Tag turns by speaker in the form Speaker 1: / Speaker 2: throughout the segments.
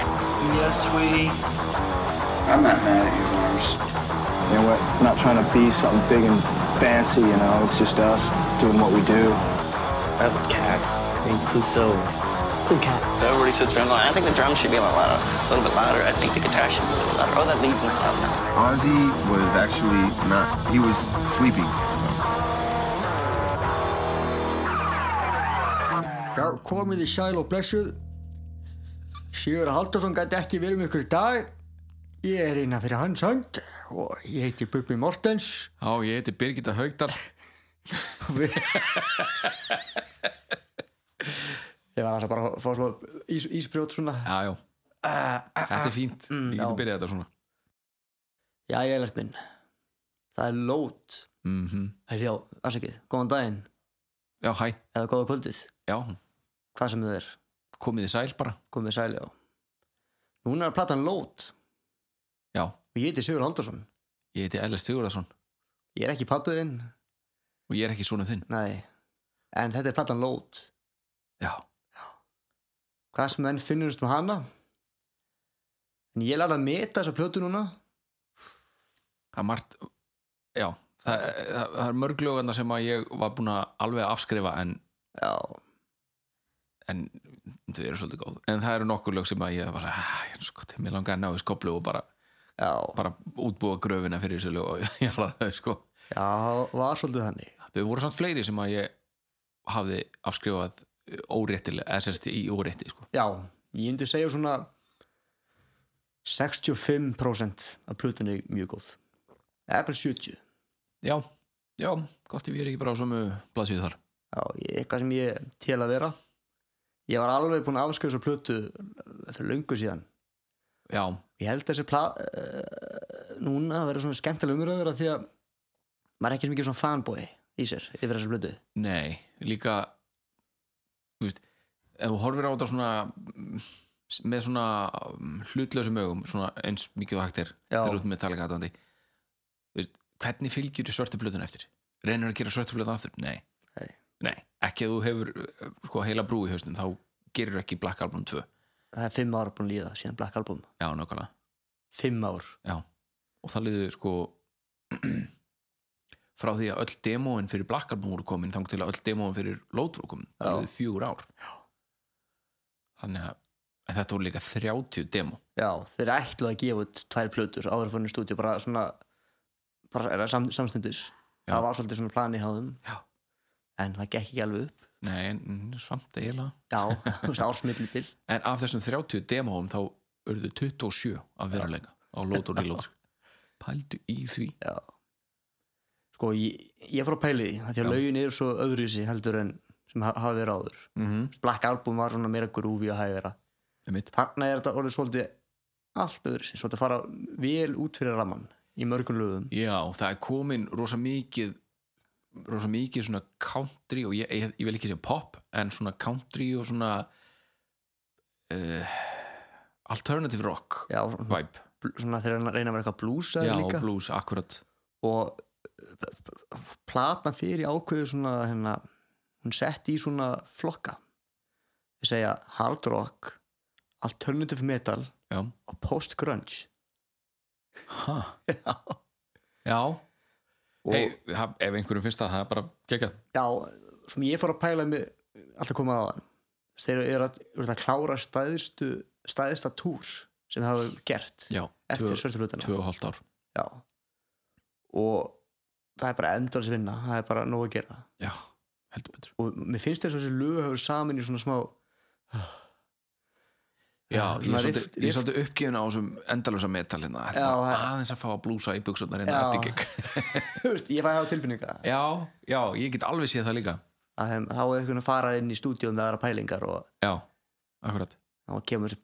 Speaker 1: there, sweetie.
Speaker 2: I'm not mad at you, Lars.
Speaker 3: You know, we're not trying to be something big and fancy, you know, it's just us doing what we do.
Speaker 4: I have a cat. It's just so cool cat.
Speaker 5: Everybody sits around going, I think the drums should be a little louder, a little bit louder. I think the guitar should be a little louder. Oh, that lead's not loud enough.
Speaker 6: Ozzy was actually not, he was sleeping.
Speaker 7: Já, komið í sæl og blessuð Sigur Haldursson gæti ekki verið með ykkur í dag Ég er eina fyrir hans hönd og ég heiti Bubbi Mortens
Speaker 8: Já, ég heiti Birgitta Haugdal
Speaker 7: og við Ég var alltaf bara að fá svo ís, ísbrjót svona
Speaker 8: Já, já, þetta er fínt Ég
Speaker 7: já.
Speaker 8: geti byrjað þetta svona
Speaker 4: Já, ég er lært minn.
Speaker 7: Það er lót
Speaker 8: mm
Speaker 4: Herjá, afsakið. Góðan daginn.
Speaker 8: Já, hæ,
Speaker 4: Eða góða kvöldið.
Speaker 8: já,
Speaker 4: Hvað sem þið er.
Speaker 8: komið í sæl bara
Speaker 4: Komið sæli á. Núna er platan lót.
Speaker 8: Já,
Speaker 4: Og ég heiti Sigur Haldursson.
Speaker 8: ég heiti Ellert Sigurðarsson
Speaker 4: Ég er ekki pappið þinn.
Speaker 8: og ég er ekki svona þinn
Speaker 4: Nei. En þetta er platan lót.
Speaker 8: Já,
Speaker 4: Hvað sem enn finnurist um hana. En ég lærði að meta þessa plötu núna.
Speaker 8: það er margt Já, það, það, það er mörgljóðarna sem að ég var búin að alveg afskrifa en,
Speaker 4: Já.
Speaker 8: en þau eru svolítið góð En það eru nokkur lög sem að ég bara "Ah, ég er sko, mér langaði að ná í skoplu og bara,
Speaker 4: Já.
Speaker 8: bara útbúa gröfina fyrir þessu lög og ég hala þau sko
Speaker 4: Já, það var svolítið þannig.
Speaker 8: Þau voru samt fleiri sem að ég hafði afskrifað óréttilega, eða sérst í órétti sko.
Speaker 4: Já. Ég myndi segja svona 65% af plötunni er mjög góð. Eða 70.
Speaker 8: Já, já, gott ef ég er ekki bara á sömu blaðsvið þar.
Speaker 4: Já, ég, eitthvað sem ég tel að vera Ég var alveg búinn að afskjöðu svo plötu fyrir löngu síðan
Speaker 8: Já,
Speaker 4: Ég held þessi plá uh, núna að vera svona skemmtilega umröður af því að maður er ekki sem ekki svona fanboy í sér yfir þessu plötu
Speaker 8: nei, líka þú veist, ef þú horfir á þetta svona mm, með svona mm, hlutlausum augum, svona eins mikið og hægt er
Speaker 4: Já.
Speaker 8: þegar út með talega aðdandi veist, hvernig fylgjur þú svörtu blöðun eftir? Reynur að gera svörtu blöðun aftur? Nei.
Speaker 4: Nei.
Speaker 8: Nei, ekki að þú hefur uh, sko heila brú í hausnum, þá gerir ekki Black Album 2.
Speaker 4: Það er fimm ár búin að líða síðan Black Album
Speaker 8: Já, nákvæmlega.
Speaker 4: Fimm ár
Speaker 8: Já, og það liðu sko frá því að öll demóin fyrir Black Album voru komin þang til að öll demóin fyrir Lót voru komin það
Speaker 4: Já.
Speaker 8: liðu fjögur ár Já. þannig að en þetta voru líka 30 demó
Speaker 4: Já, þeir ætlaðu að gefa út tvær plötur áður fórnir stúdíu, bara svona bara er það sam, samstundis
Speaker 8: Já.
Speaker 4: Það var svolítið svona plani hjá þeim
Speaker 8: Já.
Speaker 4: En það gekk ekki alveg upp
Speaker 8: Nei, en en samt eiginlega
Speaker 4: Já, þú veist, ársmillibili
Speaker 8: en af þessum 30 demóum þá urðu 27 af veruleika á Lót og Lílót pældu í því
Speaker 4: Já. Sko, ég, ég fór að pæli því, af því að
Speaker 8: Já.
Speaker 4: lögin eru svo öðruvísi heldur en sem ha- hafa verið áður.
Speaker 8: mm -hmm.
Speaker 4: Black Album var svona meira grúfi að hægvera. Þarna er þetta orðið svolítið allt öðruvísi, svolítið að fara vel út fyrir ramann í mörgum lögum.
Speaker 8: Já, það er komin rosa mikið rosa mikið svona country og ég, ég, ég vil ekki segja pop en svona country og svona uh, alternative rock
Speaker 4: Já, svona,
Speaker 8: vibe,
Speaker 4: bl- svona þegar hann reyna að vera eitthvað blúsað
Speaker 8: já,
Speaker 4: líka.
Speaker 8: blues, akkurat
Speaker 4: og eh, platna fyrir ákveðu svona hérna, hún sett í svona flokka. Ég segja hard rock, alternative metal
Speaker 8: Já,
Speaker 4: og post-grunge.
Speaker 8: ha, já
Speaker 4: Og-
Speaker 8: hey, það, ef einhverjum finnst það, það er bara gegja
Speaker 4: já, sem ég fór að pæla með alltaf komað á þann þeir eru að, eru að klára stæðistu stæðista túr sem það hafa gert
Speaker 8: Já,
Speaker 4: eftir svörtulutana
Speaker 8: tvö og hálft ár
Speaker 4: já og það er bara endurins vinna það er bara nóg að gera
Speaker 8: Já, heldur betur
Speaker 4: og mér finnst þess að þessi lög hefur samin í svona smá Ah,
Speaker 8: Já, ég
Speaker 4: svona
Speaker 8: er svolítið-
Speaker 4: riff-
Speaker 8: ég er
Speaker 4: riff-
Speaker 8: svolítið uppgjöfna á þessum endalösa metal hérna
Speaker 4: Já,
Speaker 8: Þetta
Speaker 4: það-
Speaker 8: aðeins að fá að blúsa í buksundar hérna
Speaker 4: Já.
Speaker 8: eftir gegg
Speaker 4: Þú veist, ég fæði á tilfinninga
Speaker 8: Já, já, ég get alveg séð það líka
Speaker 4: að þeim, þá er einhvern að fara inn í stúdíu með aðra pælingar og
Speaker 8: Já, akkurat
Speaker 4: þá kemur þessi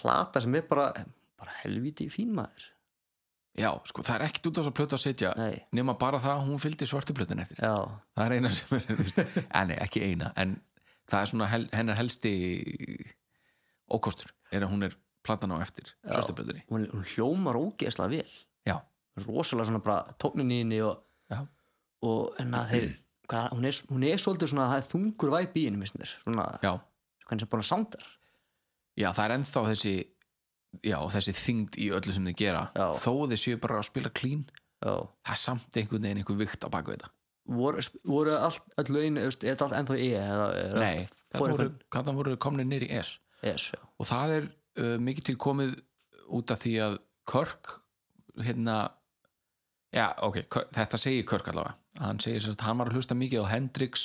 Speaker 4: plata sem er bara, bara helviti fín maður
Speaker 8: Já, sko, það er ekkit út á þess að plötu að setja
Speaker 4: nei,
Speaker 8: nema bara það að hún fylgdi svörtu plötun eftir
Speaker 4: já,
Speaker 8: Það er eina sem er, þú veist En nei, ekki eina, en það er svona hel, hennar helsti ókostur, er að hún er platan á eftir
Speaker 4: Já.
Speaker 8: svörtu plötunni
Speaker 4: hún, hún hljómar ógeðslega vel
Speaker 8: Já,
Speaker 4: rosalega svona bara tónin í henni og,
Speaker 8: Já.
Speaker 4: og hérna þeir hvað, hún, er, hún er svolítið svona það er þungur væp í henni misnir, svona
Speaker 8: já,
Speaker 4: hvernig sem bara sándar
Speaker 8: já, það er ennþá þessi já, þessi þyngd í öllu sem þið gera
Speaker 4: Já.
Speaker 8: þó þið séu bara að spila clean
Speaker 4: já.
Speaker 8: það er samt einhvern veginn einhver vikt á baku þetta
Speaker 4: voru, voru all, all lögin er þetta allt ennþá í eða er
Speaker 8: nei,
Speaker 4: fór
Speaker 8: það voru,
Speaker 4: einhvern-
Speaker 8: hvað það voru komnir niður í S
Speaker 4: yes, já.
Speaker 8: og það er uh, mikið til komið út af því að Körk hérna já, ok, Kirk, þetta segir Körk allavega hann segir sér að hann var að hlusta mikið á Hendrix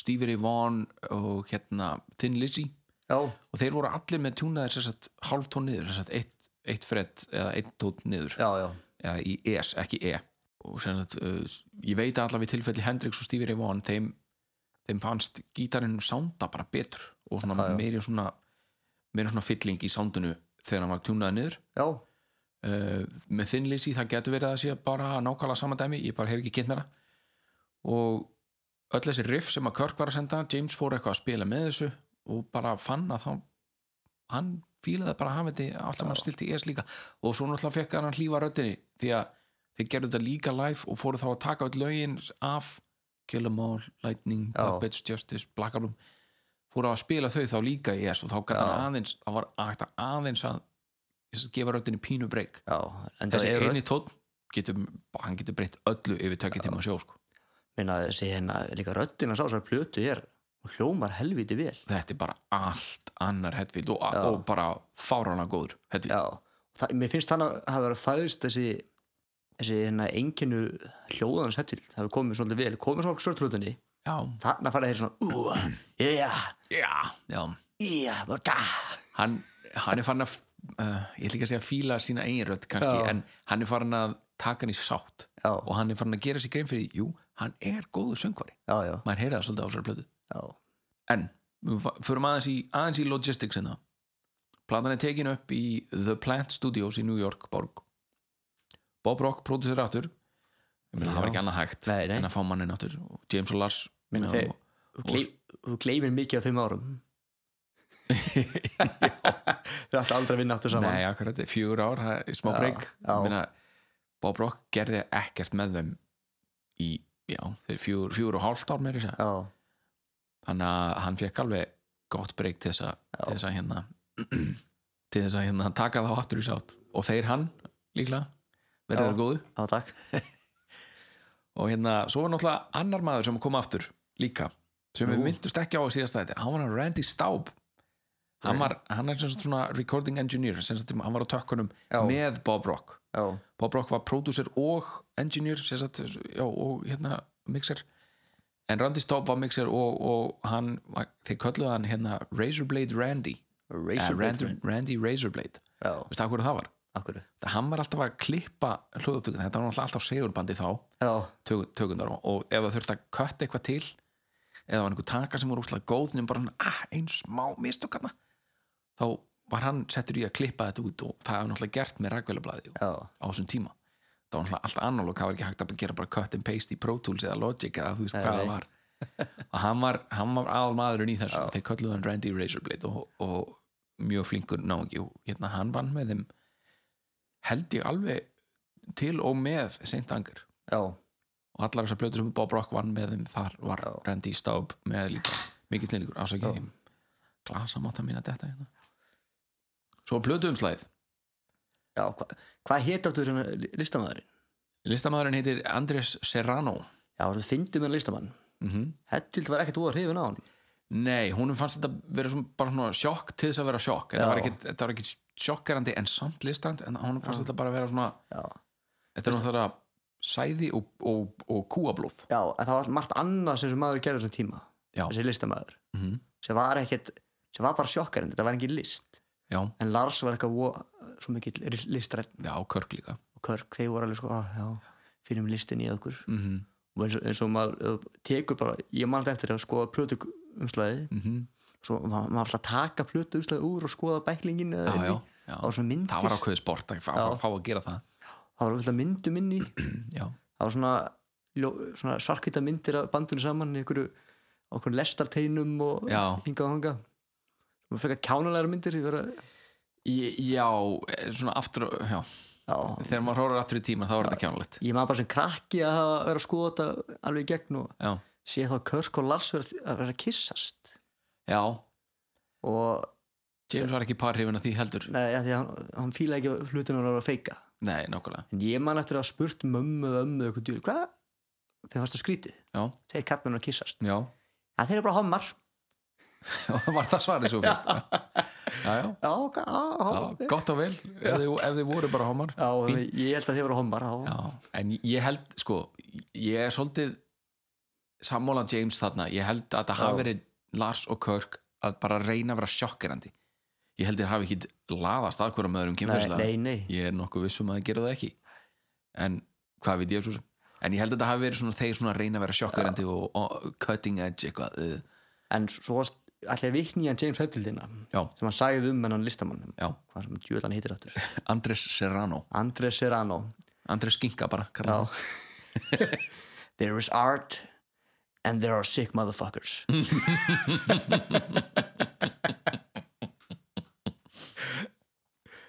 Speaker 8: Stevie Ray Vaughan og hérna Thin Lizzy
Speaker 4: já,
Speaker 8: og þeir voru allir með tjúnaðir sér satt hálf tón niður, sér satt eitt, eitt fredd eða eitt tón niður
Speaker 4: já, já,
Speaker 8: eða í ES, ekki E og sem sagt, uh, ég veit að allavega í tilfelli Hendrix og Stevie Ray Vaughan þeim, þeim fannst gítarinn sounda bara betur og svona
Speaker 4: Já, já.
Speaker 8: meiri svona meiri svona fylling í soundinu þegar hann var tjúnaði niður
Speaker 4: já,
Speaker 8: uh, með Thin Lizzy það getur verið að það sé bara nákvæmlega sama dæmi, ég bara hef ekki kynnt mér það og öll þessi riff sem að Kirk var að senda, James fór eitthvað að spila með þessu og bara fann að þá, hann fílaði bara að hafa þetta allt sem hann stilti í ES líka og svo náttúrulega fekk hann að hlífa röddinni því að þeir gerðu þetta líka live og fóru þá að taka út lögin af Kill 'em All, Lightning,
Speaker 4: Já.
Speaker 8: Puppets, Justice, Blackablum fóru að spila þau þá líka í ES og þá gæti hann aðeins, þá var hægt að aðeins að gefa röddinni pínu breyk
Speaker 4: já. En
Speaker 8: þessi
Speaker 4: það er-
Speaker 8: eini tónn getur, hann getur breytt öllu yfir tökja tíma sjó sko.
Speaker 4: minna þessi hérna líka röddina sá svo plötu hér og hljómar helviti vel
Speaker 8: þetta er bara allt annar headfield og,
Speaker 4: Já.
Speaker 8: og bara fárana góður headfield
Speaker 4: já, það, mér finnst þannig að hafa verið fæðist þessi þessi hérna enginu hljóðan settil það hefur komið svolítið vel, komið svolítið svörtlutinni
Speaker 8: já,
Speaker 4: þarna fara þeir svona úa, já,
Speaker 8: já, já.
Speaker 4: já, da
Speaker 8: Hann, hann er farin að uh, ég ætla ekki að segja fíla sína eigin rödd kannski,
Speaker 4: Já.
Speaker 8: en hann er farin að taka hann í sátt
Speaker 4: já,
Speaker 8: og hann er farin að gera sér grein fyrir jú, hann er góður söngvari
Speaker 4: já, já,
Speaker 8: maður heyrði það svolítið á þessari plötu
Speaker 4: já,
Speaker 8: en, við fa- förum aðeins í, aðeins í logistics en það platan er tekin upp í The Plant Studios í New York borg Bob Rock pródusir aftur ég meina það var ekki annað hægt
Speaker 4: Nei, nei.
Speaker 8: en að fá mannin aftur og James og Lars
Speaker 4: Meina
Speaker 8: já,
Speaker 4: þeir- þú gley- þú gleymir mikið á fimm árum þau ættu aldrei að vinna aftur
Speaker 8: og,
Speaker 4: saman
Speaker 8: nei, akkurat, þetta er fjögur ár það er smá
Speaker 4: Já,
Speaker 8: breyk
Speaker 4: já.
Speaker 8: Ég meina, Bob Rock gerði ekkert með þeim í, já, þeir fjögur, fjögur og hálft ár meiri
Speaker 4: já,
Speaker 8: þannig að hann fekk alveg gott breyk til þess að, til þess að hérna til þess að hérna taka þá aftur í sátt og þeir hann líklega verður
Speaker 4: Já.
Speaker 8: það góðu
Speaker 4: já, takk
Speaker 8: og hérna svo var náttúrulega annar maður sem kom aftur líka sem við myndust ekki á í síðasta þetta hann var hann Randy Staub hann, var, hann er sem sagt svona recording engineer sem sagt hann var á tökkunum
Speaker 4: Já.
Speaker 8: með Bob Rock
Speaker 4: já,
Speaker 8: Bob Rock var pródúsir og engineer sem sagt, já, og hérna mixer en Randy Staub var mixer og, og hann, var- þeir kölluðu hann hérna Razorblade Randy Eh,
Speaker 4: Razorblade
Speaker 8: Randy, Randy Razorblade,
Speaker 4: já,
Speaker 8: veistu að hverju það var?
Speaker 4: akkur
Speaker 8: Það hann var alltaf að klippa hlúðuptökun þetta var náttúrulega alltaf segurbandi þá
Speaker 4: já,
Speaker 8: tök- tökurnar og- og ef það þurfti að kött eitthvað til eða var einhver taka sem voru úslega góð nema bara hann, ah, ein smá mistökarna þá var hann settur í að klippa þetta út og það hefði náttúrulega gert með rækvælublaði
Speaker 4: já,
Speaker 8: á þessum tíma það var náttúrulega allt analóg, það var ekki hægt að gera bara cut and paste í Pro Tools eða Logic eða þú veist
Speaker 4: Nei,
Speaker 8: hvað
Speaker 4: nei.
Speaker 8: það var og hann var, hann var aðal maðurinn í þessu þeir kölluðu hann Randy Razorblade og, og mjög flinkur náungi og hérna hann vann með þeim held ég alveg til og með seint angur
Speaker 4: já,
Speaker 8: og allar þessar blötu sem Bob Rock vann með þeim þar var Randy Staub með líka mikið snillíkur, ásækja glasamáta mín að detta hérna svo um blötu umslæðið
Speaker 4: já hva, hvað hétt áttu hérna listamæðurinn?
Speaker 8: listamæðurinn heitir Andres Serrano
Speaker 4: Já, þú fyndið með listamann
Speaker 8: mm
Speaker 4: Mhm. Hettild var ekkert úr hrifin á hann
Speaker 8: Nei, húnum fannst þetta vera svona, bara svona sjokk til þess að vera sjokk þetta
Speaker 4: Já.
Speaker 8: var, ekkit, þetta var ekki sjokkerandi en samt listrand en húnum fannst þetta bara vera svona
Speaker 4: Já,
Speaker 8: þetta er náttúrulega sæði og, og, og kúablóð
Speaker 4: já en það var margt annað sem þessi maður gerði þessum tíma
Speaker 8: Já.
Speaker 4: Þessi listamæður
Speaker 8: mm
Speaker 4: sem var ekkert, sem var bara sjokkarinn þetta var engin list
Speaker 8: Já,
Speaker 4: En Lars var eitthvað vo- svo mikið listrætt
Speaker 8: já, körk líka
Speaker 4: og Körk þeir voru alveg sko, "Ah, já, finnum listin í okkur
Speaker 8: mm -hmm.
Speaker 4: og eins og, eins og maður ef þú tekur bara, ég man alltaf eftir að skoða plötuumslæði
Speaker 8: Mhm.
Speaker 4: svo ma- maður alltaf að taka plötuumslæði úr og skoða bæklingin eða
Speaker 8: Já,
Speaker 4: inn í.
Speaker 8: já, já.
Speaker 4: Það var svona myndir
Speaker 8: Það var ákveðið sport að fá,
Speaker 4: Já. Mm,
Speaker 8: fá að gera það
Speaker 4: það var alltaf myndum inn í
Speaker 8: Já,
Speaker 4: það var svona, ljó, svona svarkvita myndir af bandinu saman í einhverju, á einhverju lestarteinum og
Speaker 8: Já.
Speaker 4: hingað og hangað og frekar kjánalega myndir ég vera,
Speaker 8: Í- já eh, svona aftur já.
Speaker 4: já,
Speaker 8: þegar maður horfður aftur í tíma þá er þetta kjánulegt
Speaker 4: ég maður bara sem krakki að hafa verið að skoða þetta alveg í gegn og
Speaker 8: Já,
Speaker 4: sé þá Körk og Lars vera að vera að kyssast
Speaker 8: já,
Speaker 4: og
Speaker 8: James var ekki parhrifin af því heldur
Speaker 4: Nei, af því að hann, hann fíla ekki að hlutin að vera að feika
Speaker 8: Nei, nákvæmlega
Speaker 4: en ég man eftir að hafa spurt mömmu eða ömmu eða eitthvað djúri, hvað? þeir fannst það skrítið,
Speaker 8: Já,
Speaker 4: þeir kappmenn að kissast
Speaker 8: já,
Speaker 4: að þeir eru bara hommar
Speaker 8: var það svarið svo fyrst Já, já,
Speaker 4: já, ok, á,
Speaker 8: já,
Speaker 4: hommar.
Speaker 8: gott og vel ef, þið, ef þið voru bara homar
Speaker 4: já,
Speaker 8: Fínt.
Speaker 4: ég held að þeir voru hommar já.
Speaker 8: Já, en ég held sko, ég er svolítið sammála James þarna, ég held að það hafi verið Lars og Kirk að bara reyna að vera sjokkirandi ég held þeir hafi ekki laðast að hverjum öðrum
Speaker 4: nei,
Speaker 8: kynfærslega
Speaker 4: nei, nei
Speaker 8: ég er nokkuð vissum að það gera það ekki en hvað veit ég svo sem en ég held að það hafi verið svona þeir svona að reyna að vera sjokkarandi og, og cutting edge eitthvað uh,
Speaker 4: en svo allir vikni hann James Hetfieldina
Speaker 8: já,
Speaker 4: sem hann sagði um hennan listamann
Speaker 8: já,
Speaker 4: hvað sem djúlan heitir aftur
Speaker 8: Andres Serrano
Speaker 4: Andrés Serrano
Speaker 8: Andres Skinka bara
Speaker 4: Já.
Speaker 8: kallar hann.
Speaker 4: There is art and there are sick motherfuckers
Speaker 8: Mm.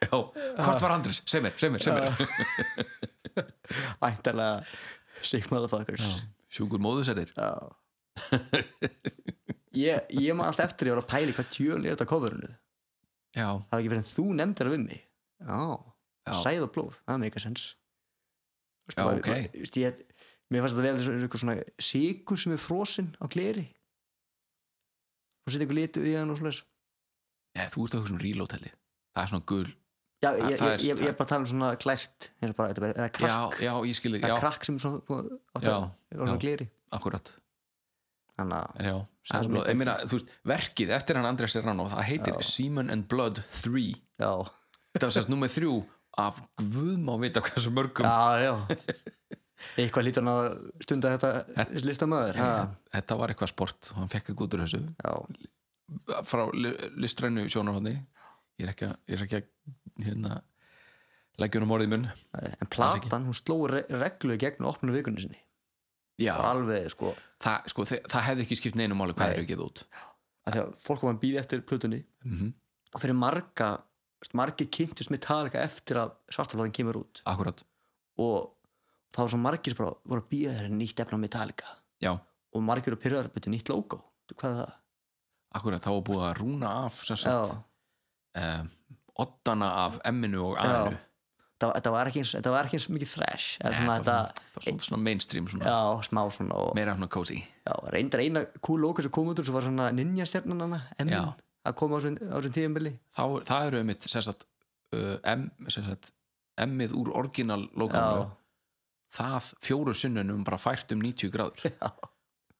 Speaker 8: já, hvort var Andres, seg mér, seg mér, seg mér
Speaker 4: Æntalega sick motherfuckers
Speaker 8: sjúkur móðusættir
Speaker 4: Já Ég, ég maður allt eftir ég var að pæli hvað tjón er þetta á coverinu Það
Speaker 8: já,
Speaker 4: er ekki fyrir en þú nefndir það við mig Já,
Speaker 8: Já.
Speaker 4: sæð og blóð, það meika sens
Speaker 8: Já, ok.
Speaker 4: Vist, ég, Mér fannst þetta vel þessu eitthvað svona sigur sem er frosinn á gleri og setja eitthvað litið í hann og svoleiðis
Speaker 8: Nei, þú ert okkur svona reload heldig það er svona gul,
Speaker 4: Já,
Speaker 8: Það-
Speaker 4: ég,
Speaker 8: það er-
Speaker 4: ég, ég, ég er bara að tala um svona klært eins og bara, þetta er bara- eða
Speaker 8: já,
Speaker 4: krakk
Speaker 8: já, ég skilði
Speaker 4: eða
Speaker 8: já,
Speaker 4: krakk sem er svona búið- átti
Speaker 8: Já,
Speaker 4: að orða
Speaker 8: já.
Speaker 4: gleri
Speaker 8: akkurat
Speaker 4: Þannig að,
Speaker 8: En já,
Speaker 4: Það er
Speaker 8: Blood,
Speaker 4: mikilvægt.
Speaker 8: ég meina, þú veist, verkið eftir hann Andres Serrano, það heitir Semen and Blood 3
Speaker 4: já
Speaker 8: þetta var sérst nummer 3 af guðmá vita hversu mörgum
Speaker 4: Já, já Eitthvað lítur hann að stunda þetta listamöður ha?
Speaker 8: þetta var eitthvað sport og hann fekk eitthvað út úr þessu
Speaker 4: Já,
Speaker 8: frá li- listrænu sjónarhóðni ég er ekki að, ég er ekki að hérna, leggjum um orðið mun
Speaker 4: en platan, hún sló re reglu í gegn og opnum vikunni sinni
Speaker 8: já,
Speaker 4: Bara alveg, sko
Speaker 8: það, sko, þe- það hefði ekki skipt neinu máli hvað
Speaker 4: Nei.
Speaker 8: eru ekki út
Speaker 4: að því að fólk var að býði eftir plötunni
Speaker 8: mm
Speaker 4: og fyrir marga, veist, margir kynntist Metallica eftir að svartaflóðin kemur út
Speaker 8: akkurat,
Speaker 4: og það var svo margir sem bara voru að býða þeirra nýtt efna Metallica
Speaker 8: já,
Speaker 4: og margir eru pyrraðar betur nýtt logo hvað er það?
Speaker 8: akkurat, þá var búið að rúna af sem sagt,
Speaker 4: Já,
Speaker 8: um, oddana af emminu og
Speaker 4: Já.
Speaker 8: aðinu
Speaker 4: það, það, var ekki eins, það var ekki eins mikið thrash eða svona
Speaker 8: það var
Speaker 4: þetta,
Speaker 8: svona- svolítið svona mainstream svona,
Speaker 4: já, smá svona og,
Speaker 8: meira svona cozy
Speaker 4: já, reyndar eina cool lóka sem kom út úr sem var svona ninja stjarnan hana,
Speaker 8: Já.
Speaker 4: emmin að koma á þessum- á þessum tíðanbili
Speaker 8: þá, það eru einmitt sem sagt, uh, M, sem sagt, emmið úr orginal lokalinu
Speaker 4: Já.
Speaker 8: það fjóru sunnunum bara fært um 90 gráður
Speaker 4: Já.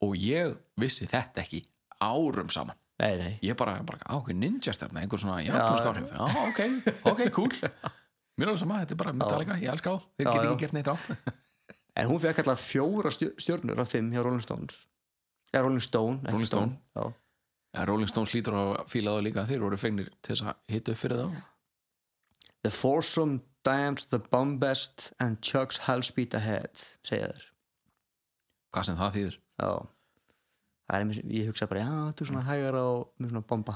Speaker 8: og ég vissi þetta ekki árum saman
Speaker 4: nei, nei,
Speaker 8: ég bara, bara á, ok, ninja stjarna, einhver svona japansk
Speaker 4: Já.
Speaker 8: áhrif, já, ok, ok, cool mér er alveg sama, þetta er bara metalega, ég elska á
Speaker 4: Já,
Speaker 8: þeir
Speaker 4: já.
Speaker 8: geta ekki gert neitt rátt
Speaker 4: en hún fekk alltaf fjóra stjör- stjörnur af fimm hjá Rolling Stones eða Rolling Stone, ekki
Speaker 8: Rolling Stone.
Speaker 4: Stone.
Speaker 8: ja, Rolling Stones lítur á fílaðu líka þeir voru fegnir til þess að hita upp fyrir þá
Speaker 4: Já. The Foursome Dimes, The Bombest and Chuck's Hell Speed Ahead segja þér
Speaker 8: hvað sem það þýðir
Speaker 4: já. það er, einmitt- ég hugsa bara, já, þetta er svona hægara og með svona bomba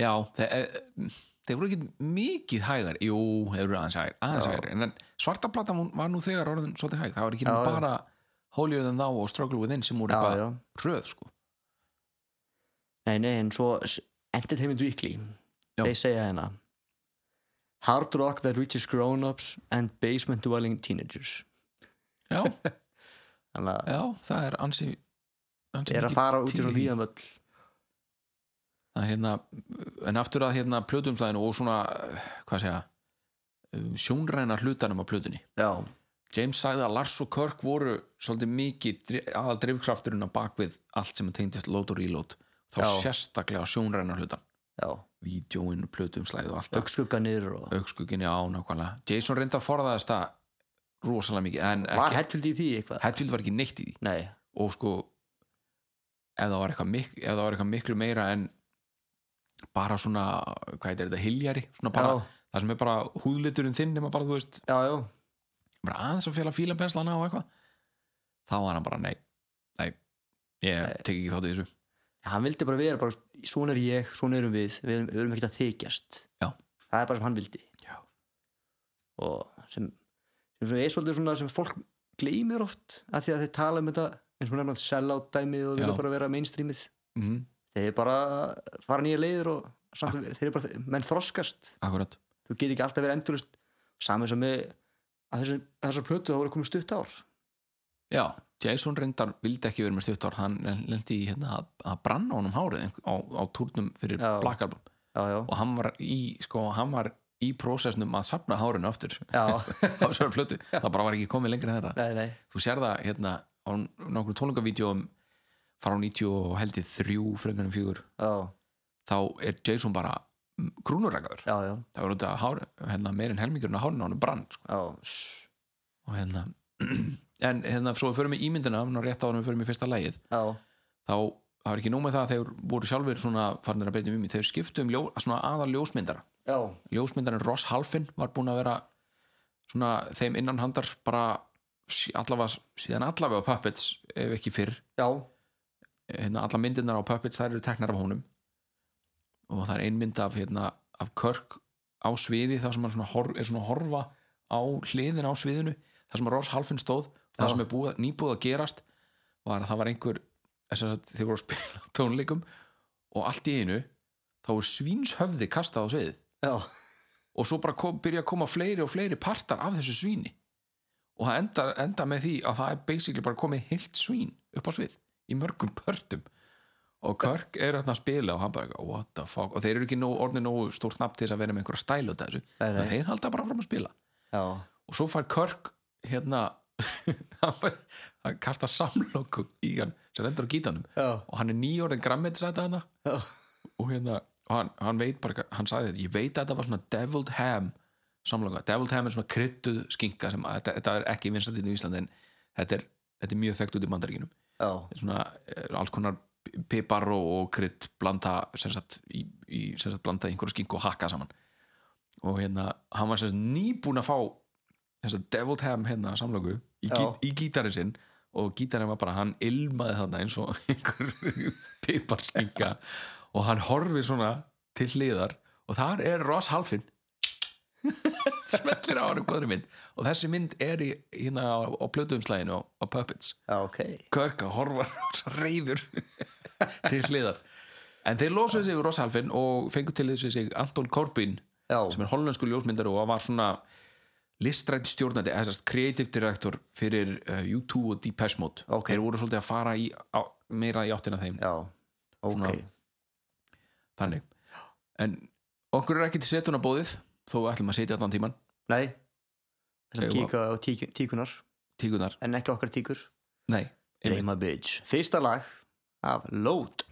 Speaker 8: Já, þeir, eh, þeir voru ekki mikið hægar Jú, þeir voru aðeins hægar, aðeins
Speaker 4: Já.
Speaker 8: hægar. En, en svarta plata hún var nú þegar orðin svolítið hæg Það var ekki
Speaker 4: Já, já.
Speaker 8: bara Holier than Thou og Struggle Within sem voru
Speaker 4: já,
Speaker 8: eitthvað
Speaker 4: já.
Speaker 8: röð sko.
Speaker 4: Nei, nei, en svo s- Entertainment Weekly
Speaker 8: Já.
Speaker 4: þeir segja hérna Hard rock that reaches grown-ups and basement dwelling teenagers
Speaker 8: já,
Speaker 4: þannig að
Speaker 8: já, það er ansi, ansi
Speaker 4: þeir eru
Speaker 8: mikið
Speaker 4: að fara út í
Speaker 8: til
Speaker 4: svona
Speaker 8: í því.
Speaker 4: víðanvöll
Speaker 8: Það er hérna, En aftur að hérna plötumslæðinu og svona, eh, hvað segja eh, sjónræna hlutanum á plötunni
Speaker 4: já,
Speaker 8: James sagði að Lars og Kirk voru svolítið mikið dri- aðal drifkrafturinn á bakvið allt sem tegndist load og reload þá
Speaker 4: Já.
Speaker 8: sérstaklega sjónræna hlutan
Speaker 4: já,
Speaker 8: vídjóin, plötumslæð um og allt það
Speaker 4: augskugganir og
Speaker 8: augskugginni á nákvæmlega Jason reyndi að forðaðast það rosalega mikið en
Speaker 4: var
Speaker 8: ekki,
Speaker 4: Hetfield í því eitthvað?
Speaker 8: Hetfield var ekki neitt í því
Speaker 4: Nei,
Speaker 8: og sko ef það var eitthvað, mik ef það var eitthvað miklu meira en bara svona hvað heitir þetta, hiljari svona bara,
Speaker 4: Já.
Speaker 8: það sem er bara húðliturinn þinn nema bara þú veist,
Speaker 4: já, já,
Speaker 8: bara aðeins að fela fílapenslana og eitthvað þá var hann bara nei, nei ég tek ekki þátt í þessu
Speaker 4: hann vildi bara vera bara, svona er ég, svona erum við við erum, við erum ekkert að þykjast
Speaker 8: Já.
Speaker 4: það er bara sem hann vildi
Speaker 8: Já.
Speaker 4: og sem, sem, sem er svolítið svona sem fólk gleymir oft af því að þeir tala um þetta eins og nefnast sell-out dæmið og
Speaker 8: Já.
Speaker 4: vilja bara vera mainstreamið
Speaker 8: mm
Speaker 4: þeir eru bara fara nýja leiðir og samt, þeir eru bara, menn þroskast
Speaker 8: akkurat
Speaker 4: þú getur ekki alltaf verið endurist saman sem með að þessu, þessar plötu þá voru komið stutt ár
Speaker 8: Já, Jason reyndar vildi ekki verið með stuttar hann lendi í hérna að, að branna honum hárið einhver- á, á túrnum fyrir
Speaker 4: Já.
Speaker 8: Black Album
Speaker 4: já, já,
Speaker 8: og hann var í, sko, hann var í prósessnum að safna hárinu aftur
Speaker 4: já,
Speaker 8: á þessari plötu, það bara var ekki komið lengri en þetta
Speaker 4: nei, nei
Speaker 8: þú sér það hérna á nokkru tónlingavídeóum frá 90 og held ég þrjú frekar en fjögur,
Speaker 4: já,
Speaker 8: þá er Jason bara grúnurrakaður,
Speaker 4: já, já,
Speaker 8: það var út að hár, hérna, meirinn helmingurinn að hárinu á honum brann sko.
Speaker 4: já, sss,
Speaker 8: og hérna en hérna svo við förum í ímyndina ná rétt árum við förum í fyrsta lægið
Speaker 4: já,
Speaker 8: þá það var ekki nóg með það að þeir voru sjálfur svona farnir að breyta um ímynd þeir skiptu um ljó, svona aðal ljósmyndara
Speaker 4: já,
Speaker 8: ljósmyndarinn Ross Halfin var búin að vera svona þeim innan handar bara sí- allavega, síðan allavega á Puppets ef ekki fyrr
Speaker 4: já,
Speaker 8: hérna, alla myndirnar á Puppets þær eru teknar af honum og það er ein mynd af, hérna, af Kirk á sviði þar sem hann svona hor, er svona að horfa á hliðin á sviðinu þar sem Ross Halfin stóð og það
Speaker 4: Já.
Speaker 8: sem er búið, nýbúið að gerast var að það var einhver þess að þeir voru að spila á tónleikum og allt í einu þá er svínshöfði kastað á sviðið
Speaker 4: já,
Speaker 8: og svo bara kom, byrja að koma fleiri og fleiri partar af þessu svíni og það enda, enda með því að það er basically bara komið heilt svín upp á svið í mörgum pörtum og Kirk er hérna að spila og hann bara eitthvað, what the fuck og þeir eru ekki nóg, orðin nógu stórt nafn til þess að vera með einhverja stæl út af þessu
Speaker 4: Nei, nei.
Speaker 8: en þeir halda bara fram að spila
Speaker 4: já,
Speaker 8: og svo fær Kirk hérna hann fær- hann kastar samlokum í hann sem endur á gítanum
Speaker 4: já,
Speaker 8: og hann er nýjórðin grammetisæta hana
Speaker 4: Já.
Speaker 8: og hérna og hann, hann veit bara, hann sagði þetta ég veit að þetta var svona deviled ham samlanga, deviled ham er svona kryttuð skinka sem að, þetta, þetta er ekki vinstandinn í Íslandi en þetta er, þetta er mjög þekkt út í bandaríkinum
Speaker 4: já,
Speaker 8: Þetta er svona er alls konar pipar og, og krydd blanda sem sagt, í, í, sem sagt blanda í einhverju skinku og hakka saman og hérna, hann var sem sagt nýbúin að fá þess að deviled ham hérna samlöku í,
Speaker 4: Já.
Speaker 8: gít, í gítarinn sinn og gítarinn var bara, hann ilmaði þarna eins og einhver piparskinka og hann horfir svona til hliðar og þar er Ross Halfin smetlir á hann um góðri mynd og þessi mynd er í, hérna á, á plötuumslæginu á, á Puppets
Speaker 4: já, ok
Speaker 8: Körk að horfa rosa reyður til hliðar en þeir losuðu sig við Rossalfin og fengu til þessu sig Anton Corbin
Speaker 4: já,
Speaker 8: sem er hollensku ljósmyndar og var svona listrænt stjórnandi, eða sérst creative director fyrir uh, U2 og Depeche Mode
Speaker 4: Ok.
Speaker 8: þeir voru svolítið að fara í, á, meira í áttina að þeim
Speaker 4: já, ok
Speaker 8: Svona- þannig, en okkur er ekki til setuna bóðið þó við ætlum að setja allan tíman
Speaker 4: nei, þessar
Speaker 8: Segðu
Speaker 4: kíka og tíku- tíkunar
Speaker 8: tíkunar,
Speaker 4: en ekki okkar tíkur
Speaker 8: nei, einmitt.
Speaker 4: Reyma Bitch Fyrsta lag af Load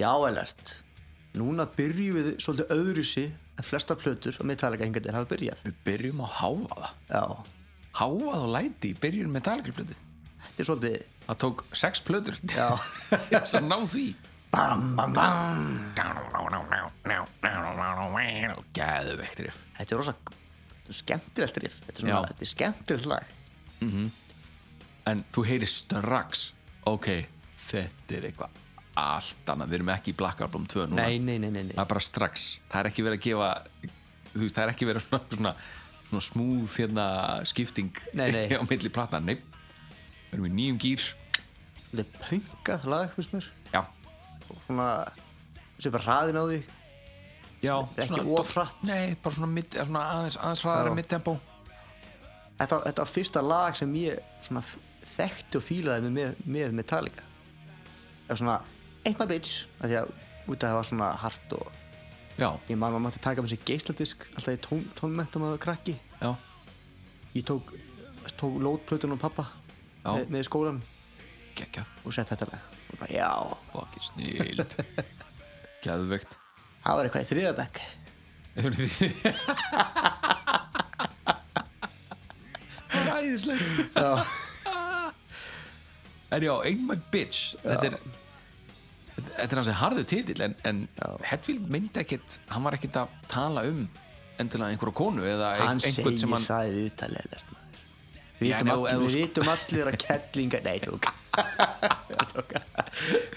Speaker 4: Já, elert Núna byrjum við svolítið öðruvísi en flesta plötur og Metallica hingað til hafa byrjað
Speaker 8: við byrjum á háfaða
Speaker 4: Já,
Speaker 8: háfað og læti, í byrjun með talagliplöti
Speaker 4: þetta er svolítið
Speaker 8: það tók sex plötur
Speaker 4: Já,
Speaker 8: þess að ná því
Speaker 4: bam, bam, bam
Speaker 8: Gæðuveikt riff
Speaker 4: Þetta er rosa skemmtilegt riff Þetta er, svona,
Speaker 8: Já.
Speaker 4: þetta er skemmtilegt lag
Speaker 8: En þú heyrir strax Ok, þetta er eitthvað allt annað Við erum ekki í Black Album 2 núna
Speaker 4: Nei, nei, nei, nei, nei.
Speaker 8: Það er bara strax Það er ekki verið að gefa þú veist, Það er ekki verið svona, svona, svona smúð hérna, skipting
Speaker 4: Nei, nei.
Speaker 8: á milli platna Nei, við erum í nýjum gýr
Speaker 4: Þetta er pönkað lag, finnst mér
Speaker 8: Já,
Speaker 4: Svona, þessi bara hraðin á því
Speaker 8: Já
Speaker 4: er ekki of hratt.
Speaker 8: Nei, bara svona, mid, svona aðeins, aðeins hraðara
Speaker 4: Já.
Speaker 8: midtempo
Speaker 4: Þetta, þetta var fyrsta lag sem ég svona f- þekkti og fílaði með, með, með Metallica Það var svona Ain't my bitch af Því að út af það var svona hart og
Speaker 8: Já,
Speaker 4: Ég man maður mátti taka með sér geisladisk Alltaf í tón, tónmentum að krakki
Speaker 8: já,
Speaker 4: Ég tók, tók lótplötun og pappa
Speaker 8: Já.
Speaker 4: með, með í skólan
Speaker 8: gekkja
Speaker 4: og sett þetta lag og bara já,
Speaker 8: Fucking snild Gæðuveikt
Speaker 4: það var eitthvað í þriðabæk
Speaker 8: Æðislega En já, Ain't My Bitch Þetta er Þetta er hans að harðu titill en, en Hetfield myndi ekkit, hann var ekkit að tala um endilega einhverja konu eða ein-
Speaker 4: Hann
Speaker 8: einhvern
Speaker 4: segir
Speaker 8: sem hann
Speaker 4: það í viðtalið Við
Speaker 8: Já, en
Speaker 4: vitum allir,
Speaker 8: ef- ef þú
Speaker 4: við
Speaker 8: sko-
Speaker 4: vitum allir að kettlinga Nei, tók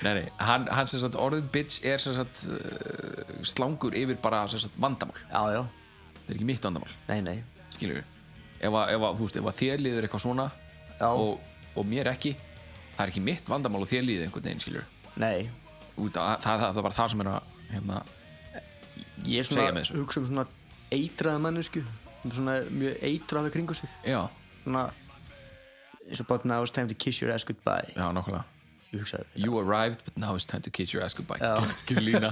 Speaker 8: nei, nei, hann, hann sem sagt, orðið bitch er sem sagt uh, slangur yfir bara sem sagt vandamál,
Speaker 4: Já, já,
Speaker 8: þetta er ekki mitt vandamál
Speaker 4: nei, nei
Speaker 8: skilur við ef að, ef að, þú veist, ef að þér liður eitthvað svona
Speaker 4: Já.
Speaker 8: og, og mér ekki það er ekki mitt vandamál og þér líði einhvern veginn skilur
Speaker 4: nei,
Speaker 8: út að það, það, það var það sem er að hérna,
Speaker 4: ég er
Speaker 8: Segja
Speaker 4: svona
Speaker 8: með þessu.
Speaker 4: hugsa um svona eitraða mannesku svona mjög eitraða kringu sig
Speaker 8: já,
Speaker 4: svona eins og bara now it's time to kiss your ass goodbye
Speaker 8: já, nokkulega
Speaker 4: ég hugsaði
Speaker 8: You arrived, but now it's time to kiss your ass goodbye
Speaker 4: Já.
Speaker 8: Gekkið lína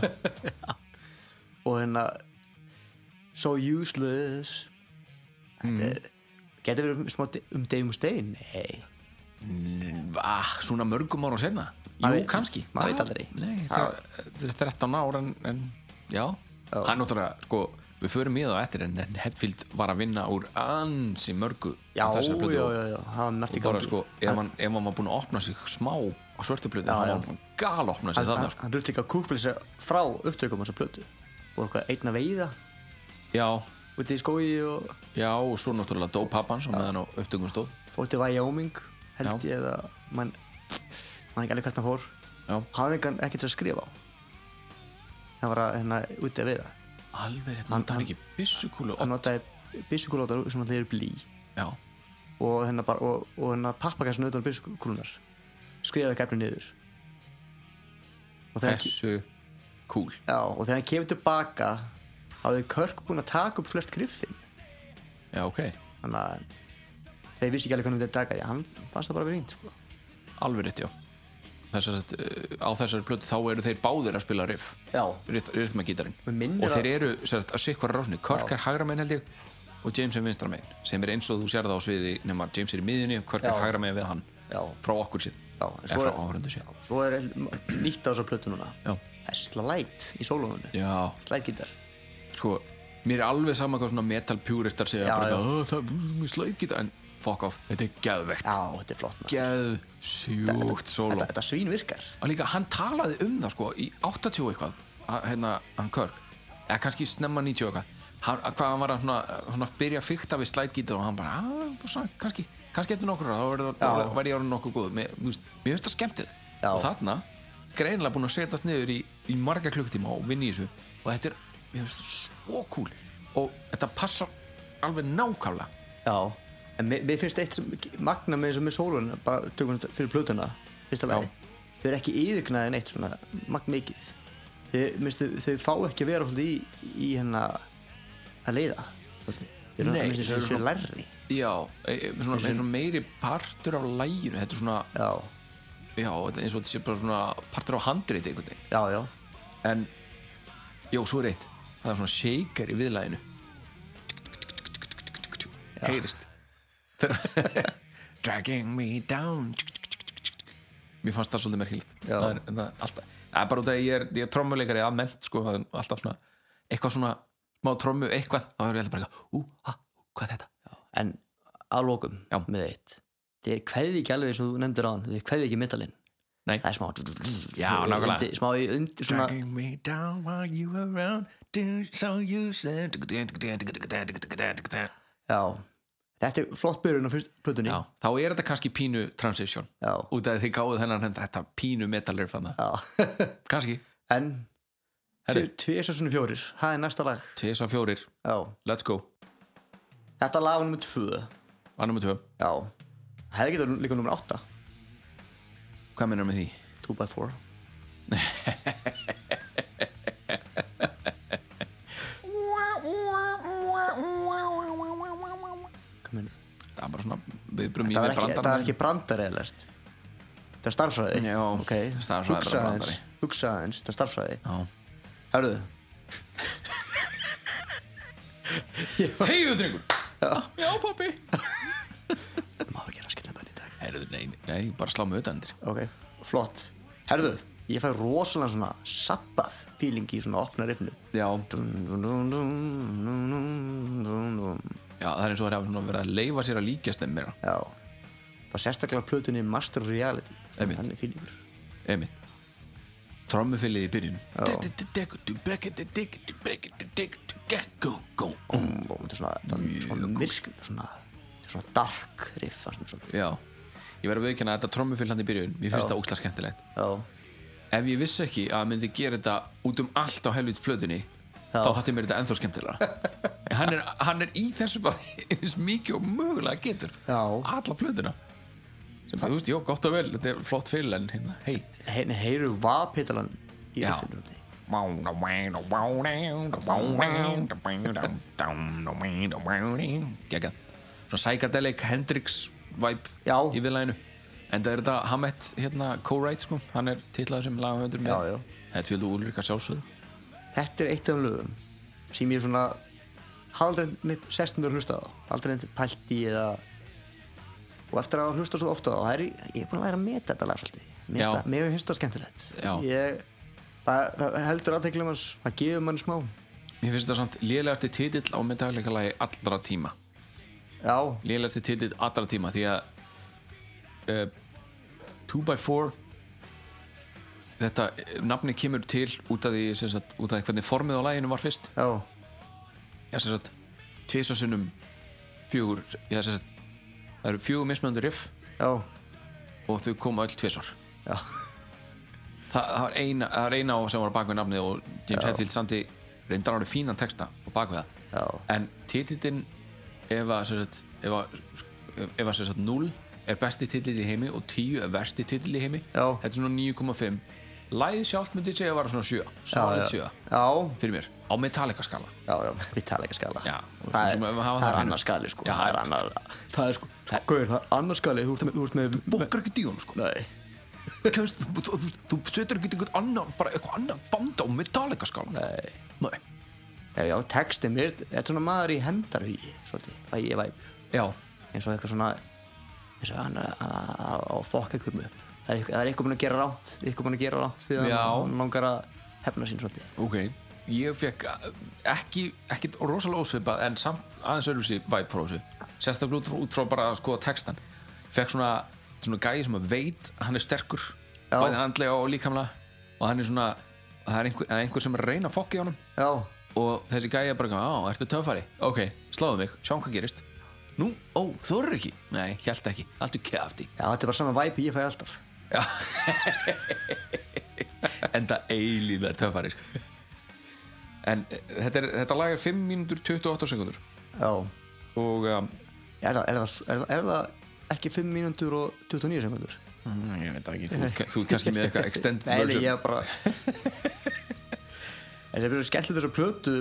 Speaker 4: og hérna so useless
Speaker 8: Mm.
Speaker 4: þetta er getur verið smá de- um Dave Mustaine nei,
Speaker 8: ah, Svona mörgum árum senna
Speaker 4: Maður
Speaker 8: Jú,
Speaker 4: veit-
Speaker 8: kannski
Speaker 4: maður
Speaker 8: Það-
Speaker 4: veit aldrei.
Speaker 8: Nei,
Speaker 4: Já.
Speaker 8: það það er 13 ár en, en já, það er náttúrulega sko, við förum í það á eftir en, en Hetfield var að vinna úr ansi mörgu
Speaker 4: já, já,
Speaker 8: á þessari plötu
Speaker 4: já,
Speaker 8: og-
Speaker 4: já, það var mert í
Speaker 8: og bara
Speaker 4: gangi
Speaker 8: sko, ef hann, ef hann var búinn að opna sig smá á svörtu blötu,
Speaker 4: Já,
Speaker 8: hann
Speaker 4: já.
Speaker 8: var búinn að gal opna sig
Speaker 4: hann
Speaker 8: þannig sko.
Speaker 4: hann þurfti ekki að kúpla sér frá upptökum hans að plötu og eitthvað einna veiða
Speaker 8: sko. já,
Speaker 4: úti í skói og
Speaker 8: já, og svo náttúrulega dó pappan sem meðan á upptökum stóð
Speaker 4: fótti Wyoming held
Speaker 8: Já.
Speaker 4: ég eða mann mann ekki alveg hvert hann fór
Speaker 8: já.
Speaker 4: hafði engan ekkert að skrifa á það var að hérna úti að veiða
Speaker 8: alveg rétt,
Speaker 4: Hann-
Speaker 8: hann er ekki byssukúlu
Speaker 4: hann notaði byssukúlótar sem alltaf eru blí
Speaker 8: já,
Speaker 4: og hérna, bara, og, og hérna pappakassin auðvitað byssukúlunar skrifaði gafni niður og þegar, Æs.
Speaker 8: þessu kúl
Speaker 4: já, og þegar hann kemur tilbaka hafði Körk búin að taka upp flest griffin
Speaker 8: já, ok,
Speaker 4: þannig að þeir vissi ekki alveg hvernig þetta taka því hann fannst það bara verið fínt sko.
Speaker 8: alveg rétt, já Þess að, uh, á þessari plötu þá eru þeir báðir að spila riff
Speaker 4: já,
Speaker 8: rithmagítarinn
Speaker 4: Mig minnir
Speaker 8: og
Speaker 4: að-
Speaker 8: þeir eru sem sagt, að sikkvar rásni Kirk er hægra meginn held ég og James er vinstra meginn sem er eins og þú sér það á sviði nema James er í miðjunni og Kirk er
Speaker 4: Já.
Speaker 8: hægra meginn við hann
Speaker 4: já,
Speaker 8: frá okkur síð
Speaker 4: já en
Speaker 8: eða frá áhörundu síð
Speaker 4: svo er nýtt á þessu plötu núna
Speaker 8: já.
Speaker 4: það er slæt í sólunum
Speaker 8: já,
Speaker 4: slætgítar
Speaker 8: sko mér er alveg sama hvað svona metal puristar segja
Speaker 4: Já,
Speaker 8: bara,
Speaker 4: já.
Speaker 8: já. það er mjög slækita en fuck off, þetta er geðvegt
Speaker 4: já, þetta er flott maður.
Speaker 8: geðsjúkt solo
Speaker 4: þetta, þetta svín virkar
Speaker 8: og líka hann talaði um það sko í 80 og eitthvað að, hérna, hann Kirk, eða kannski snemma 90 og eitthvað hann, að hvað hann var að svona, svona byrja að fykta við slætgítur og hann bara, "Ah, bara svona, kannski, kannski eftir nokkur ára, þá verður-
Speaker 4: Já.
Speaker 8: þá verði ég orðin nokkuð góð mér þú veist, mér finnst það skemmtið
Speaker 4: Já.
Speaker 8: og þarna, greinilega búin að setjast niður í, í marga klukktíma og vinni í þessu og þetta er, mér finnst það svo cool og þetta passar alveg nákvæmlega
Speaker 4: Já, en mér, mér finnst eitt sem magna með þessum með sólun bara tökum þetta fyrir plötuna, fyrsta lagi þau eru ekki yfirgnaði neitt svona magn mikið þau, minnst, þau, þau fá ekki að vera svolítið í, í hérna að leiða svolítið. þau eru
Speaker 8: Nei,
Speaker 4: minnst,
Speaker 8: þau
Speaker 4: þessu,
Speaker 8: eru
Speaker 4: þessu
Speaker 8: svona-
Speaker 4: lærri
Speaker 8: já, e, e, svona, svona meiri partur af læginu, þetta er svona
Speaker 4: Já,
Speaker 8: já, þetta er eins og þetta sé bara svona partur á handreiti einhvern veginn
Speaker 4: já, já,
Speaker 8: en, já, svo er eitt það er svona shaker í viðlæginu heyrist Þegar- dragging me down mér fannst það svolítið merkilegt
Speaker 4: Já.
Speaker 8: það er, það er alltaf, það er bara út af að ég er, ég er trommuleikari almennt, sko, það er alltaf svona eitthvað svona, smá trommu, eitthvað þá er ég alltaf bara, eitthvað, ú, ha, ú, hvað er þetta
Speaker 4: en að lokum
Speaker 8: Já.
Speaker 4: með eitt þeir kveði ekki alveg eins og þú nefndir á hann þeir kveði ekki metalinn
Speaker 8: Nei.
Speaker 4: það er smá
Speaker 8: Já,
Speaker 4: svona
Speaker 8: nákvæmlega.
Speaker 4: undir- smá í undir svona
Speaker 8: Dragging me down while you were around do so you said
Speaker 4: já, þetta er flott byrjun á fyrst plötunni
Speaker 8: Já, þá er þetta kannski pínu transition
Speaker 4: já,
Speaker 8: út af því þið gáðu þennan hend- þetta pínu metal riff þannig,
Speaker 4: já.
Speaker 8: kannski
Speaker 4: en
Speaker 8: Herri,
Speaker 4: Tvísasunni fjórir, það er næsta lag
Speaker 8: tisa fjórir,
Speaker 4: Já.
Speaker 8: let's go
Speaker 4: Þetta lag var nummer tvö
Speaker 8: var nummer tvö,
Speaker 4: Já Það hefði getur líka nummer átta
Speaker 8: hvað mennum með því?
Speaker 4: 2x4 Hvað meina?
Speaker 8: það er bara svona, við brum í
Speaker 4: Það
Speaker 8: með
Speaker 4: er ekki,
Speaker 8: brandarann.
Speaker 4: það er ekki brandari alert Það er starffræði
Speaker 8: Já,
Speaker 4: ok. Hugsa
Speaker 8: stærðfræði er
Speaker 4: aðeins,
Speaker 8: bara brandari.
Speaker 4: Hugsa aðeins, þetta er starffræði
Speaker 8: Já.
Speaker 4: Hörðu,
Speaker 8: Þegiðu drengur Já, pappi
Speaker 4: það má ekki raskilega bæni í dag
Speaker 8: Herðu, nei, nei, bara slá mig auðvendir
Speaker 4: Ok, flott Herðu, ég fæ rosalega svona sabbað feeling í svona opna riffinu
Speaker 8: Já,
Speaker 4: Já,
Speaker 8: já, það er eins og það er að vera að leifa sér að líkjast þeim meira,
Speaker 4: það sérstaklega á plötunni Master of Reality
Speaker 8: Einmitt.
Speaker 4: Þannig fílingur
Speaker 8: einmitt Trommufilið í byrjun
Speaker 4: og þetta er svona, þetta er svona myrk svona, þetta er svona dark riff það er svona,
Speaker 8: Já, ég verður að viðkjanna að þetta trommufill hann í byrjun Mér finnst
Speaker 4: Já.
Speaker 8: það ókslega skemmtilegt
Speaker 4: já,
Speaker 8: Ef ég vissi ekki að hann myndi gera þetta út um allt á helvits plötunni
Speaker 4: Já.
Speaker 8: Þá þátti mér þetta ennþá skemmtilega En hann er, hann er í þessu bara eins mikið og mögulega getur
Speaker 4: Já.
Speaker 8: Alla plötuna sem þú veist, já, gott og vel, þetta er flott fyll en hérna, hei
Speaker 4: Hei, nei, heyru vapitalan í
Speaker 8: Já.
Speaker 4: öllum röndi.
Speaker 8: geggjað svona psychedelic Hendrix vibe
Speaker 4: Já.
Speaker 8: í viðlæginu en það er þetta Hammett hérna co-write sko hann er titlað sem lagahöndur með
Speaker 4: Já, já.
Speaker 8: þetta er fjöldu úlrika sjálfsögðu
Speaker 4: Þetta er eitt af þeim lögum sem ég svona aldrei mitt sestundur hlustað á aldrei neitt pælt í eða og eftir að hafa hlustað svo ofta á það er ég- ég er búin að læra að meta þetta lag svolítið Mér finnst
Speaker 8: Já.
Speaker 4: það- mér finnst það skemmtilegt
Speaker 8: Já.
Speaker 4: ég, það, það heldur aðteklum hans það gefur mann smá
Speaker 8: mér finnst þetta samt lélegasti titill á myndagleika lagi allra tíma
Speaker 4: já,
Speaker 8: lélegasti titill allra tíma því að uh, 2x4 þetta eh, nafni kemur til út af því, sem sagt, út af því hvernig formið á læginu var fyrst
Speaker 4: já,
Speaker 8: já, sem sagt, tvisasunum fjögur já, sem sagt, það eru fjögur mismunandi riff
Speaker 4: já,
Speaker 8: og þau koma öll tvisar
Speaker 4: Já.
Speaker 8: Þa, það var eina, það var eina á sem var á bakvið nafnið og James Hetfield samti reyndar árið fínan texta á bakvið það
Speaker 4: já,
Speaker 8: en titillin ef að, sem sagt, ef að, ef að sem sagt, 0 er besti titill í heimi og 10 er versti titill í heimi
Speaker 4: Já.
Speaker 8: þetta er svona 9,5 lægið sjálft myndi ég segja að vara svona 7 solid 7
Speaker 4: já,
Speaker 8: fyrir mér á Metallica skala
Speaker 4: já, já við tala ekki skala
Speaker 8: Já, og
Speaker 4: það
Speaker 8: svo sem
Speaker 4: er,
Speaker 8: við hafa
Speaker 4: það
Speaker 8: það
Speaker 4: er
Speaker 8: hreinu.
Speaker 4: annar skali sko
Speaker 8: Já,
Speaker 4: það er
Speaker 8: já.
Speaker 4: annar það er sko, sko gaur, það er annar skali þú ert með, þú ert með, með
Speaker 8: bokkar ekki díun sko
Speaker 4: nei
Speaker 8: Kemst, þú, þú, þú, þú setur ekki einhvern annan bara eitthvað annan band á Metallica skálan
Speaker 4: Nei.
Speaker 8: Nei.
Speaker 4: Já, já, textin mér, þetta er svona maður í hendarhugi, svolítið, fæ ég væp,
Speaker 8: já,
Speaker 4: eins og eitthvað svona, eins og hann, hann, hann á að fokka ykkur með, það er, eitthvað- það er eitthvað búin að gera rátt, eitthvað búin að gera rátt því að
Speaker 8: Já.
Speaker 4: hann- hann langar að hefna sín svolítið.
Speaker 8: ok ég fekk uh, ekki, ekki rosalega ósveipað en samt aðeins öðruvísi vibe frá þessu sérstaklega út frá, út frá bara að skoða textan fekk svona, svona gæi sem að veit að hann er sterkur
Speaker 4: Já.
Speaker 8: bæði andlega og líkamlega og hann er svona það er einhver, það er einhver sem er að reyna að fokka í honum
Speaker 4: Já,
Speaker 8: og þessi gæi er bara eitthvað, á, ertu töffari? ok, sláðu mig, sjáum hvað gerist nú, ó, þorir ekki? nei, hjælt ekki, allt er kæfti
Speaker 4: já, þetta er bara sama væpi ég fæ alltaf.
Speaker 8: enda eilíðar töfari sko. en eh, þetta, er, þetta lag er 5 mínútur 28 sekundur
Speaker 4: Já,
Speaker 8: og um,
Speaker 4: er það, er það, er það, er það ekki 5 mínútur og 29 sekundur?
Speaker 8: mm, ég veit það ekki, þú, ert- þú ert kannski með eitthvað extended
Speaker 4: Nei, nei,
Speaker 8: version
Speaker 4: ég bara... En það er bara svo skemmtilegt þess að plötu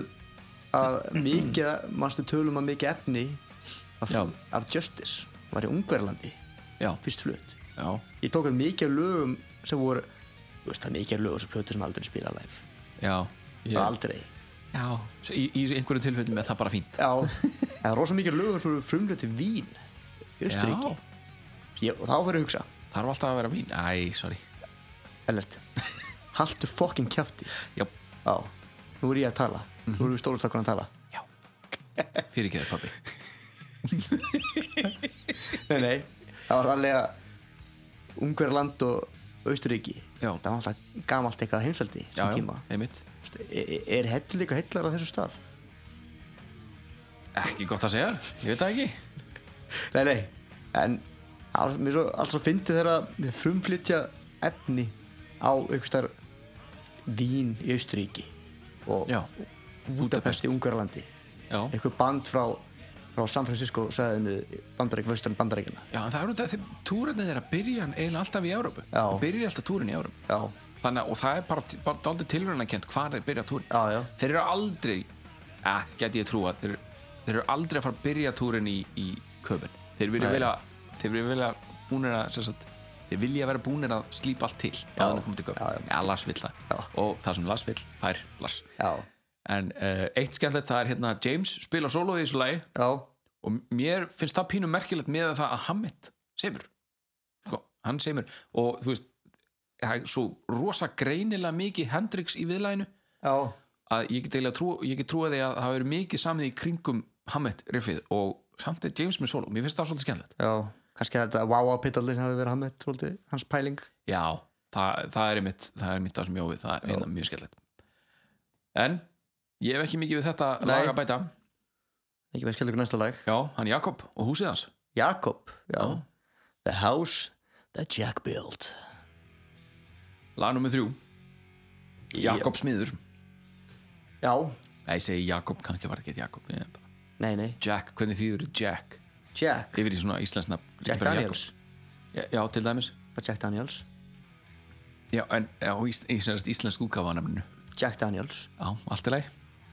Speaker 4: að mikið, mannstu tölum að mikið efni af,
Speaker 8: Já.
Speaker 4: af Justice var í Ungverlandi
Speaker 8: já,
Speaker 4: fyrst flutt.
Speaker 8: já,
Speaker 4: Ég tók að mikið af lögum sem voru, þú veist það er mikið af lögum sem plötu sem aldrei spila live.
Speaker 8: já, ég,
Speaker 4: Yeah. Aldrei.
Speaker 8: já. Svo Í, í einhverju tilfellum er það bara fínt
Speaker 4: Já. það er rosa mikið af lögum sem voru frumlega til Vín, í Östuríki.
Speaker 8: Já.
Speaker 4: Ég, og þá fyrir að hugsa,
Speaker 8: þarf alltaf að vera mín, æ, sorry
Speaker 4: Ellert, haltu fokkin kjafti.
Speaker 8: já,
Speaker 4: Já, nú er ég að tala. Nú
Speaker 8: Mhm.
Speaker 4: erum við stólustakkan að tala.
Speaker 8: fyrir ekki þér pappi
Speaker 4: Nei, nei, það var alveg að Ungverland og Austuríki
Speaker 8: Já.
Speaker 4: það var alltaf gamalt eitthvað heimsveldi
Speaker 8: já,
Speaker 4: sem
Speaker 8: já,
Speaker 4: tíma
Speaker 8: einmitt
Speaker 4: Vist, er, er hellir eitthvað heillar á þessum stað?
Speaker 8: ekki gott að segja, ég veit það ekki
Speaker 4: Nei, nei, en það var- mér svo alltaf fyndi þeirra þeir frumflytja efni á einhverstar Vín í Austuríki og
Speaker 8: já,
Speaker 4: Budapest í Ungverlandi
Speaker 8: já, já,
Speaker 4: eitthvað band frá, frá San Francisco sæðinu bandarík, vesturinn bandaríkina
Speaker 8: en það eru þetta túrarnir þeirra byrja eiginlega alltaf í Európu
Speaker 4: Já.
Speaker 8: byrja alltaf túrin í Európu
Speaker 4: Já,
Speaker 8: Þannig, að- og það er bara, bara dálítið tilröðanakent hvað þeir byrja túrin
Speaker 4: Já, já.
Speaker 8: þeir eru aldrei, eh, geti ég trúa þeir, þeir eru aldrei að fara að byrja túrin í, í köpun þeir vilja,
Speaker 4: Nei.
Speaker 8: vilja, þeir vilja, vilja búnir að sem sagt, þeir vilja vera búnir að slípa allt til já, að koma til köpun
Speaker 4: já,
Speaker 8: já,
Speaker 4: já.
Speaker 8: Lars vill það
Speaker 4: Já.
Speaker 8: og það sem Lars vill fær Lars
Speaker 4: já,
Speaker 8: en uh, eitt skemmtilegt það er hérna James spila solo í þessu lagi
Speaker 4: já,
Speaker 8: og mér finnst það pínum merkilegt með það að Hammett semur sko, hann semur og þú veist það er svo rosa greinilega mikið Hendrix í viðlæginu
Speaker 4: já,
Speaker 8: að ég get eiginlega trú, ég get trúa því að það verið mikið samið í kringum Hammett riffið og samt er James með solo, mér finnst það svolítið skemmtilegt
Speaker 4: já. kannski þetta wow-pitallin hafi verið hann með svolítið, hans pæling
Speaker 8: já, það, það er mitt það er mitt það sem ég á við, það er hérna mjög skemmtilegt en ég hef ekki mikið við þetta
Speaker 4: Nei.
Speaker 8: lag að bæta
Speaker 4: ekki veist skellur næsta lag
Speaker 8: já, hann Jakob og húsið hans
Speaker 4: Jakob, já.
Speaker 8: Já.
Speaker 4: The House That Jack Built
Speaker 8: lag nummer þrjú, Jakob Smiður
Speaker 4: já,
Speaker 8: Nei, ég segi Jakob, kannski var það ekki Jakob ég, bara-
Speaker 4: nei, nei,
Speaker 8: Jack, hvernig þýður Jack
Speaker 4: Jack
Speaker 8: yfir í svona íslensna
Speaker 4: Jack Daniels
Speaker 8: já, já, til dæmis
Speaker 4: bara Jack Daniels
Speaker 8: já, en já, í, í sérst íslensk útgáfa nefninu
Speaker 4: Jack Daniels,
Speaker 8: já, allt í lagi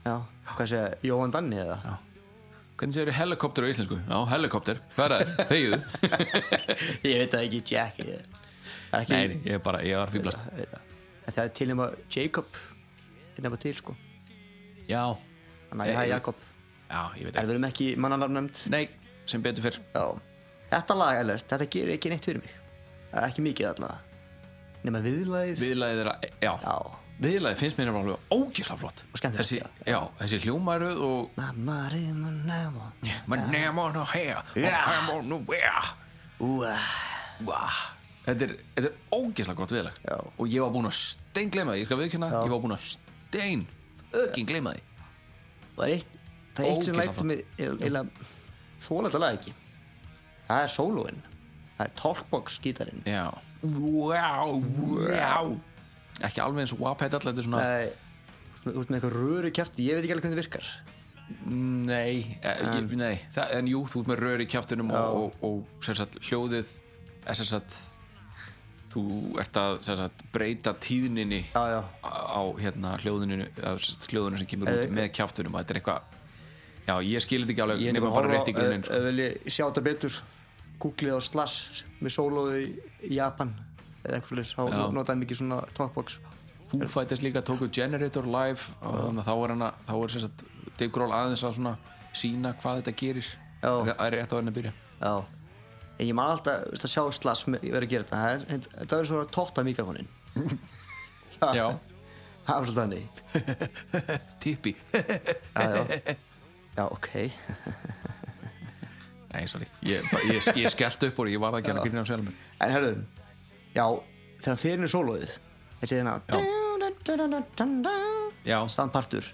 Speaker 4: já, hvað segja Jóhann Danni eða
Speaker 8: hvernig segir helikopter á íslensku? já, helikopter, hvað er það? þegiðu?
Speaker 4: ég veit það ekki Jack ég, það er
Speaker 8: nei,
Speaker 4: ekki,
Speaker 8: ég er bara, ég var fýblast
Speaker 4: Ég veit það. En það er til nema Jacob til nema til sko
Speaker 8: já,
Speaker 4: þannig að ég hæ Jacob
Speaker 8: já, ég
Speaker 4: en
Speaker 8: veit ekki
Speaker 4: við erum ekki mannanarnöfnd
Speaker 8: nei, sem betur fyrr
Speaker 4: já. þetta lag alveg, þetta gerir ekki neitt fyrir mig Það er ekki mikið allavega nema viðlæðið
Speaker 8: viðlaðið er að, já,
Speaker 4: já,
Speaker 8: viðlagið finnst mér alveg ógislega flott
Speaker 4: Og skemmtilegt,
Speaker 8: þessi,
Speaker 4: já.
Speaker 8: já, þessi hljómaruð og
Speaker 4: mamma reyna nema
Speaker 8: my name on a hair yeah. I'm on a wear
Speaker 4: úa
Speaker 8: þetta er, þetta er ógislega gott viðlag
Speaker 4: Já.
Speaker 8: og ég var búinn að stein gleyma því ég skal viðkynna, ég var búinn að stein ökin gleyma því
Speaker 4: það er eitt, það er eitt sem
Speaker 8: Ógeðslega
Speaker 4: lætur mig eila þóla þetta lag ekki það er sólóin það er talkbox gítarinn
Speaker 8: já, wow, wow ekki alveg eins og wapet alltaf þetta er svona
Speaker 4: það er þú veist með eitthvað röru kæfti ég veit ekki alveg hvernig það virkar
Speaker 8: Nei, eh, ég, nei það, en jú, þú ert með rör í kjáttunum og, og, og sem sagt, hljóðið er sem sagt þú ert að sem sagt, breyta tíðninni
Speaker 4: Já, já.
Speaker 8: á hérna, hljóðinu, að, sem sagt, hljóðinu sem kemur
Speaker 4: Eh,
Speaker 8: út með kjáttunum þetta er eitthvað Já, ég skil þetta ekki alveg
Speaker 4: ég er
Speaker 8: nema
Speaker 4: bara
Speaker 8: bara
Speaker 4: að
Speaker 8: rétt í
Speaker 4: horfa
Speaker 8: grunninn
Speaker 4: ef
Speaker 8: sko.
Speaker 4: ef vil ég sjá þetta betur googlið á Slash með sólóðu í Japan eða eitthvað svolítið,
Speaker 8: Já.
Speaker 4: þá notaði mikið svona talkbox
Speaker 8: Foo Fighters líka tóku Generator live og þannig að þá er, hana, þá er sem sagt, Dave Grohl aðeins að svona sína hvað þetta gerir
Speaker 4: Já.
Speaker 8: Það er rétt á henni að byrja
Speaker 4: já en ég man alltaf veist, að sjá Slash með- vera að gera þetta það er, það er svona að tóta mikrofonin Ah.
Speaker 8: Já,
Speaker 4: það er svolítið þannig
Speaker 8: tippi
Speaker 4: já, já, já, ok
Speaker 8: Nei, sorry, ég, bara- ég, ég skellt upp og ég varð að gera grínir á sjálfum mér.
Speaker 4: en hörðum, já þegar hann fyrir sólóðið þessi hérna
Speaker 8: Já,
Speaker 4: stann partur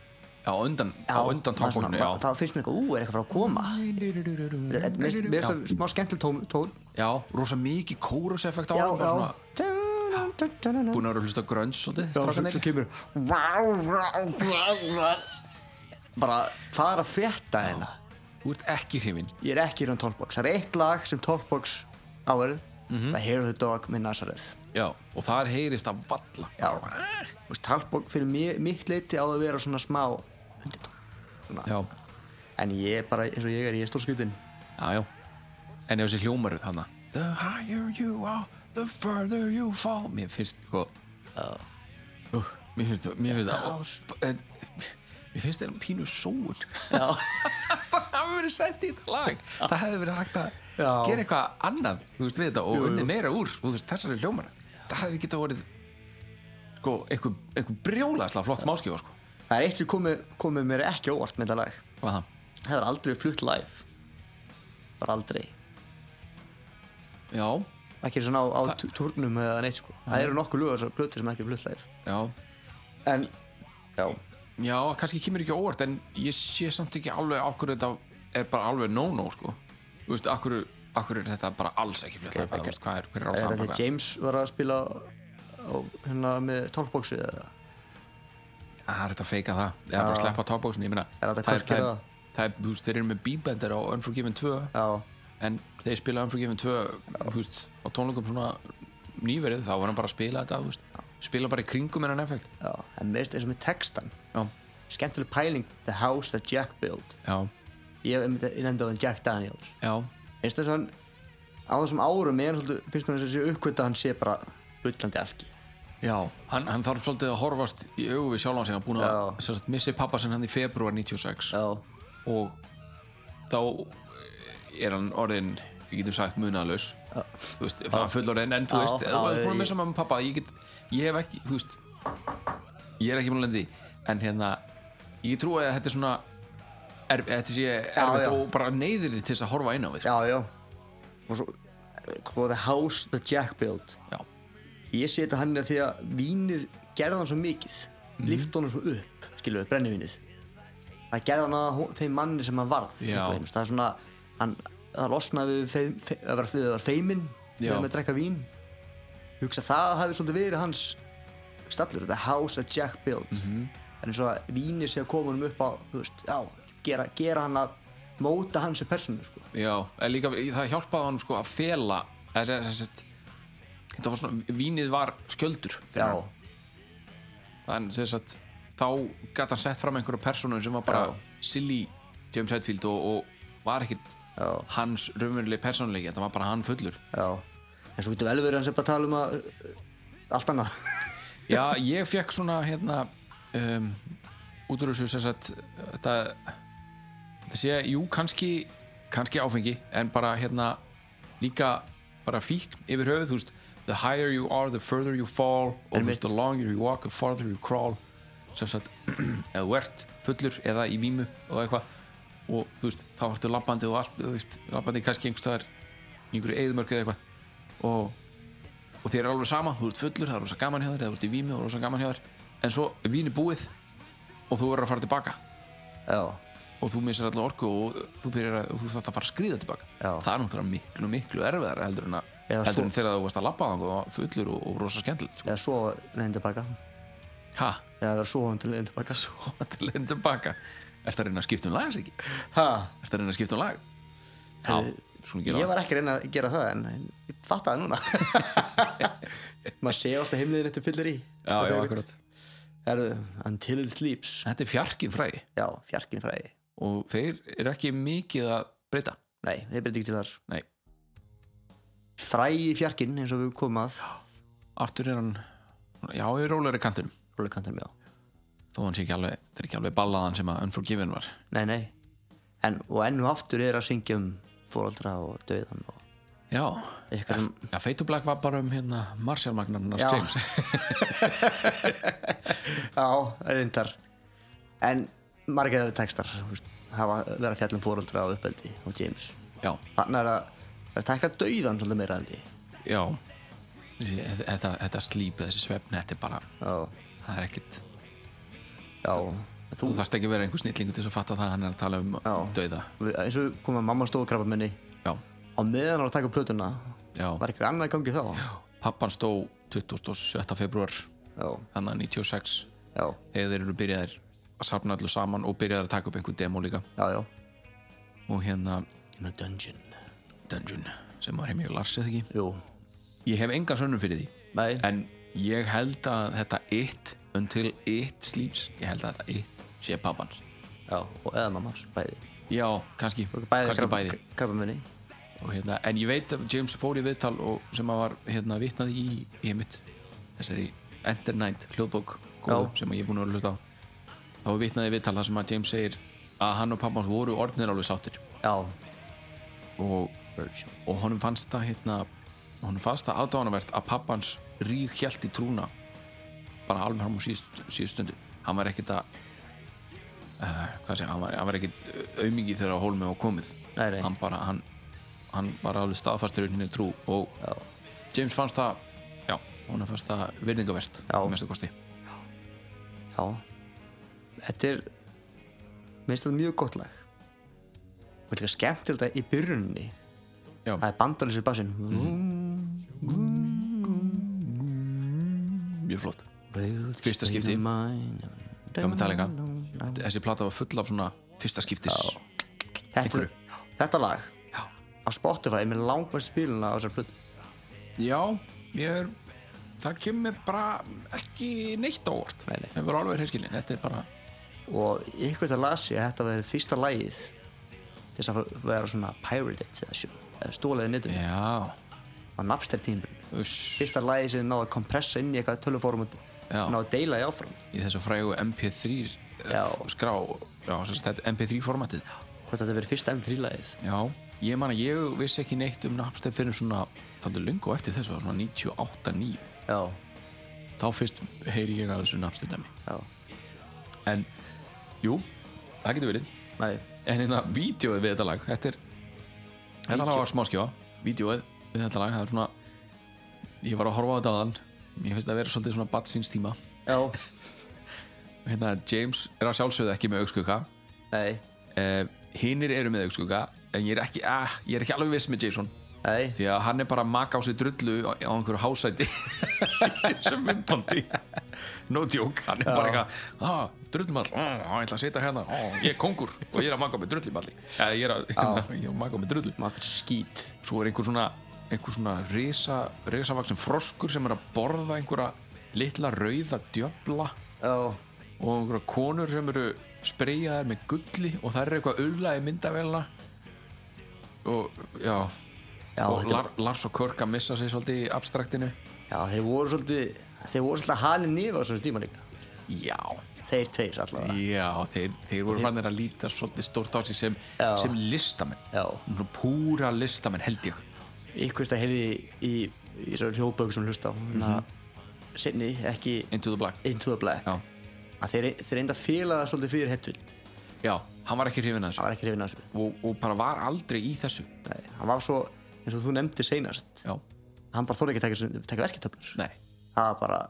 Speaker 8: já, undan, á undan
Speaker 4: það er svona-
Speaker 8: tónfólkinu, já.
Speaker 4: það finnst mér eitthvað, ú, er eitthvað frá að koma Mér mér finnst mér finnst það smá skemmtileg tón, tón.
Speaker 8: Já, rosa mikið kóruseffekt á
Speaker 4: Já,
Speaker 8: hann, bara
Speaker 4: já.
Speaker 8: svona búin að vera að hlusta á grönns svolítið,
Speaker 4: Já, svo,
Speaker 8: strákanir.
Speaker 4: svo kemur bara, hvað er að frétta hérna?
Speaker 8: Þú ert ekki hrifinn.
Speaker 4: ég er ekki í raun Talkbox, það er eitt lag sem Talkbox áverð það Hair of the Dog með Nazareth
Speaker 8: Já, og þar heyrist að valla.
Speaker 4: já, Þú veist, Talkbox fyrir mér, mitt leiti á að vera svona smá undirtón.
Speaker 8: Já,
Speaker 4: en ég er bara, eins og ég er, ég er stórskritin
Speaker 8: já, já. En ef þessi hljómaruð hann The higher you are, the further you fall. Mér finnst eitthvað... Uh, mér finnst það, mér finnst það... en- Mér finnst það pínu sóun.
Speaker 4: já,
Speaker 8: það hafi verið sett í þetta lag það hefði verið hægt að gera eitthvað annað þú veist, við þetta og unni meira úr þú veist, þessari hljómar það hefði getað vorið sko, einhver, einhver brjólaðslega flott máskífa sko.
Speaker 4: það er eitt sem komið komi mér ekki á óvart með þetta lag
Speaker 8: hvað það?
Speaker 4: það er aldrei flutt live bara aldrei
Speaker 8: já,
Speaker 4: ekki svona á, á tú- túrnum eða neitt sko. það eru nokkuð lögur þessar plötur sem ekki er flutt live
Speaker 8: já,
Speaker 4: en já,
Speaker 8: já, kannski kemur ekki á óvart en ég sé samt ekki alveg af hverju þetta er bara alveg no-no sko. þú veist, af hverju, af hverju er þetta bara alls ekki fljótt
Speaker 4: Ok,
Speaker 8: okay,
Speaker 4: ok.
Speaker 8: okay. hvað er, hver er á
Speaker 4: er
Speaker 8: það
Speaker 4: þetta
Speaker 8: bak
Speaker 4: er
Speaker 8: við?
Speaker 4: James var að spila á, hérna með talkboxi eða
Speaker 8: það Ah, er þetta að feika það, eða bara sleppa topbóksin ég meina,
Speaker 4: Er þetta
Speaker 8: það er,
Speaker 4: hvorki
Speaker 8: það er,
Speaker 4: eða?
Speaker 8: það er, þú veist, þeir eru með bíbendir á Unforgiven 2
Speaker 4: já,
Speaker 8: en þeir spila Unforgiven 2 þú veist, á tónleikum svona nýverið þá var hann bara að spila þetta þú veist, spila bara í kringum en hann effekt
Speaker 4: já, en meðist eins og með textan
Speaker 8: já,
Speaker 4: skemmtileg pæling The House That Jack Built
Speaker 8: já,
Speaker 4: ég, ég myndi- ég nefndi á þann Jack Daniels
Speaker 8: já,
Speaker 4: finnst þess að hann á þessum árum er hann svolítið, finnst mér þess að sé uppkvita hann sé bara bullandi alki
Speaker 8: já. Hann, hann þarf svolítið að horfast í augu við sjálfan sig hann búin að
Speaker 4: Já.
Speaker 8: sem sagt, missi pappa sinn hann í februar 96
Speaker 4: já,
Speaker 8: og þá eh, er hann orðin við getum sagt munalaus þú veist, það er fullorðin en þú
Speaker 4: Já,
Speaker 8: veist,
Speaker 4: já,
Speaker 8: þú er búin
Speaker 4: ég-
Speaker 8: að missa mamma og pappa ég, get, ég hef ekki, þú veist ég er ekki múin að lendi en hérna, ég trúi að þetta er svona er, þetta sé erfitt
Speaker 4: já.
Speaker 8: og bara neyðir þið til þess að horfa inn á við sko.
Speaker 4: já, já og svo eh, og The House That Jack Built
Speaker 8: já,
Speaker 4: ég sé þetta hann er því að vínið gerði hann svo mikið
Speaker 8: Mhm.
Speaker 4: mm. lifti honum svo upp, skilur við, brennivínið það gerði hann að hó- þeim manni sem hann varð
Speaker 8: Já.
Speaker 4: einhvern veginn. það er svona hann, það losnaði við feim, fe, að vera, við að vera feimin
Speaker 8: Já.
Speaker 4: við að drekka vín Ég hugsa að það hafi svolítið verið hans stallur, the house that Jack built
Speaker 8: Mhm.
Speaker 4: það er eins og að vínið sé að koma honum upp á þú veist, já, gera, gera hann að móta hann sem personu sko.
Speaker 8: já, en líka það hjálpaði hann sko að fela eða, eða, eða, þetta var svona, vínið var skjöldur fyrir hann. þannig þess að þá gæti hann sett fram einhverja persónu sem var bara silly James Hetfield og, og var ekkit
Speaker 4: Já.
Speaker 8: hans raunverulegi persónuleiki, þetta var bara hann fullur
Speaker 4: já en svo getur vel verið hans er bara að tala um að allt annað
Speaker 8: Já, ég fekk svona hérna um, út úr þessu sem sagt þetta það sé, jú, kannski kannski áfengi, en bara hérna líka bara fíkn yfir höfuð, þú veist, the higher you are the further you fall, og þú
Speaker 4: Einmitt.
Speaker 8: veist, the longer you walk, the farther you crawl sem sagt, eða þú ert fullur eða í vímu og eitthvað og þú veist, þá ertu labbandi og allt þú veist, labbandi kannski einhverstaðar í einhverju eðumörku eða eitthvað og og þér er alveg sama, þú ert fullur, það er rosa gaman hjá þér eða þú ert í vími og rosa gaman hjá þér en svo er víni búið og þú verður að fara tilbaka
Speaker 4: já,
Speaker 8: og þú missir allar orku og þú, byrjar að, og þú þarft að fara að skríða tilbaka
Speaker 4: Já.
Speaker 8: það er náttúrulega miklu, miklu erfiðar heldur en, að,
Speaker 4: Eða svo-
Speaker 8: heldur en þegar þú varst að labba þangað og var fullur og, og rosa skemmtilegt sko.
Speaker 4: eða svo reyndin tilbaka
Speaker 8: ha,
Speaker 4: eða vera svo hann til reyndin tilbaka
Speaker 8: svo til enn tilbaka Ertu að reyna að skipta um lag, Siggi?
Speaker 4: ha,
Speaker 8: Ertu að reyna að skipta um lag? Já, skulum gera
Speaker 4: Eh, ég
Speaker 8: það
Speaker 4: var ekki að reyna að gera það en en ég fatta það núna maður sé alltaf heimliðin eftir fyllir í
Speaker 8: Já, já, akkurat
Speaker 4: Herðu, until it sleeps
Speaker 8: Þetta er fjarkinn fræði
Speaker 4: já, fjarkin fræði
Speaker 8: og þeir eru ekki mikið að breyta
Speaker 4: nei, þeir breytir ekki til þar
Speaker 8: Nei,
Speaker 4: fræði fjarkin eins og við komum að
Speaker 8: aftur er hann Já, ég er rólegri kantinum
Speaker 4: rólekantar með á
Speaker 8: þó hann sé ekki alveg, þetta er ekki alveg ballaðan sem að Unforgiven var
Speaker 4: Nei, nei en, Og enn og aftur er að syngja um fóraldra og döðan og
Speaker 8: já,
Speaker 4: eitthvað sem
Speaker 8: já Fate to Black var bara um hérna Marshall Magnarnas
Speaker 4: Já.
Speaker 8: James
Speaker 4: Já, reyndar En margir þeirra textar þú veist, hafa verið að fjalla um fóraldra og uppeldi og James
Speaker 8: já,
Speaker 4: Þannig er að það er að tekla döðan svolítið meira held ég
Speaker 8: já þessi, þetta, þetta slíp, þessi svefn þetta er bara,
Speaker 4: Já,
Speaker 8: það er ekkit
Speaker 4: já Þú,
Speaker 8: þú þarft ekki að vera einhver snillingu til þess að fatta það að hann er að tala um
Speaker 4: Já.
Speaker 8: dauða
Speaker 4: við- eins og við komum að mamma stóðu krabba minni
Speaker 8: já,
Speaker 4: á meðan hann var að taka upp plötuna
Speaker 8: já,
Speaker 4: var eitthvað annað í gangi þá
Speaker 8: pappan stó 27. februar
Speaker 4: Já,
Speaker 8: þannig að 96
Speaker 4: já,
Speaker 8: þegar þeir eru byrjaðir að safna öllu saman og byrjaðir að taka upp einhver demo líka
Speaker 4: já, já
Speaker 8: og hérna
Speaker 4: In the dungeon
Speaker 8: Dungeon sem var heimjög Lars eða ekki
Speaker 4: Jú,
Speaker 8: ég hef enga sönnum fyrir því
Speaker 4: nei,
Speaker 8: en ég held að þetta it until it sleeps ég held að þetta it sé pappans
Speaker 4: já, og eða mammas, bæði
Speaker 8: já, kannski,
Speaker 4: Bæði,
Speaker 8: kannski bæði
Speaker 4: krabba minni
Speaker 8: og, hérna, en ég veit að James fór í viðtal og, sem að var hérna, vitnað í í mitt þessari Enter Night hljóðbók góðu,
Speaker 4: Já.
Speaker 8: sem ég er búin að vera að hluta á þá var vitnað í viðtal þar sem að James segir að hann og pappans voru orðnir alveg sáttir
Speaker 4: Já,
Speaker 8: og, og honum fannst það hérna, honum fannst það aðdánavert að pappans rík hjælt í trúna bara alveg fram á síðust, síðustundu hann var ekkit að uh, hvað segja, hann var, hann var ekkit aumingi þegar að hólmið var komið
Speaker 4: Nei, nei.
Speaker 8: hann bara, hann, hann var alveg staðfastur í henni trú og
Speaker 4: Já.
Speaker 8: James fannst það já, honum fannst það virðingavert
Speaker 4: Já.
Speaker 8: í mestu kosti
Speaker 4: Já Þetta er minnst þetta mjög gott lag og líka skemmtilegt að í byrjunni
Speaker 8: Já. Mhm.
Speaker 4: það er bandalins í bassin
Speaker 8: mjög flott Fyrsta skipti.
Speaker 4: Gammal
Speaker 8: Gammal talega. þessi plata var full af svona fyrsta skiptis já.
Speaker 4: þetta,
Speaker 8: Einhverju.
Speaker 4: þetta lag Já. á Spotify er mér langmest spiluna á þessar plötu
Speaker 8: Já, ég er það kemur bara ekki neitt á orð
Speaker 4: Nei, nei.
Speaker 8: það var alveg hreinskilin, þetta er bara
Speaker 4: og ykkur þetta las ég að þetta verið fyrsta lagið til þess að vera svona pirated eða, sjó- eða stólaðið netum
Speaker 8: já,
Speaker 4: á Napster tímbrun
Speaker 8: uss,
Speaker 4: fyrsta lagið sem náði að kompressa inn í eitthvað tölufórum og
Speaker 8: Já.
Speaker 4: náði að deila í áfram
Speaker 8: í þessu frægu MP3
Speaker 4: Já.
Speaker 8: eh, skrá, já, sem sagt, þetta er MP3 formatið
Speaker 4: hvort þetta verið fyrsta M3 lagið
Speaker 8: já, ég man að ég vissi ekki neitt um Napster fyrir svona, taldu lungu eftir þessu það var svona 98-9
Speaker 4: já,
Speaker 8: þá fyrst heyri ég að þessu Napster dæmi
Speaker 4: já,
Speaker 8: en, jú, það getur verið
Speaker 4: nei
Speaker 8: en hérna, vídeoið við þetta lag þetta er, þetta lag var smáskjá vídeoið við þetta lag, það er svona ég var að horfa á þetta aðan ég finnst það að vera svolítið svona batsins tíma
Speaker 4: já,
Speaker 8: hérna, James er að sjálfsögðu ekki með augskugga
Speaker 4: nei,
Speaker 8: eh, hinnir eru með augskugga en ég er ekki, ah, ég er ekki alveg viss með Jason
Speaker 4: nei
Speaker 8: því að hann er bara að maka á sig drullu á, á einhverju hásæti sem myndbandi no joke, hann er bara eitthvað ah, drullumall, ah, hann ætla að setja hérna ah, ég er kongur og ég er að maka á mig drullumalli eða ég er að, ég er að maka á mig drullu
Speaker 4: maður skýt
Speaker 8: svo er einhver svona einhver svona risa, risavaksin froskur sem er að borða einhverja litla rauða djöfla
Speaker 4: Já,
Speaker 8: og einhverja konur sem eru spreyjaðar með gulli og það eru eitthvað ulla í myndavélina og já,
Speaker 4: já,
Speaker 8: og
Speaker 4: þetta,
Speaker 8: Lar, Lars og Körk að missa sig svolítið í abstraktinu
Speaker 4: já þeir voru svolítið þeir voru svolítið halin nýfa á svona tíma líka
Speaker 8: já,
Speaker 4: þeir tveir allavega
Speaker 8: já þeir, þeir voru fannir að líta svolítið stórt á sig sem,
Speaker 4: Já.
Speaker 8: sem listamenn
Speaker 4: Já.
Speaker 8: Svona púra listamenn held ég
Speaker 4: ykkurst að heyrði í, í, í svona hljóðbögg sem hlusta á mm sinni ekki
Speaker 8: Into the Black
Speaker 4: into the black
Speaker 8: Mhm. já,
Speaker 4: að þeir, þeir enda fíla það svolítið fyrir Hetfield
Speaker 8: já, hann var ekki hrifin að þessu
Speaker 4: hann var ekki hrifin af þessu
Speaker 8: og, og bara var aldrei í þessu
Speaker 4: Nei, hann var svo, eins og þú nefndir seinast
Speaker 8: já,
Speaker 4: hann bara þóra ekki að taka, þessu- taka verketöflur
Speaker 8: nei,
Speaker 4: það var bara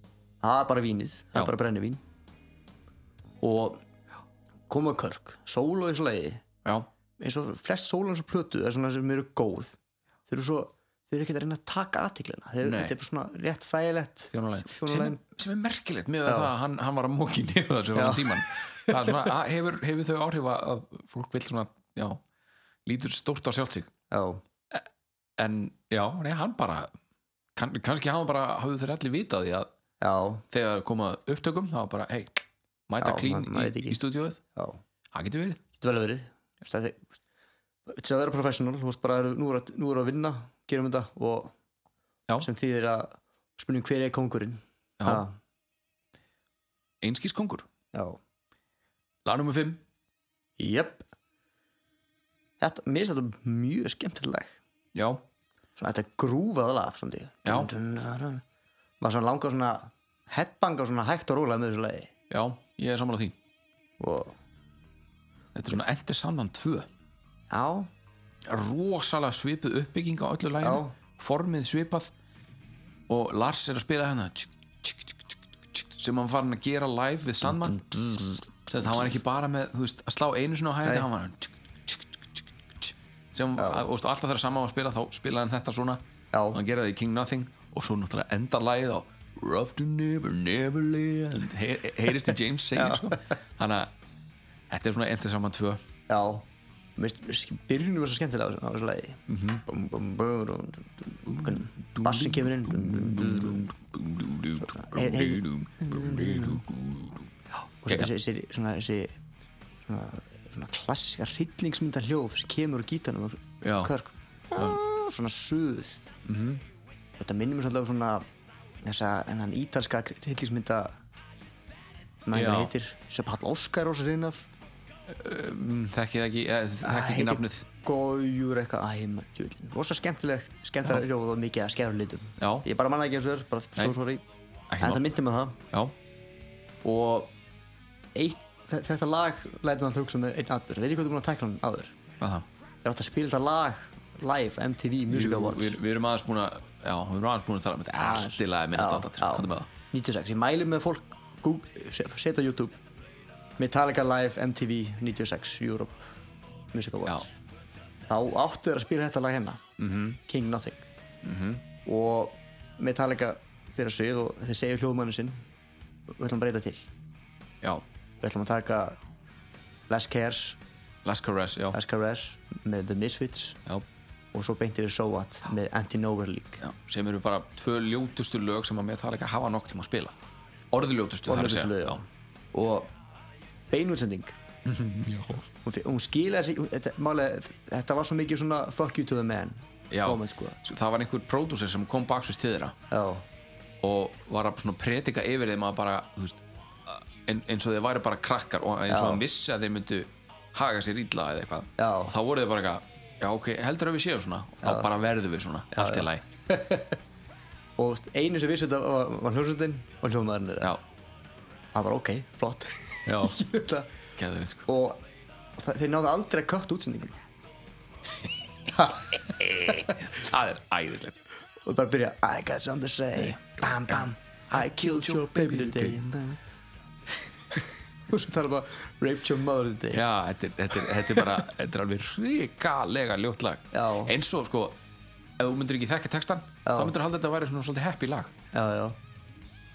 Speaker 4: það var bara vínið, það
Speaker 8: Já.
Speaker 4: var bara brennivín og koma Körk, sólo eins og leiði
Speaker 8: já,
Speaker 4: eins og flest sólans og plötu er svona sem eru góð þeir eru svo, þeir eru ekki að reyna að taka aðtiklina þeir
Speaker 8: Nei.
Speaker 4: þetta er bara svona rétt þægilegt
Speaker 8: þjónulegin sem,
Speaker 4: þjónulegin
Speaker 8: er- sem er merkilegt með
Speaker 4: Já.
Speaker 8: það að hann, hann var að móki niður þessu
Speaker 4: Já.
Speaker 8: ráðan tíman það er svona, að, hefur, hefur þau áhrif að- að fólk vil svona, já lítur stórt á sjálfsig
Speaker 4: já,
Speaker 8: en já, nei, hann bara kann, kannski hafa bara, hafðu þeir allir vitað því að
Speaker 4: já,
Speaker 8: þegar komað upptökum það var bara, hei, mæta
Speaker 4: Já,
Speaker 8: klín
Speaker 4: ma- maður veit
Speaker 8: í,
Speaker 4: ekki.
Speaker 8: í stúdíóið
Speaker 4: já
Speaker 8: það getur verið,
Speaker 4: getur vel verið Þú veist, það er- þú veist, til að vera professional, þú veist bara nú er, að, nú er að vinna, gerum þetta og
Speaker 8: Já.
Speaker 4: sem þýðir að spurning hver er kongurinn
Speaker 8: já, einskís kongur
Speaker 4: já,
Speaker 8: lag nummer 5,
Speaker 4: jöpp þetta, mér finnst þetta mjög skemmtileg
Speaker 8: já,
Speaker 4: svona þetta grúfað lag svona,
Speaker 8: Já.
Speaker 4: maður svona langar svona headbanga svona hægt og rólega með þessu lagi
Speaker 8: já, ég er sammála því
Speaker 4: og
Speaker 8: þetta er svona endur saman tvö
Speaker 4: já,
Speaker 8: rosalega svipuð uppbygging á öllu læginu, formið svipað og Lars er að spila hérna tsk, tsk, tsk, tsk, tsk, tsk, sem hann var hann að gera live við Sandman sem það var ekki bara með þú veist, að slá einu sinni á hætti hann var tsk, tsk, tsk, tsk, tsk, sem að, og, alltaf þegar saman var að spila þá spilaði hann þetta svona
Speaker 4: Já.
Speaker 8: og hann geraði í King Nothing og svo náttúrulega endar lægið á Rough to never, never land he, heyrist í James segja sko. þannig að þetta er svona endur saman tvö
Speaker 4: já mér finnst byrjunum var svo skemmtilega á þessu- á þessu lagi
Speaker 8: Mhm.
Speaker 4: Bum, bum, bum, dum, dum, dum, dum, dum. bassin kemur inn dum, dum, dum, dum. Hey, hey. og svo
Speaker 8: Geggjað.
Speaker 4: þessi, þessi, svona, þessi svona, svona klassiska hryllingsmynda hljóð sem kemur úr gítanum og
Speaker 8: Já. Mhm.
Speaker 4: körk svona suð þetta minnir mér svolítið á svona þessa, ennan ítalska hryllingsmynda maður
Speaker 8: Já.
Speaker 4: hvað heitir sem Pall Óskar og sér innaf
Speaker 8: þekki það ekki, eh,
Speaker 4: Ah,
Speaker 8: þekki ekki nafnið
Speaker 4: Gójur eitthvað, æ, maður, djúlin Rosa skemmtilegt, skemmtilega hljóð og mikið að skæra litum
Speaker 8: já,
Speaker 4: Ég bara manna ekki eins og þér, bara
Speaker 8: Nei.
Speaker 4: svo sorry En
Speaker 8: ekki
Speaker 4: þetta
Speaker 8: nafn
Speaker 4: myndi mig á það
Speaker 8: já,
Speaker 4: og eitt, þe- þetta lag lætum að hugsa um einn atbyrg, veit ekki hvað þú búin að tækla hann áður
Speaker 8: hvað það
Speaker 4: þeir átt að spila þetta lag live MTV Music
Speaker 8: Jú,
Speaker 4: Awards Ah,
Speaker 8: við, við erum aðeins búin að já, við erum aðeins búin að tala um þetta allt í lagi minna
Speaker 4: Já,
Speaker 8: þetta
Speaker 4: já.
Speaker 8: hvað er með það
Speaker 4: 96, ég mæli með fólk Google- se- setja á YouTube Metallica Live MTV 96 Europe Music Awards þá áttu þeir að spila þetta lag hérna
Speaker 8: Mhm.
Speaker 4: -hmm. King Nothing -hmm. og Metallica fyrir að svið og þeir segja hljóðmannin sinn við ætlum að breyta til
Speaker 8: já,
Speaker 4: við ætlum að taka Less Cares
Speaker 8: Last Caress, já,
Speaker 4: SKRS með The Misfits
Speaker 8: já,
Speaker 4: og svo beinti við So What með Anti-Nowhere League
Speaker 8: já sem eru bara tvö ljótustu lög sem að mér tala ekki að hafa nokk tíma að spila orðljótustu, það er að
Speaker 4: Orðljótustu
Speaker 8: segja
Speaker 4: lög, já. og beinutsending hún, fe- hún skilaði sig hún- þetta, málega, þetta var svo mikið svona fuck you to the man
Speaker 8: já,
Speaker 4: moment, sko.
Speaker 8: Svo það var einhver pródúsir sem kom baksvist til þeirra
Speaker 4: já,
Speaker 8: og var að svona predika yfir þeim að bara þú veist, ein, eins og þeir væri bara krakkar og eins og
Speaker 4: Já.
Speaker 8: hann vissi að þeir myndu haga sér illa eða eitthvað
Speaker 4: Já.
Speaker 8: þá voru þeir bara eitthvað, já ok, heldur að við séum svona já. þá bara verðum við svona, allt í læg
Speaker 4: og veist, einu sem vissi þetta var, var hljóðsöndin og hljóðmaðurinn þeirra
Speaker 8: já,
Speaker 4: það var ok, flott
Speaker 8: já,
Speaker 4: Þetta-
Speaker 8: geðu við sko
Speaker 4: og það, þeir náðu aldrei að kött útsendingin
Speaker 8: það er æðislegt
Speaker 4: og bara byrja I got something to say bam bam I killed your baby today og svo talar það raped your mother today
Speaker 8: já, þetta er, þetta er, þetta er bara þetta er alveg ríkalega ljótt lag
Speaker 4: Já.
Speaker 8: eins og sko, ef þú myndir ekki þekka textan
Speaker 4: Já.
Speaker 8: þá myndir halda þetta að vera svona svolítið happy lag
Speaker 4: já, já.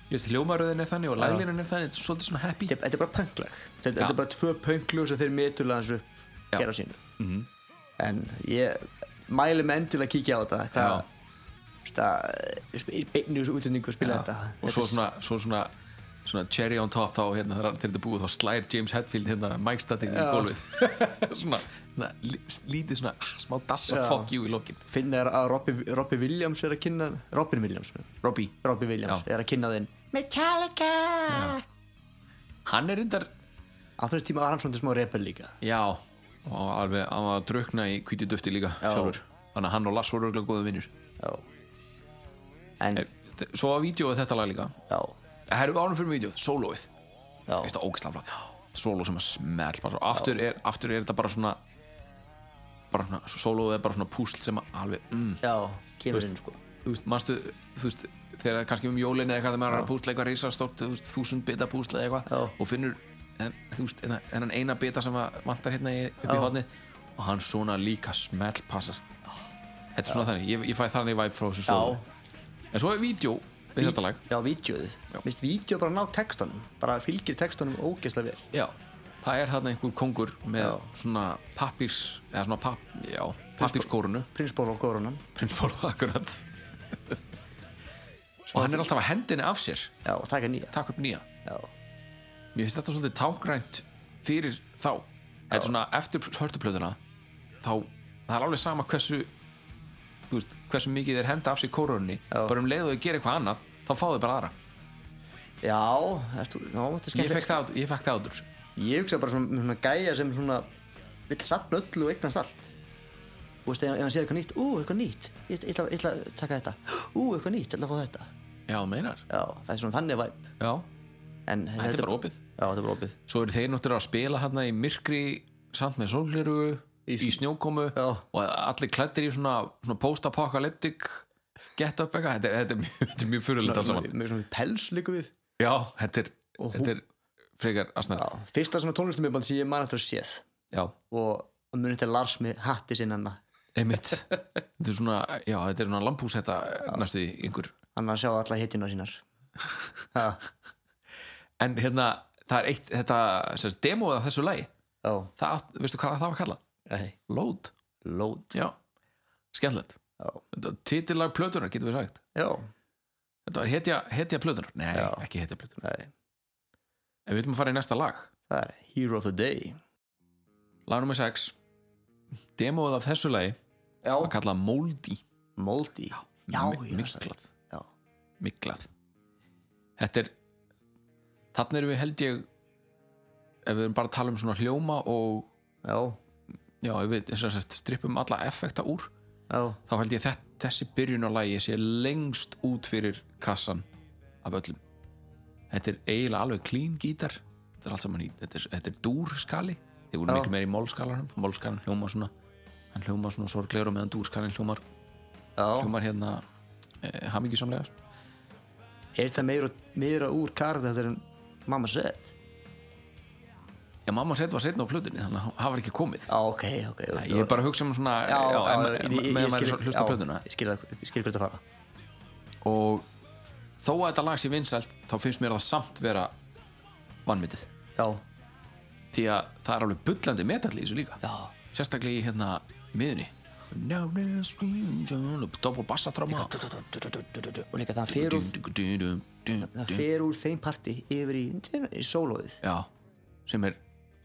Speaker 8: Ég veist, hljómaröðin er þannig og laglínan er þannig þetta er svolítið svona happy
Speaker 4: Þetta, þetta er bara pönglag þetta,
Speaker 8: Já.
Speaker 4: þetta
Speaker 8: Mhm.
Speaker 4: er bara tvö pönglu sem þeir miturlega hans upp
Speaker 8: Já.
Speaker 4: gera sínu en ég mæli með endilega að kíkja á þetta
Speaker 8: Já.
Speaker 4: hvað, það, beinu þessu útsendingu og spila
Speaker 8: Já,
Speaker 4: þetta
Speaker 8: og svo svona, svo svona svona cherry on top þá hérna þegar þegar þetta er búið þá slær James Hetfield hérna Mike Stadding í gólfið svona, svona lí- lítið svona ah, smá dassa
Speaker 4: Já.
Speaker 8: fuck you í lokin
Speaker 4: finna er að Robbie, Robbie Williams er að kynna Robin Williams,
Speaker 8: Robbie,
Speaker 4: Robbie Williams
Speaker 8: Já.
Speaker 4: er að kynna þinn Metallica
Speaker 8: hann er reyndar
Speaker 4: á þess tíma var hann svona smá repel líka
Speaker 8: já, og alveg hann var að drukna í kvíti dufti líka
Speaker 4: Já.
Speaker 8: sjálfur þannig að hann og Lars voru örgulega góða vinnur
Speaker 4: já. en
Speaker 8: svo var vídjóið þetta lag líka
Speaker 4: já,
Speaker 8: það erum ánum fyrir vídjóið, sólóið
Speaker 4: já,
Speaker 8: veist það ógislega flott solo sem að smelt bara svo aftur er, aftur er þetta bara svona bara svona, soloið er bara svona púsl sem að alveg, mm,
Speaker 4: já kemur inn sko
Speaker 8: þú veist, manstu þú veist, þegar kannski um jólinu eða eitthvað þegar maður er að púsla eitthvað risastórt, þú veist, þúsund bita púsla eða
Speaker 4: Já.
Speaker 8: eitthvað og finnur en, þú veist, en, en eina bita sem að vantar hérna í- upp í
Speaker 4: Já.
Speaker 8: hodni og hann svona líka smelt passar þetta er svona þannig, ég, ég fæ þannig væp frá þessu solo en svo er vídeo við þetta lag
Speaker 4: já, vídeoðið
Speaker 8: Já.
Speaker 4: minnst vídeo bara ná textanum bara fylgir textanum ógeðslega vel
Speaker 8: Já, það er þarna einhver kongur með
Speaker 4: Já.
Speaker 8: svona pappirs eða svona papp, já, pappirskórunu
Speaker 4: prinsból á kórunum
Speaker 8: prinsból, akkurat og hann er alltaf að hendinni af sér
Speaker 4: já, og taka nýja
Speaker 8: takk upp nýja,
Speaker 4: já,
Speaker 8: mér finnst þetta svolítið tágrænt fyrir þá þetta er svona eftir hörtuplötuna þá, það er alveg sama hversu þú veist, hversu mikið þeir henda af sér kórunni,
Speaker 4: Já.
Speaker 8: bara um leið og þau gera eitthvað annað þá fá þau bara aðra
Speaker 4: já, ertu, já þetta er
Speaker 8: ég
Speaker 4: skemmt
Speaker 8: fekk það, ég fekk það áður
Speaker 4: ég hugsa bara svona, svona gæja sem svona vill sapna öllu og eignast allt og veist, ef ef hann sér eitthvað nýtt, ú, eitthvað nýtt ég ætla- ég ætla ég ætla að taka þetta ú, eitthvað nýtt, ég ætla að fá þetta
Speaker 8: já, þú meinar,
Speaker 4: já, það er svona þannig væp
Speaker 8: já,
Speaker 4: en
Speaker 8: þetta er bara opið
Speaker 4: já, þetta er bara opið
Speaker 8: svo eru þeir náttúrulega að spila hérna í myrkri samt með sólgleru í, snjókomu
Speaker 4: Já.
Speaker 8: og allir klættir í svona, svona post-apokalyptic get up eitthvað þetta, er- þetta er mjög, þetta er mjög fyrirlega allt saman
Speaker 4: með svona pels líka við
Speaker 8: já, þetta er, þetta er frekar að
Speaker 4: já,
Speaker 8: snæða
Speaker 4: fyrsta svona tónlistumiband sem ég man eftir að séð
Speaker 8: já,
Speaker 4: og að muni þetta er Lars með hatti sinna hann
Speaker 8: einmitt þetta er svona, já, þetta er svona lampús þetta næstu í einhver
Speaker 4: hann að sjá alla hitjuna sínar ha,
Speaker 8: en hérna, það er eitt, þetta sér, demóið af þessu lagi,
Speaker 4: já,
Speaker 8: það, átt- veistu hvað það var kallað?
Speaker 4: nei,
Speaker 8: Load,
Speaker 4: lót
Speaker 8: já, skemmtilegt
Speaker 4: Já.
Speaker 8: Þetta var titillag plötunar, getum við sagt
Speaker 4: já,
Speaker 8: Þetta var hetja, hetja plötunar Nei,
Speaker 4: Já.
Speaker 8: ekki hetja plötunar
Speaker 4: nei,
Speaker 8: En við viljum að fara í næsta lag
Speaker 4: það er Hero of the Day
Speaker 8: Lag nr. 6 Demóið af þessu lagi
Speaker 4: já,
Speaker 8: að kalla Moldy
Speaker 4: Moldy já,
Speaker 8: Mi-
Speaker 4: já, já,
Speaker 8: Miklað
Speaker 4: já.
Speaker 8: Miklað Þetta er Þannig erum við held ég Ef við erum bara að tala um svona hljóma og
Speaker 4: já,
Speaker 8: Já, ef við sem sagt, strippum alla effekta úr
Speaker 4: já.
Speaker 8: Þá held ég þett, þessi byrjun á lagi sé lengst út fyrir kassan af öllum Þetta er eiginlega alveg clean gítar Þetta er allt saman í, þetta er, þetta er dúrskali Þið voru
Speaker 4: Já.
Speaker 8: miklu meir í mólskalanum Mólskalin hljóma svona Hann hljóma svona sorglegur og meðan dúrskalin hljómar
Speaker 4: Já,
Speaker 8: hljómar hérna eh, hamingisamlegar
Speaker 4: er þetta meira, meira úr karð þetta en mamma sett?
Speaker 8: Já, mamma sett var setna á plötunni þannig að það var ekki komið
Speaker 4: Já, ok, ok.
Speaker 8: Ég er bara að hugsa um svona
Speaker 4: Já, já,
Speaker 8: en-
Speaker 4: já,
Speaker 8: en-
Speaker 4: ég- ég-
Speaker 8: meðan
Speaker 4: ég skil-
Speaker 8: maður er að hlusta á
Speaker 4: já,
Speaker 8: plötuna
Speaker 4: Ég skil það, ég skil hvað þetta fara.
Speaker 8: og þó að þetta lag sé vinsælt þá finnst mér það samt vera vannmyndið
Speaker 4: Já,
Speaker 8: því að það er alveg bullandi metall í þessu líka
Speaker 4: já,
Speaker 8: sérstaklega í hérna miðunni Now the screams on- double bassatráma
Speaker 4: og líka það fer úr, það fer úr þeim parti yfir í, í sólóðið.
Speaker 8: Já, sem er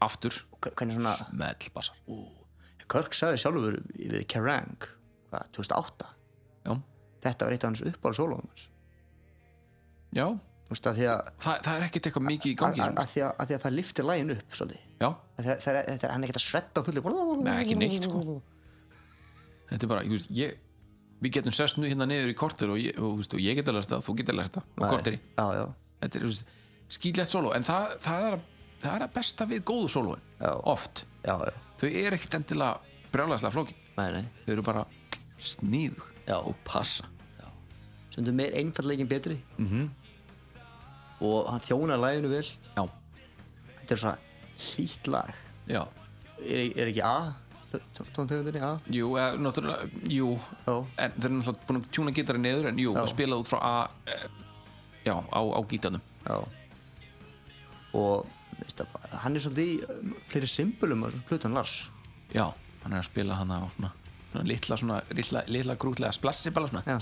Speaker 8: aftur
Speaker 4: Hvernig svona,
Speaker 8: metal bassar
Speaker 4: Körk sagði sjálfur við Kerrang, hvað, 2008?
Speaker 8: Já,
Speaker 4: Þetta var eitt af hans uppáhald sólóðum hans.
Speaker 8: já
Speaker 4: Þú veist, að því að,
Speaker 8: það, það er ekkert eitthvað mikið í
Speaker 4: að,
Speaker 8: gangi hérna.
Speaker 4: að, að, því að, að því að það liftir lægin upp, svolítið.
Speaker 8: Já,
Speaker 4: Það, það, það, það er hann er ekkert að svetta á fullu.
Speaker 8: Nei, ekki neitt, sko. þetta er bara, ég, veist, ég við getum sest nú hérna niður í kortir og ég, og, þú veist, og ég geta lært það, þú geta lært það á korteri,
Speaker 4: Já, já,
Speaker 8: þetta er þú veist, skýtlegt sóló, en það, það, er, að- það er að besta við góðu sólóin,
Speaker 4: Já.
Speaker 8: oft
Speaker 4: já, já.
Speaker 8: þau eru ekkert endilega brjálæðslega flóki
Speaker 4: Nei, nei.
Speaker 8: þau eru bara sníðug
Speaker 4: Já.
Speaker 8: og passa
Speaker 4: stundum meir einfallleikin betri mm
Speaker 8: Mhm.
Speaker 4: -hmm. og hann þjónar læginu vel
Speaker 8: já,
Speaker 4: þetta er svona hlýtt lag
Speaker 8: já,
Speaker 4: er, er ekki A tóntegundinni A
Speaker 8: jú, eða, náttúrulega jú,
Speaker 4: Já.
Speaker 8: en þeir eru náttúrulega búin að tjúna gítari niður, en jú,
Speaker 4: Já.
Speaker 8: að spila út frá A eh, já, á, á gítarnum
Speaker 4: já. og veist það bara, hann er svolítið í um, fleiri symbolum á plötan Lars
Speaker 8: já, hann er að spila hann á svona svona litla, svona, litla, litla grútlega splassi bara svona
Speaker 4: Já.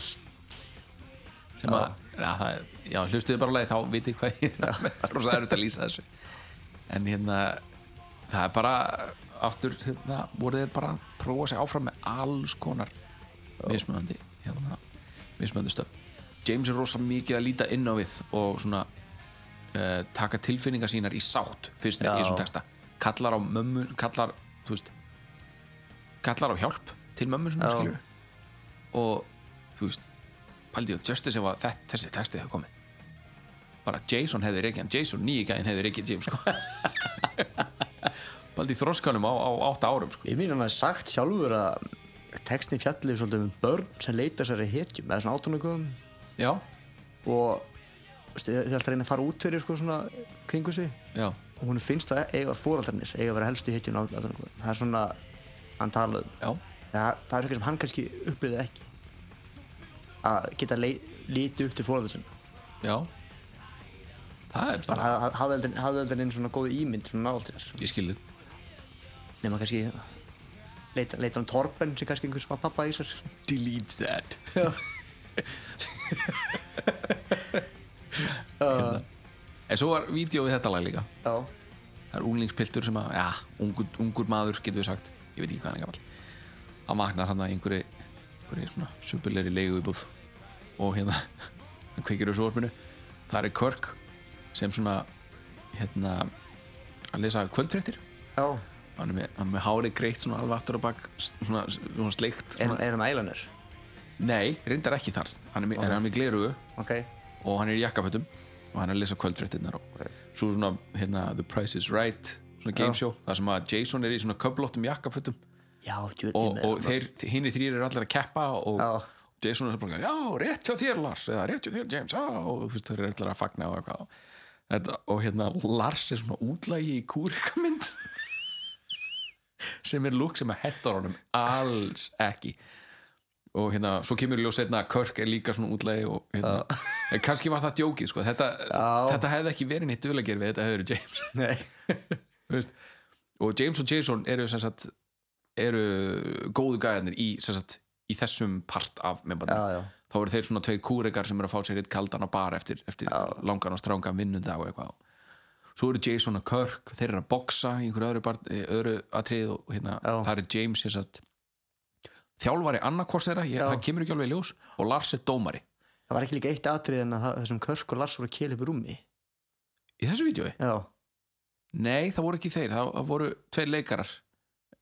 Speaker 8: sem að, já, það, er- já hlustuðu bara á lagi þá vitið hvað ég er með. það er rosa erfitt að lýsa þessu en hérna, það er bara aftur, hérna, voru þeir bara að prófa sig áfram með alls konar mismöðandi hérna, mismöðandi stöf James er rosa mikið að líta inn á við og svona uh, taka tilfinningar sínar í sátt fyrst í þessum texta kallar á mömmu, kallar þú veist kallar á hjálp til mömmu svona, skilur og þú veist pældi og Justice ef að þetta, þessi texti hefur komið bara Jason hefði reikið hann Jason nýi gæðin hefði reikið James sko. pældi þróskanum á, á átta árum sko.
Speaker 4: Ég minn hann að sagt sjálfur að textin fjallið svolítið um börn sem leita sér að hetjum eða svona átunarköðum
Speaker 8: já,
Speaker 4: og veistu, þau þau alltaf reyna að fara út fyrir sko svona kringu sig
Speaker 8: já,
Speaker 4: og hún finnst það eiga fóraldarnir eiga að vera helstu hetjum átunarköðum það er svona hann talað um
Speaker 8: já,
Speaker 4: það, það er eitthvað sem hann kannski upplýði ekki að geta lei- litið upp til fóraldar sinna
Speaker 8: já það er bara,
Speaker 4: bara hafði- hafði hafðeldin einn svona góð ímynd svona nált þér
Speaker 8: ég skil þig
Speaker 4: nema kannski leita, leita um Torben sem kannski einhver smá pappa í sér
Speaker 8: delete that
Speaker 4: uh,
Speaker 8: Hérna. en svo var vídeo við þetta lag líka
Speaker 4: já,
Speaker 8: það er unglingspiltur sem að, já, ungur, ungur maður getur við sagt, ég veit ekki hvað hann er gammal hann vaknar hann að einhverju einhverju svona superleri leigu íbúð og hérna hann kveikir úr svorminu, það er Körk sem svona hérna, að lesa kvöldfréttir
Speaker 4: já,
Speaker 8: hann er með, hann er með hári greitt svona alveg aftur á bak svona, svona sleikt
Speaker 4: erum,
Speaker 8: svona.
Speaker 4: erum ælanir
Speaker 8: nei, reyndar ekki þar hann er, okay. hann er með glerugu
Speaker 4: ok,
Speaker 8: og hann er í jakkafötum og hann er að lesa kvöldfréttinnar og svo svona hérna The Price is Right svona gameshow, þar sem að Jason er í svona köflóttum jakkafötum
Speaker 4: já, djú,
Speaker 8: og, og þeir, hinn í þrýr eru allir að keppa og
Speaker 4: Já.
Speaker 8: Jason er bara, já, rétt hjá þér Lars eða rétt hjá þér James, já, og þú veist þeir eru allir að fagna og eitthvað Þetta, og hérna Lars er svona útlægi í kúrikamynd sem er lúk sem að hettar honum alls ekki og hérna, svo kemur í ljós einna að Körk er líka svona útlægi og hérna, en kannski var það djókið, sko, þetta, þetta hefði ekki verið nýtt duðlagerfi, þetta hefði verið James
Speaker 4: nei,
Speaker 8: Þú veist, og James og Jason eru sem sagt, eru góðu gæðanir í, sem sagt, í þessum part af
Speaker 4: já,
Speaker 8: membandi
Speaker 4: já
Speaker 8: þá eru þeir svona tvei kúrekar sem eru að fá sér eitt kaldan á bar eftir, eftir langan og strángan vinnundag og eitthvað svo eru Jason og Kirk, þeir eru að boxa í einhverju öðru, bar, eh, öðru atrið og hérna,
Speaker 4: Já.
Speaker 8: þar er James sem sagt, þjálfari annarkors þeirra ég,
Speaker 4: Já.
Speaker 8: það kemur ekki alveg í ljós og Lars er dómari
Speaker 4: það var ekki líka eitt atrið en að það, þessum Körk og Lars voru að kela upp í rúmi
Speaker 8: í þessu vídjói?
Speaker 4: já,
Speaker 8: Nei, það voru ekki þeir, það, það voru tveir leikarar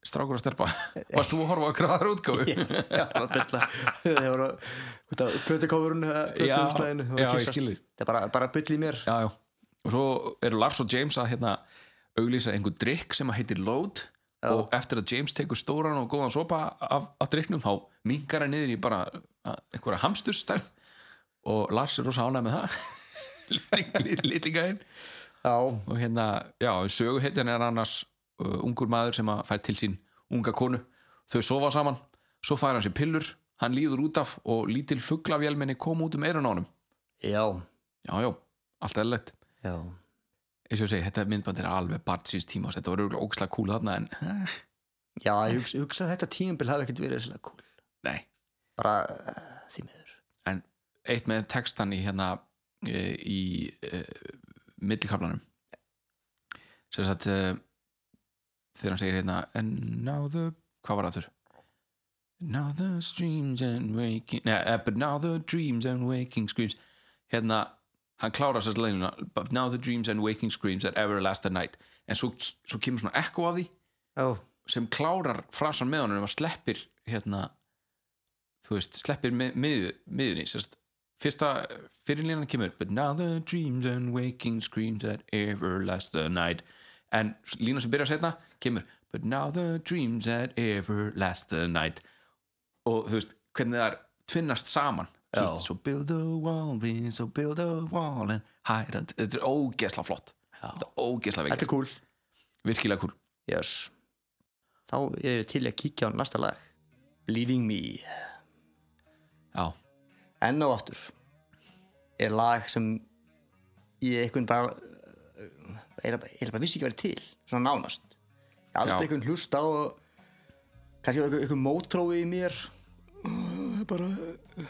Speaker 8: strákur að stelpa Varst þú að horfa á gráðar útgáfu?
Speaker 4: já, það var bylla þeir voru, út af plötukofurinn eh,
Speaker 8: Já,
Speaker 4: plötuumslæðinu, það var
Speaker 8: já, ég
Speaker 4: kyssast.
Speaker 8: skil þig.
Speaker 4: það er bara, bara byll í mér
Speaker 8: já, já. og svo eru Lars og James að hérna, auglýsa einhver drikk sem að heitir Load og eftir að James tekur stóran og góðan sopa af, af drikknum þá mingar hann niður í bara að- einhverja hamsturstærð og Lars er rosa ánægð með það litlingæðin
Speaker 4: já,
Speaker 8: og hérna, já, söguhetjan er annars uh, ungur maður sem að fær til sín unga konu, þau sofa saman svo fær hann sér pillur, hann líður út af og lítil fuglafjálminni kom út um eirun á honum,
Speaker 4: já,
Speaker 8: já, já, allt er lett
Speaker 4: já
Speaker 8: eins og ég segi, þetta myndband er alveg part síns tíma þetta var auðvitað ógslag kúla þarna en eh,
Speaker 4: já, ég hugsa, ég hugsa að þetta tímabil hafi ekkert verið svolítið cool
Speaker 8: nei,
Speaker 4: bara uh, því miður
Speaker 8: en eitt með textan í hérna eh, í uh, millikaflanum sem sagt uh, þegar hann segir hérna and now the, hvað var það þurr? now the streams and waking nei, eh, but now the dreams and waking screams hérna, hann klárar sér leinuna but now the dreams and waking screams are everlasting night en svo, svo kemur svona ekko af því
Speaker 4: já,
Speaker 8: sem klárar frasan með honum að sleppir hérna þú veist, sleppir mið, mið, miðunni sérst, fyrsta fyrirlínan kemur but now the dreams and waking screams that ever last the night en línan sem byrjar setna kemur but now the dreams that ever last the night og þú veist, hvernig það er tvinnast saman Svo- so build a wall, we- so build a wall and hide and þetta er ógeðsla flott þetta er ógeðsla
Speaker 4: þetta
Speaker 8: veikast,
Speaker 4: er cool
Speaker 8: virkilega kúl
Speaker 4: yes. þá er ég til að kíkja á næsta lag Bleeding Me
Speaker 8: já,
Speaker 4: enn og aftur er lag sem ég einhvern bara eh, ég bara, eiginlega bara vissi ekki verið til svona nánast ég hef aldrei
Speaker 8: Já.
Speaker 4: einhvern hlust á og kannski var einhver- einhver mótrói í mér Það er bara uh,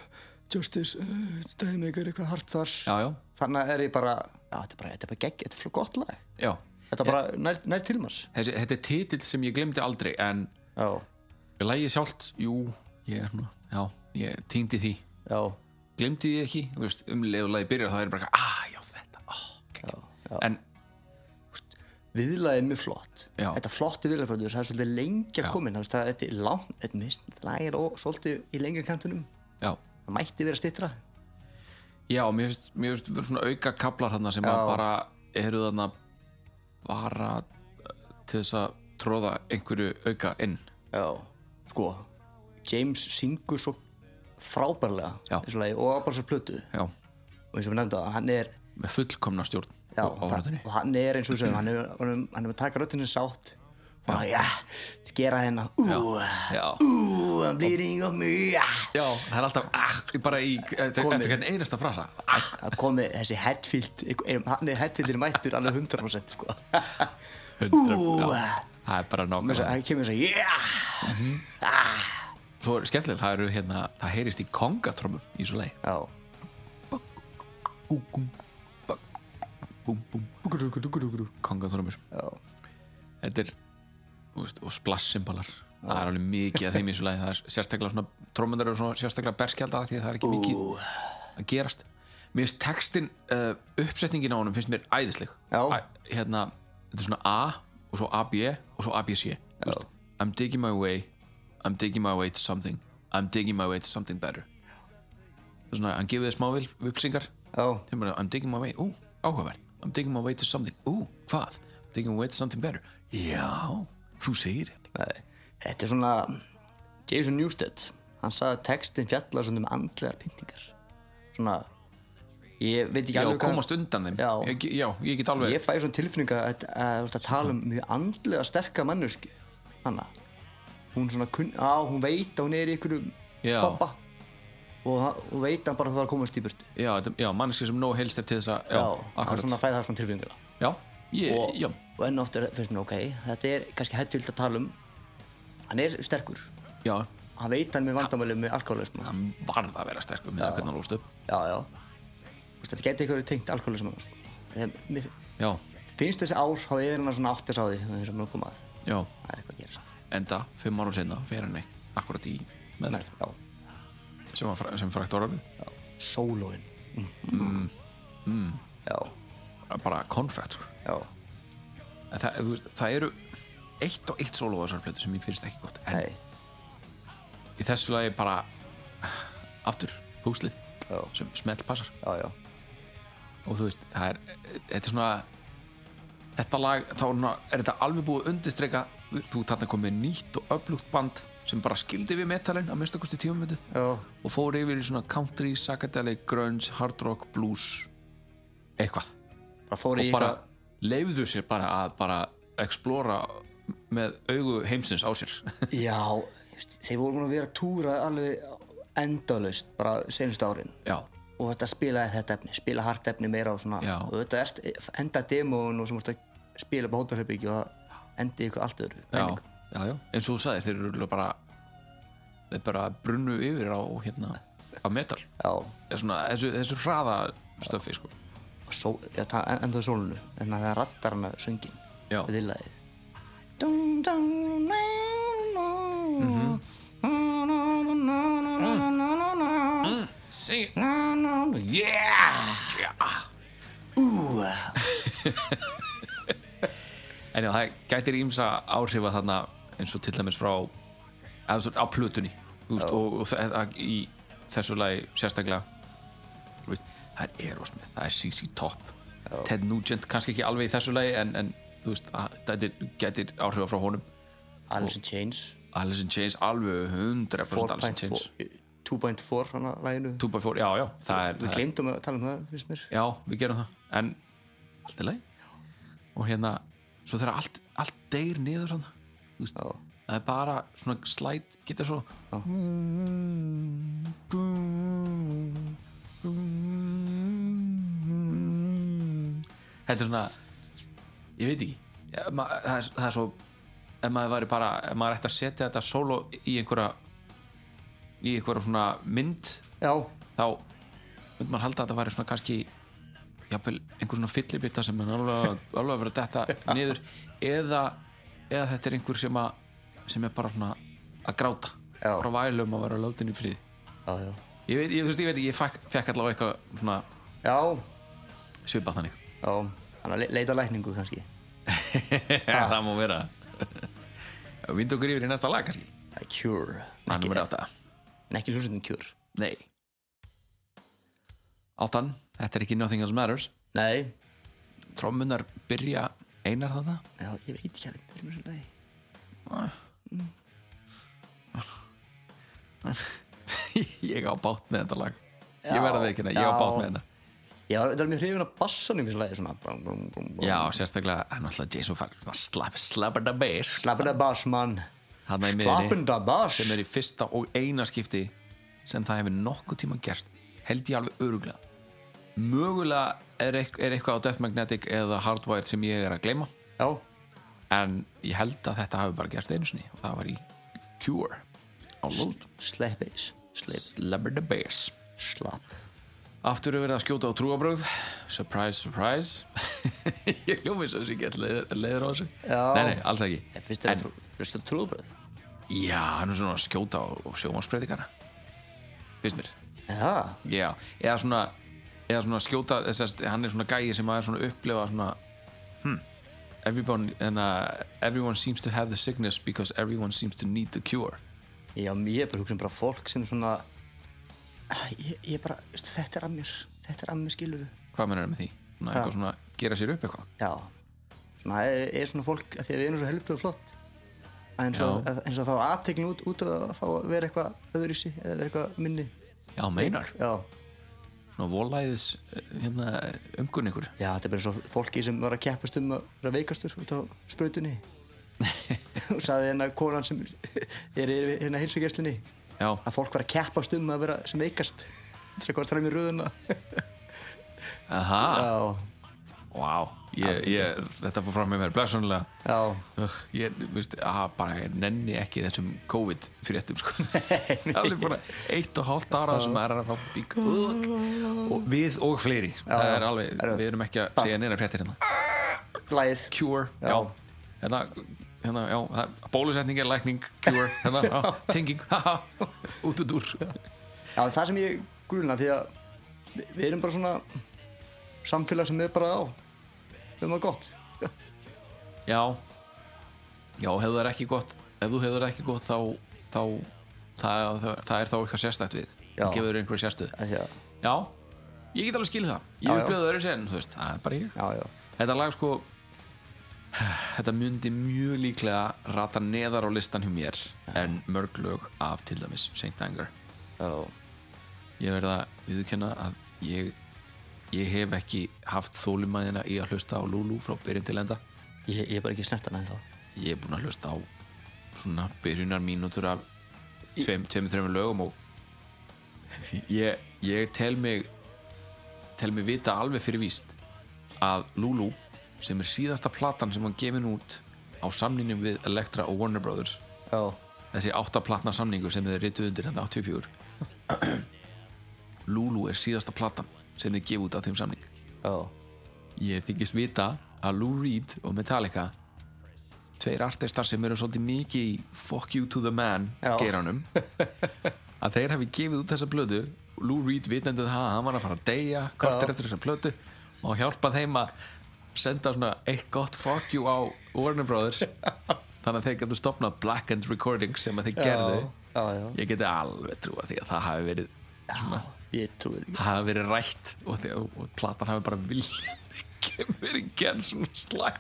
Speaker 4: Justice, uh, Daymaker, eitthvað hart þar
Speaker 8: já, já,
Speaker 4: þannig er ég bara já, þetta er bara, þetta er bara gegg, þetta er fyrir gott lag
Speaker 8: já
Speaker 4: þetta er bara nær, nær til manns
Speaker 8: Þessi, þetta er titill sem ég glemdi aldrei en
Speaker 4: já,
Speaker 8: lægið sjálft, jú ég er nú, já, ég týndi því
Speaker 4: já,
Speaker 8: glemdi því ekki, þú veist, um leið og lagið byrjar þá er bara, eitthvað, ah, já, þetta oh,
Speaker 4: já, já.
Speaker 8: en,
Speaker 4: viðlagið er mjög flott
Speaker 8: Já.
Speaker 4: þetta flotti viðlagsbröður, það er svolítið lengja
Speaker 8: Já.
Speaker 4: komin, þannig að þetta er langt þetta mist, lag er ó- svolítið í lengja kantunum
Speaker 8: já,
Speaker 4: það mætti vera stittra
Speaker 8: já mér finnst, mér finnst verið svona auka kaplar þarna sem
Speaker 4: Já.
Speaker 8: að bara eru þarna bara til þess að tróða einhverju auka inn
Speaker 4: já, sko James syngur svo frábærlega
Speaker 8: Já.
Speaker 4: í þessu lagi og á bara svo plötu
Speaker 8: já,
Speaker 4: og eins og við nefnda, hann er
Speaker 8: með fullkomna stjórn
Speaker 4: já,
Speaker 8: á röddinni.
Speaker 4: og hann er eins og við segjum hann er, hann er, hann er að taka röddinni sátt og hann, já, gera hennar ú,
Speaker 8: já,
Speaker 4: ú, hann blir ring of me já.
Speaker 8: já, það er alltaf ah, bara í, eftir, eftir hvern einasta frasa ah,
Speaker 4: það komi þessi Hetfield einhver- hann er Hetfieldir mættur alveg 100% sko.
Speaker 8: 100, já, það er bara
Speaker 4: Þess að
Speaker 8: nákvæmlega
Speaker 4: hann kemur þess að yeah!
Speaker 8: svo er skemmtileg, það eru hérna það heyrist í kongatrömmum í svo leið
Speaker 4: já,
Speaker 8: kongatrömmur
Speaker 4: já,
Speaker 8: þetta er þú veist, og splassimbalar það er alveg mikið að þeim í þessu lagi það er sérstaklega svona trómundar eru svona sérstaklega berskjaldar því að það er ekki mikið að gerast mér finnst textin, uh, uppsetningin á honum finnst mér æðisleg
Speaker 4: Já.
Speaker 8: hérna, þetta er svona A og svo AB og svo ABC Þú veist, I'm digging my way I'm digging my way to something I'm digging my way to something better það er svona, hann gefið þið smá vil, vilsingar
Speaker 4: já,
Speaker 8: Þeim bara, I'm digging my way, ú, áhugavert I'm digging my way to something, ú, hvað I'm digging my way to something better Já, þú segir þetta
Speaker 4: nei. þetta er svona Jason Newsted hann sagði að textin fjallar svona um andlegar pyntingar svona ég veit ekki
Speaker 8: Já,
Speaker 4: alveg
Speaker 8: komast undan þeim
Speaker 4: Já.
Speaker 8: ég, já ég get alveg
Speaker 4: ég fæ svona tilfinninga að, að, að, að tala um mjög andlega sterka mannuski hanna hún svona kunn, á, hún veit að hún er í einhverju
Speaker 8: Já.
Speaker 4: bobba og hann- hún veit að hann bara þarf að komast í burtu
Speaker 8: Já, þetta- já manneskja sem nóg helst eftir þess að Já,
Speaker 4: já, hann
Speaker 8: akkurat
Speaker 4: svona fæði það svona tilfinningar
Speaker 8: Já, ég,
Speaker 4: og,
Speaker 8: já,
Speaker 4: og enn ofta finnst mér ok þetta er kannski hættvild að tala um hann er sterkur
Speaker 8: já
Speaker 4: hann veit hann er með vandamölu með alkoholismu já,
Speaker 8: Hann varð að vera sterkur með það hvernig hann lóst upp
Speaker 4: já Þú veist, þetta geti eitthvað verið tengt alkoholismu sko. Þegar mér
Speaker 8: Já,
Speaker 4: finnst þessi ár þá er hann að svona áttið sá því eins og mjög komað
Speaker 8: já,
Speaker 4: það er eitthvað að gerast
Speaker 8: enda Fimm árum seinna fer hann ekki akkurat í með
Speaker 4: Nei, já,
Speaker 8: sem, var fra- sem frækt orðið
Speaker 4: sólóin Mm. já,
Speaker 8: Bara konfekt, sko
Speaker 4: já,
Speaker 8: En það, þú veist, það eru eitt og eitt solo á þessar plötu sem mér finnst ekki gott en
Speaker 4: nei
Speaker 8: í þessu lagi bara aftur púslið
Speaker 4: Já.
Speaker 8: sem smelt passar
Speaker 4: já, já,
Speaker 8: og þú veist, það er, þetta er svona þetta lag, þá er svona- er þetta alveg búið að undirstreika þú þarna komið nýtt og öflugt band sem bara skildi við metalin að minnstakosti tímamöndu
Speaker 4: já,
Speaker 8: og fór yfir í svona country, psychedelic, grunge, hard rock, blues eitthvað
Speaker 4: bara fór í
Speaker 8: og bara leifðu sér bara að bara explora með augu heimsins á sér
Speaker 4: eitthvað- já, þú veist, þeir voru búin að vera að túra alveg endalaust bara senust árin
Speaker 8: já,
Speaker 4: og þetta spilaði þetta efni, spila hart efni meira og svona
Speaker 8: Já.
Speaker 4: og þetta er, enda demón og sem voru að spila upp á hótelherbyggi og það endi ykkur allt öðru
Speaker 8: já,
Speaker 4: pælingu.
Speaker 8: já, já, eins og þú sagði þeir eru örugglega bara þeir bara brunnu yfir á hérna á metal,
Speaker 4: já,
Speaker 8: eða svona þessu, þessu hraða stöfi sko
Speaker 4: og sól, já, það en, en það er sólunu en það er rattar hana söngin
Speaker 8: Já.
Speaker 4: við lagið Dum, dum, na, na,
Speaker 8: Mhm.
Speaker 4: na, na, na, na, na,
Speaker 8: Ah.
Speaker 4: na, na, na,
Speaker 8: Sing it,
Speaker 4: na, na, na, yeah
Speaker 8: yeah
Speaker 4: Ú,
Speaker 8: En já, það gætir ímsa áhrifa þarna eins og til dæmis frá eða svona á plötunni þú veist, og, og það, það- í þessu lagi sérstaklega þú veist, það er Erosmith, það er CC Top Ted Nugent, kannski ekki alveg í þessu lagi en, en þú veist, að- þetta gætir áhrifa frá honum Ah.
Speaker 4: Alice in Chains
Speaker 8: Alice in Chains, alveg 100% Alice in Chains
Speaker 4: 4.4 2.4 hana laginu
Speaker 8: 2x4, já, já, það er
Speaker 4: við
Speaker 8: það er-
Speaker 4: glemdum að tala um það finnst mér
Speaker 8: Já, við gerum það, en allt er leið og hérna, svo þegar allt, allt deyr niður hann
Speaker 4: já,
Speaker 8: það er bara svona slæt geta svo Þetta er svona ég veit ekki ja, ma, það, er, það er svo ef maður væri bara, ef maður ætti að setja þetta solo í einhverja í einhverja svona mynd
Speaker 4: já,
Speaker 8: þá myndi maður halda að þetta væri svona kannski jafnvel einhver svona fyllibitta sem er alveg, alveg að vera detta niður eða, eða þetta er einhver sem að sem er bara svona að gráta
Speaker 4: Já.
Speaker 8: bara vælum að vera látin í frið
Speaker 4: já, já.
Speaker 8: ég veit, ég, þú veist, ég veit, ekki, ég fekk, fekk allavega eitthvað svona
Speaker 4: Já,
Speaker 8: svipað þannig
Speaker 4: já, hann að le- leita að lækningu kannski.
Speaker 8: það má vera vindu okkur yfir í næsta lag kannski
Speaker 4: A cure.
Speaker 8: það er nummer átta
Speaker 4: En ekki hljómsveitin cure.
Speaker 8: nei áttan, þetta er ekki Nothing Else Matters
Speaker 4: Nei,
Speaker 8: trommunar byrja einar þarna
Speaker 4: já, ég veit ekki alveg hvernig þessu lagi.
Speaker 8: ég á bát með þetta lag
Speaker 4: Já,
Speaker 8: ég verði ekki hérna, ég á
Speaker 4: já.
Speaker 8: bát með þetta
Speaker 4: Já, þetta er mjög hrifin að bassanum í þessu lagi, svona. Blum, blum, blum, blum.
Speaker 8: já, sérstaklega, hann er alltaf Jason Farr slapp, slappanda bass
Speaker 4: Slappin að bass, mann.
Speaker 8: hann er í
Speaker 4: Slappin
Speaker 8: miðinni,
Speaker 4: að bass.
Speaker 8: sem er í fyrsta og eina skipti sem það hefur nokkuð tíma gert held ég alveg öruglega mögulega er, eitth- er eitthvað á Death Magnetic eða Hardwired sem ég er að gleyma
Speaker 4: Já,
Speaker 8: en ég held að þetta hafi bara gert einu sinni og það var í Cure á Load
Speaker 4: slap bass. Slap.
Speaker 8: Slabber the Bass
Speaker 4: Slapp.
Speaker 8: Aftur er verið að skjóta á trúabröð Surprise, surprise Ég hljómi svo sem ég get leið- leiður á þessu
Speaker 4: Já.
Speaker 8: Nei, nei, alls ekki
Speaker 4: En finnst þér
Speaker 8: En-
Speaker 4: að hlusta trúðbröð?
Speaker 8: Já, hann er svona að skjóta á, á sjómansbreytingana Finnst mér
Speaker 4: Já,
Speaker 8: Já, eða svona, eða svona skjóta þessast, Hann er svona gæi sem að er svona að upplifa svona hmm, everyone, and, uh, everyone seems to have the sickness Because everyone seems to need the cure
Speaker 4: já, ég er bara hugsa um bara fólk sem svona... Æ, Ég, ég bara, veistu, þetta er að mér. Þetta er að mér, skilur
Speaker 8: Hvað menn er með því? Svona, eitthvað svona gera sér upp eitthvað
Speaker 4: Já, svona, það er, er svona fólk að því að við erum svo helbrið og flott að eins og,
Speaker 8: Já.
Speaker 4: að, eins og þá aðtekni út, út að fá að vera eitthvað öðruvísi eða vera eitthvað minni
Speaker 8: Já, meinar
Speaker 4: Já,
Speaker 8: Svona volæðis eh, hérna, umgunningur
Speaker 4: já þetta er bara eins og fólki sem var að keppast um að vera veikastur út á sprautunni og saði hérna konan sem er yfir hérna heilsugjæslinni
Speaker 8: Já,
Speaker 4: að fólk var að keppast um að vera sem veikast til að komast fram í röðuna
Speaker 8: aha,
Speaker 4: Já,
Speaker 8: vá ég, ég, Þetta fór fram með mér, blessunlega
Speaker 4: já,
Speaker 8: Ugh, Ég, veist, aha, bara ég nenni ekki þessum COVID fréttum sko. Allir bara eitt og hálft ára sem er að fá í kuk og við og fleiri Það er alveg, við erum ekki að segja neina fréttir hérna
Speaker 4: glæð
Speaker 8: Cure, já, Hérna, hérna, já, það- bólusetning er lækning Cure, hérna, já, tenging haha, út út úr
Speaker 4: Já, en það sem ég gruna því að við, við erum bara svona samfélag sem við bara á við erum það gott
Speaker 8: Já Já, hefur það ekki gott Ef þú hefur það ekki gott þá, þá það, það, það er þá eitthvað sérstætt við
Speaker 4: Já.
Speaker 8: Það gefur þér einhverja sérstöð
Speaker 4: að því að,
Speaker 8: Já, ég get alveg skilið það Ég
Speaker 4: Já, já.
Speaker 8: upplöðu það öðru sen, þú veist, það er bara ég
Speaker 4: já, já,
Speaker 8: Þetta lag sko Þetta myndi mjög líklega rata neðar á listan hjá mér en mörg lög af til dæmis St. Anger
Speaker 4: já,
Speaker 8: Ég verða að viðurkenna að ég, ég hef ekki haft þólimaðina í að hlusta á Lulu frá byrjum til enda
Speaker 4: ég, ég er bara ekki snert hann ennþá
Speaker 8: ég er búinn að hlusta á svona byrjunar mínútur af tveim, tveim, þreim lögum og ég, ég tel mig tel mig vita alveg fyrir víst að Lulu sem er síðasta platan sem hann gefin út á samninum við Elektra og Warner Brothers
Speaker 4: Já,
Speaker 8: þessi áttaplatna samningu sem þeir rituð undir hérna 84 Lulu er síðasta platan sem þeir gefa út á þeim samning
Speaker 4: já,
Speaker 8: ég þykist vita að Lou Reed og Metallica tveir artistar sem eru svolítið mikið í fuck you to the man
Speaker 4: Já.
Speaker 8: geranum að þeir hafi gefið út þessa blödu Lou Reed vitandi það að hann var að fara að deyja kortir eftir þessa blödu og hjálpa þeim að senda svona eitt gott fuck you á Warner Brothers þannig að þeir getur stopnað Black End Recordings sem að þeir gerðu
Speaker 4: já, já,
Speaker 8: ég geti alveg trúa því að það hafi verið
Speaker 4: ég trúi því
Speaker 8: það hafi verið rætt og, því, og, og platan hafi bara viljandi verið gerð svona slag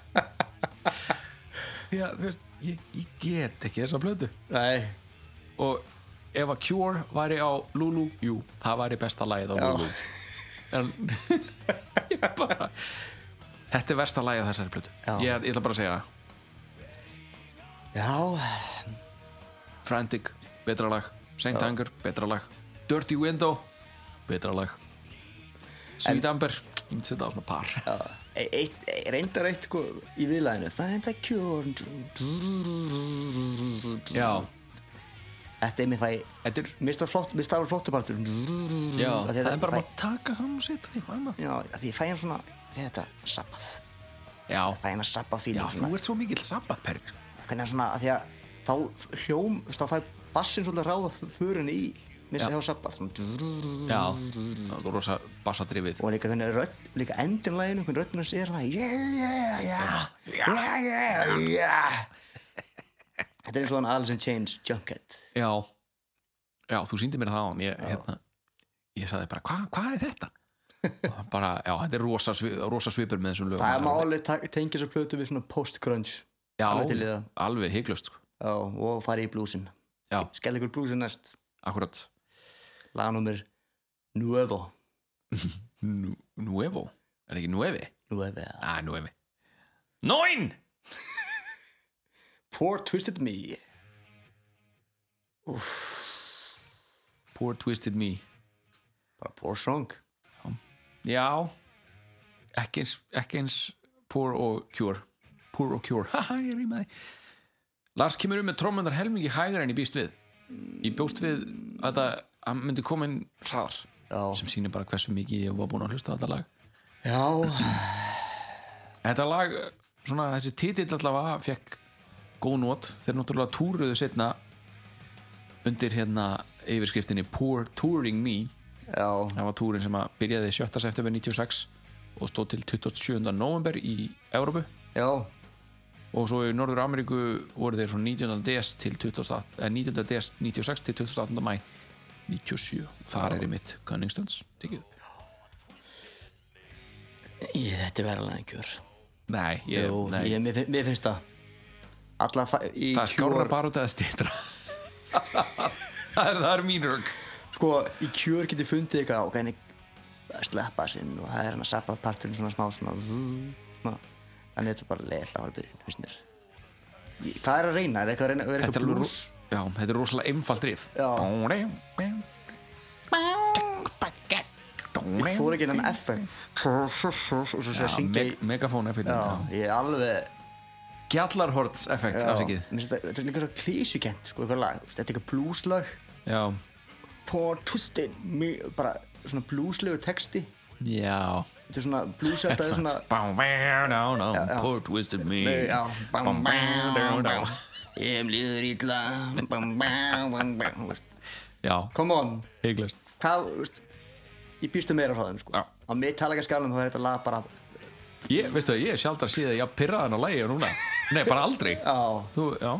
Speaker 8: því að þú veist ég, ég get ekki þessa blödu
Speaker 4: Nei,
Speaker 8: og ef að Cure væri á Lulu jú, það væri besta lagið á Lulu en ég bara þetta er versta lagið á þessari blödu
Speaker 4: Já.
Speaker 8: ég, ég ætla bara að segja það.
Speaker 4: já,
Speaker 8: Frantic, betra lag Saint Anger, betra lag Dirty Window, betra lag Sweet Amber Ég myndi setja á svona par
Speaker 4: E- eitt, e- reyndar eitt sko, í viðlæðinu Find a cure
Speaker 8: Já,
Speaker 4: Þetta er mér fæ
Speaker 8: þetta er
Speaker 4: Mér stafur flott, mér stafur flottupartur
Speaker 8: Já,
Speaker 4: Mm, Af því
Speaker 8: það
Speaker 4: þetta-
Speaker 8: er bara
Speaker 4: fæ-
Speaker 8: maður að taka hann og setja hann í eitthvað annað
Speaker 4: Já, af því ég fæ hann svona Þetta, sabbað
Speaker 8: Já,
Speaker 4: Fæ hann að sabbað
Speaker 8: já,
Speaker 4: fíling
Speaker 8: þú ert svo mikill sabbatperfi
Speaker 4: Hvernig hann svona, af því að Þá hljóm, þú veist, þá fæ bassin svolítið að ráða f- Förinni í, mér
Speaker 8: Já.
Speaker 4: sem hefur sabbað svona,
Speaker 8: Já, það er rosa bassadrifið
Speaker 4: Mm. Og líka hvernig rödd, líka endinlæginu Hvernig röddina sér hana Yeah, yeah, yeah Yeah, yeah, yeah Þetta er eins og hann Alice in Chains Junket
Speaker 8: Já, já, þú síndi mér það á hann Ég, hérna, ég sagði bara, "Hva- hvað er þetta? Og bara, já, þetta er rosa, svi- rosa svipur með þessum lögum
Speaker 4: Það má alveg ta- tengja þessu plötu við svona post-crunch
Speaker 8: Já,
Speaker 4: alveg til í það.
Speaker 8: alveg sko. hygglust
Speaker 4: Já, og fara í blúsin
Speaker 8: Já,
Speaker 4: Skell ykkur blúsin næst
Speaker 8: akkurat
Speaker 4: Lagnúmer Nuevo
Speaker 8: Nu- Nuevo, er það ekki Nuevi?
Speaker 4: Nuevo ja.
Speaker 8: Ah, Nuevi Neun!
Speaker 4: Poor Twisted Me
Speaker 8: Poor Twisted Me
Speaker 4: Bara poor song
Speaker 8: Já ekki eins, ekki eins Poor og Cure Poor og Cure, haha, ég rýma því Lars kemur um með trommundar helmingi hægra en ég býst við Ég bjóst við að það að myndi koma inn hraðar
Speaker 4: Já.
Speaker 8: sem sýnir bara hversu mikið ég var búin að hlusta á þetta lag
Speaker 4: Já,
Speaker 8: Þetta lag, svona þessi titill allavega fekk góð nót þeir náttúrulega túruðu setna undir hérna yfirskriftinni Poor Touring Me
Speaker 4: já,
Speaker 8: Það var túrin sem að byrjaði 7. september 96 og stóð til 27. november í Evrópu
Speaker 4: já
Speaker 8: og svo í Norður Ameríku voru þeir frá 19. des til 28, eh, 19. des 96 til 28. mæ 97 þar er í mitt Gunningstons tekið upp
Speaker 4: Í þetta er verðalega einhver
Speaker 8: Nei, ég,
Speaker 4: Jú,
Speaker 8: nei
Speaker 4: ég, mér, fin- mér finnst það Alla fa- í
Speaker 8: það er skárra
Speaker 4: Cure
Speaker 8: bara út af að stýtra það er, það er mín rögg
Speaker 4: Sko, í Cure geti fundið eitthvað á Hvernig sleppa sinn og það er hann að sabbað parturinn svona smá svona, svona Þannig þetta er bara leil á halbyrðin, finnst mér Í- Hvað er að reyna? Er eitthvað að reyna er
Speaker 8: þetta
Speaker 4: eitthvað
Speaker 8: er, alveg
Speaker 4: blues?
Speaker 8: ro- já, þetta er rosalega einfald rif
Speaker 4: Já. Ég þóra ekki hennan FN Og svo sé að syngja í
Speaker 8: megafón
Speaker 4: Já,
Speaker 8: effekt
Speaker 4: ég er alveg
Speaker 8: gjallarhorts effekt
Speaker 4: já,
Speaker 8: afsikið
Speaker 4: mér finnst þetta- Þetta er líka svo klísukent, sko, eitthvað lag þú veist, Þetta er eitthvað blueslag
Speaker 8: já,
Speaker 4: Poor twisted me Bara svona blueslegu texti
Speaker 8: já
Speaker 4: Þetta er svona blueslega, þetta er svona
Speaker 8: Bá, bá, ná,
Speaker 4: já.
Speaker 8: ná, poor twisted me
Speaker 4: Já, bá, bá,
Speaker 8: bá,
Speaker 4: bá
Speaker 8: ná.
Speaker 4: Ég hef líður ítla Bá, bá, bá, bá Þú veist,
Speaker 8: já,
Speaker 4: Come on
Speaker 8: hygglust
Speaker 4: Hvað, þú veist Ég býstu meira frá þeim, sko
Speaker 8: Já.
Speaker 4: Á mig tala ekki að skálum, þá er þetta lag bara
Speaker 8: ég, veistu það, ég er sjaldan síðan ég að pirra þann á lægi núna nei, bara aldrei
Speaker 4: Já,
Speaker 8: þú, já,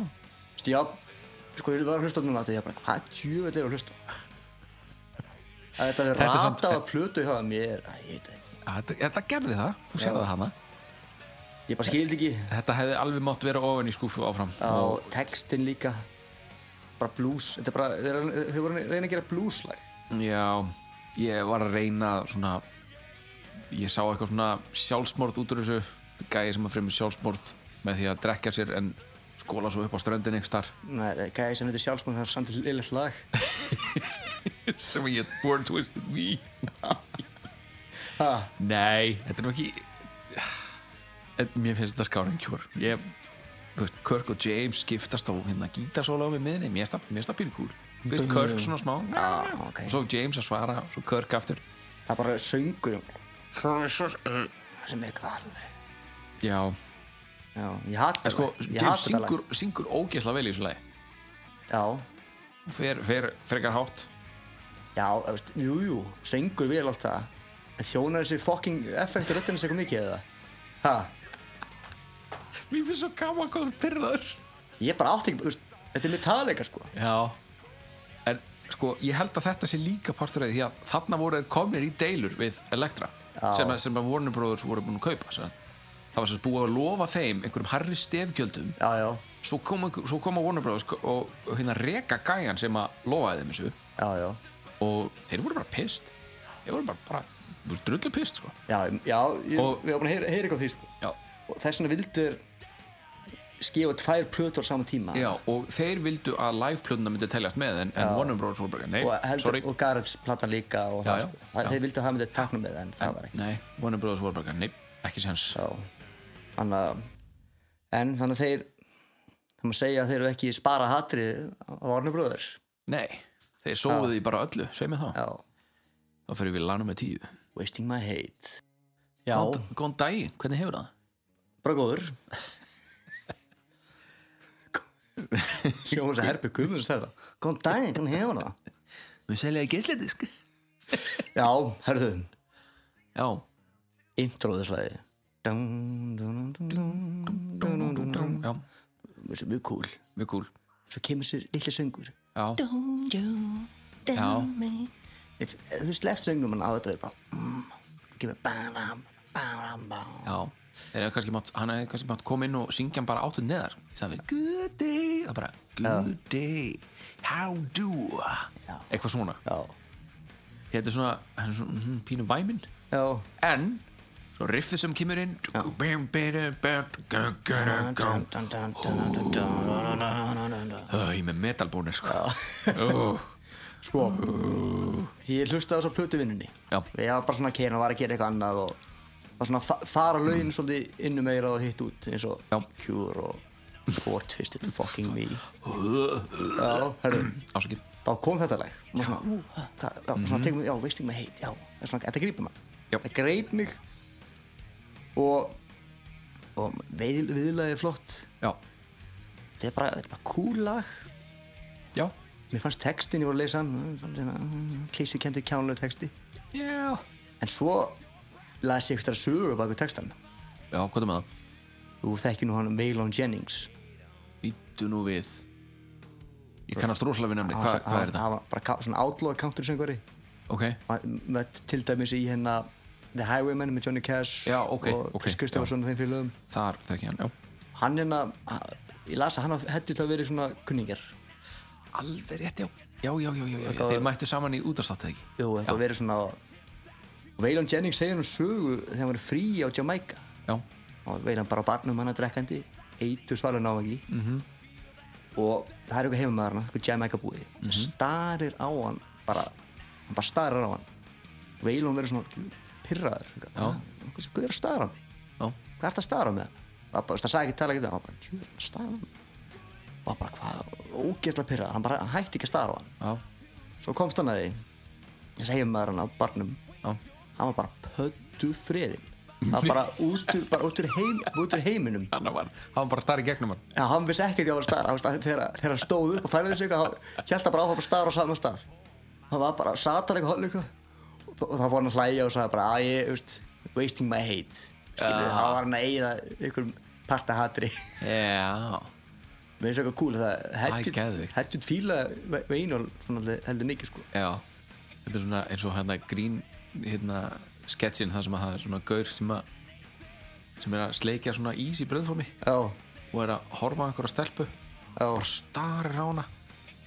Speaker 4: Þú veist, já, sko, ég var að hlusta á núna aftur, ég bara, hvað djúvel er að hlusta? á? Að þetta er
Speaker 8: Þetta er samt-
Speaker 4: ratað að plötu hjá þeim, ég er, að, ég veit það ekki.
Speaker 8: þetta, þetta gerði það þú sér það hana
Speaker 4: Ég bara skildi ekki
Speaker 8: þetta hefði alveg mátt vera ofan í skúfu áfram
Speaker 4: á textin líka, bara blues, þetta er bara, þeir, eru- þau voru að reyna að gera blueslag.
Speaker 8: já, ég var að reyna svona ég sá eitthvað svona sjálfsmorð út úr þessu gæi sem að fremur sjálfsmorð með því að drekka sér en skóla svo upp á ströndin einhver starf
Speaker 4: Nei, það er gæði sem heitir sjálfsmóð, það er samt lillitt lag.
Speaker 8: sem ég er born twisted me Nei, þetta er nú ekki En Mér finnst þetta skára en kjór Ég, þú veist, Kirk og James skiptast á hérna gítarsóla á mig miðinni Mér finnst það- mér finnst það pínu kúl Þú veist, Kirk svona smá
Speaker 4: Já, Ah, ok.
Speaker 8: Svo James að svara, svo Kirk aftur
Speaker 4: Það er bara söngur,
Speaker 8: eh.
Speaker 4: sem er eitthvað alveg.
Speaker 8: Já,
Speaker 4: Já, ég hata
Speaker 8: en sko,
Speaker 4: það, ég
Speaker 8: James
Speaker 4: hata það lag.
Speaker 8: syngur, syngur ógeðslega vel í þessu lagi
Speaker 4: Já,
Speaker 8: Fer, fer, frekar hátt
Speaker 4: Já, þú veist, jú, jú, söngur vel allt það En þjónar þessi fucking effekti röddinni eitthvað mikið eða? Ha,
Speaker 8: Mér finnst svo gaman hvað þú pyrraður
Speaker 4: ég bara átti ekki, þú veist, þetta er Metallica sko
Speaker 8: Já En sko, ég held að þetta sé líka partur af því að þarna voru þeir komnir í deilur við Elektra sem, að- sem að Warner Brothers voru búin að kaupa sem. að- Það var sem sagt búið að lofa þeim einhverjum harri stefgjöldum
Speaker 4: Já, já,
Speaker 8: svo koma, einhver- svo koma Warner Brothers og, og hérna reka gæjan sem að lofaði þeim þessu
Speaker 4: já, já
Speaker 8: og þeir voru bara pist þeir voru bara, bara voru drullu pist sko.
Speaker 4: Já, já, ég,
Speaker 8: Og-
Speaker 4: við varum búin að heyra, heyra eitthvað á því sko
Speaker 8: Já,
Speaker 4: Og þess vegna vildur gefa tvær plötur á sama tíma
Speaker 8: Já, og þeir vildu að liveplötuna myndi teljast með en, en Warner Bros. voru bara, nei,
Speaker 4: og, heldur,
Speaker 8: sorry
Speaker 4: og Gareths platan líka og
Speaker 8: Já,
Speaker 4: það,
Speaker 8: já,
Speaker 4: sko. Það- þeir vildu að það myndi takna með það en það var ekki
Speaker 8: Nei, Warner Bros. voru bara, nei, ekki sens
Speaker 4: Já, þannig að en þannig að þeir það má segja að þeir eru ekki spara hatri á Warner Brothers
Speaker 8: Nei, þeir sóðu því bara öllu, segir mig það
Speaker 4: já,
Speaker 8: Þá fyrir við lana með tíu
Speaker 4: wasting my hate já,
Speaker 8: Góðan- Góðan daginn, hvernig hefur það?
Speaker 4: bara góður Hljóðum þess að herbi guðmur sér það Góðan daginn, hvernig hefur það?
Speaker 8: Við seljaði geisledisk
Speaker 4: Já, herðu,
Speaker 8: Já,
Speaker 4: introðislega Mjög
Speaker 8: já,
Speaker 4: cool
Speaker 8: mjög cool
Speaker 4: Svo kemur sér litli söngur
Speaker 8: Já,
Speaker 4: Don't you
Speaker 8: Já.
Speaker 4: tell me If, ef Þú sleft söngnum hann á þetta er bara mm, Svo kemur ba-dam, ba-dam, ba-dam.
Speaker 8: já Þeir hefðu kannski mátt, hann hefði kannski mátt koma inn og syngja hann bara áttu neðar Það fyrir good day, það bara good day, how do Eitthvað svona
Speaker 4: Já
Speaker 8: Þetta er svona, hann er svona mm, pínu væminn
Speaker 4: Já
Speaker 8: En, svo riffið sem kemur inn Bim, bidi, bim, gum, gum, gum. Ö, Ég er með metalbónir sko Ó,
Speaker 4: Sko Ég hlustaði svo plötuvinnunni
Speaker 8: Já,
Speaker 4: Ég var bara svona að kena, var að gera eitthvað annað og var svona að fa- fara lögin svolítið innu meira og hitt út eins og
Speaker 8: Já.
Speaker 4: Cure og What Twisted Fucking Me Já, herru
Speaker 8: ásakið
Speaker 4: þá kom þetta lag og svona, ú, ha, hvað, já, svona tekum við, já, veistum við heit, já, það er svona, þetta grýpa mann
Speaker 8: Mhm. Já.
Speaker 4: það greip mig og og veið, viðlaði er flott
Speaker 8: Já,
Speaker 4: þetta er bara, þetta er bara cool lag
Speaker 8: já
Speaker 4: mér fannst textin, ég voru að lesa mm, hann klísu kendur kjánlega texti
Speaker 8: Já,
Speaker 4: en svo las ég eitthvað sögur baku textan
Speaker 8: já hvað er með það?
Speaker 4: þú þekkir nú hann Waylon Jennings
Speaker 8: Býttu nú við Ég kannast rosalega við nefni,
Speaker 4: Hann-
Speaker 8: hvað, hvað
Speaker 4: hann-
Speaker 8: er þetta?
Speaker 4: hann var bara ka- svona outlaw country söngari
Speaker 8: Ok,
Speaker 4: með til dæmis í hérna The Highwaymen með Johnny Cash
Speaker 8: Já, ok,
Speaker 4: og
Speaker 8: ok,
Speaker 4: Chris Kristofferson og þeim félögum
Speaker 8: þar þekki ég hann, já
Speaker 4: hann hérna ég las að hann hætti til að vera svona kunningar
Speaker 8: Alveg rétt, já Já, já, já, já, já, já. þeir mættu saman í útastátt þegar ekki
Speaker 4: Jú, eitthvað
Speaker 8: Já.
Speaker 4: verið svona Veilan Jennings segir hann sögu þegar hann var frí á Jamaica
Speaker 8: Já,
Speaker 4: og Veilan bara á barnum hann að drekkandi eitu svalun á ekki -hmm. og það er eitthvað heimamaður hann eitthvað Jamaica búið starir á hann bara, hann bara starir á hann Veilan verið svona pirraður
Speaker 8: Já.
Speaker 4: hversu guður starir á mig
Speaker 8: já,
Speaker 4: hvað ert að staðra með hann? Það bara, það sagði ekki, tala ekki við hann, hann bara, djú, hann staðra með hann. Og hann bara, hvað, ógeðslega pyrrað, hann bara, hann hætti ekki að staðra á hann.
Speaker 8: já,
Speaker 4: Svo komst hann að því, þessi heimmaður hann á barnum,
Speaker 8: já
Speaker 4: hann var bara pöttu friðin. Það var bara út úr, bara út úr, heim, út úr heiminum.
Speaker 8: Hann var, hann var bara starri gegnum hann
Speaker 4: Já, hann vissi ekkert hvað hann var að staðra, hann veist, þegar, þegar hann stóð upp og færði sig eitthvað, hann held að bara áfram að staðra á sama stað. Hann var bara, sat hann eitthvað, hann eitthvað, og, og þá fór hann að hlæja og sagði bara, að ég, þú veist, wasting my hate. Skilur, þá var hann að eigða einhverjum parta hatri.
Speaker 8: Já,
Speaker 4: Mér finnst eitthvað cool
Speaker 8: Æ, geðveikt.
Speaker 4: það Hedgett fíla veginn og svona held- heldur mikið sko
Speaker 8: já Þetta er svona eins og hérna grín hérna sketsin það sem að það er svona gaur sem að sem er að sleikja svona ís í bröðformi
Speaker 4: Já,
Speaker 8: og er að horfa á einhverja stelpu
Speaker 4: já,
Speaker 8: bara starir á hana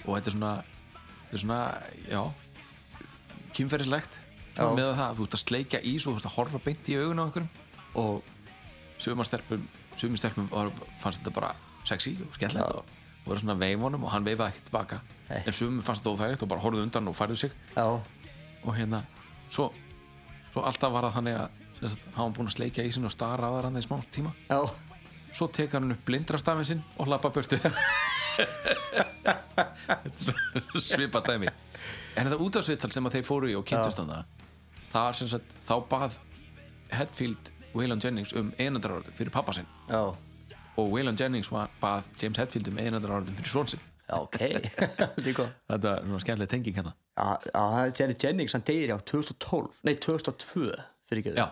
Speaker 8: og þetta er svona þetta er svona, já kynferðislegt
Speaker 4: Já.
Speaker 8: með það að þú ert að sleikja ís og þú ert að horfa beint í augun á einhverjum og sumar stelpum sumar stelpum var, fannst þetta bara sexy og skemmtilegt og og voru svona að veifa honum og hann veifaði ekki tilbaka
Speaker 4: Nei.
Speaker 8: en sumum fannst þetta óþægilegt og bara horfðu undan og færðu sig
Speaker 4: já,
Speaker 8: og hérna svo, svo alltaf var það þannig að sem sagt, hann var búinn að sleikja ísinn og stara á það hann í smá tíma
Speaker 4: já
Speaker 8: svo tekar hann upp blindrastafin sinn og lappa burtu svipa dæmi en þetta útafsviðtal sem að þeir fóru í og kynntust hann það var sem sagt þá bað Hetfield Waylon Jennings um einandrarorðin fyrir pappa sinn
Speaker 4: Já,
Speaker 8: og Waylon Jennings var- bað James Hetfield um einandrarorðin fyrir svon sinn
Speaker 4: já, ok Líka
Speaker 8: þetta er svona skemmtileg tenging hérna
Speaker 4: Já, já, það er Jerry Jennings, hann deyri á 2012 Nei, 2002 fyrir ekki
Speaker 8: já,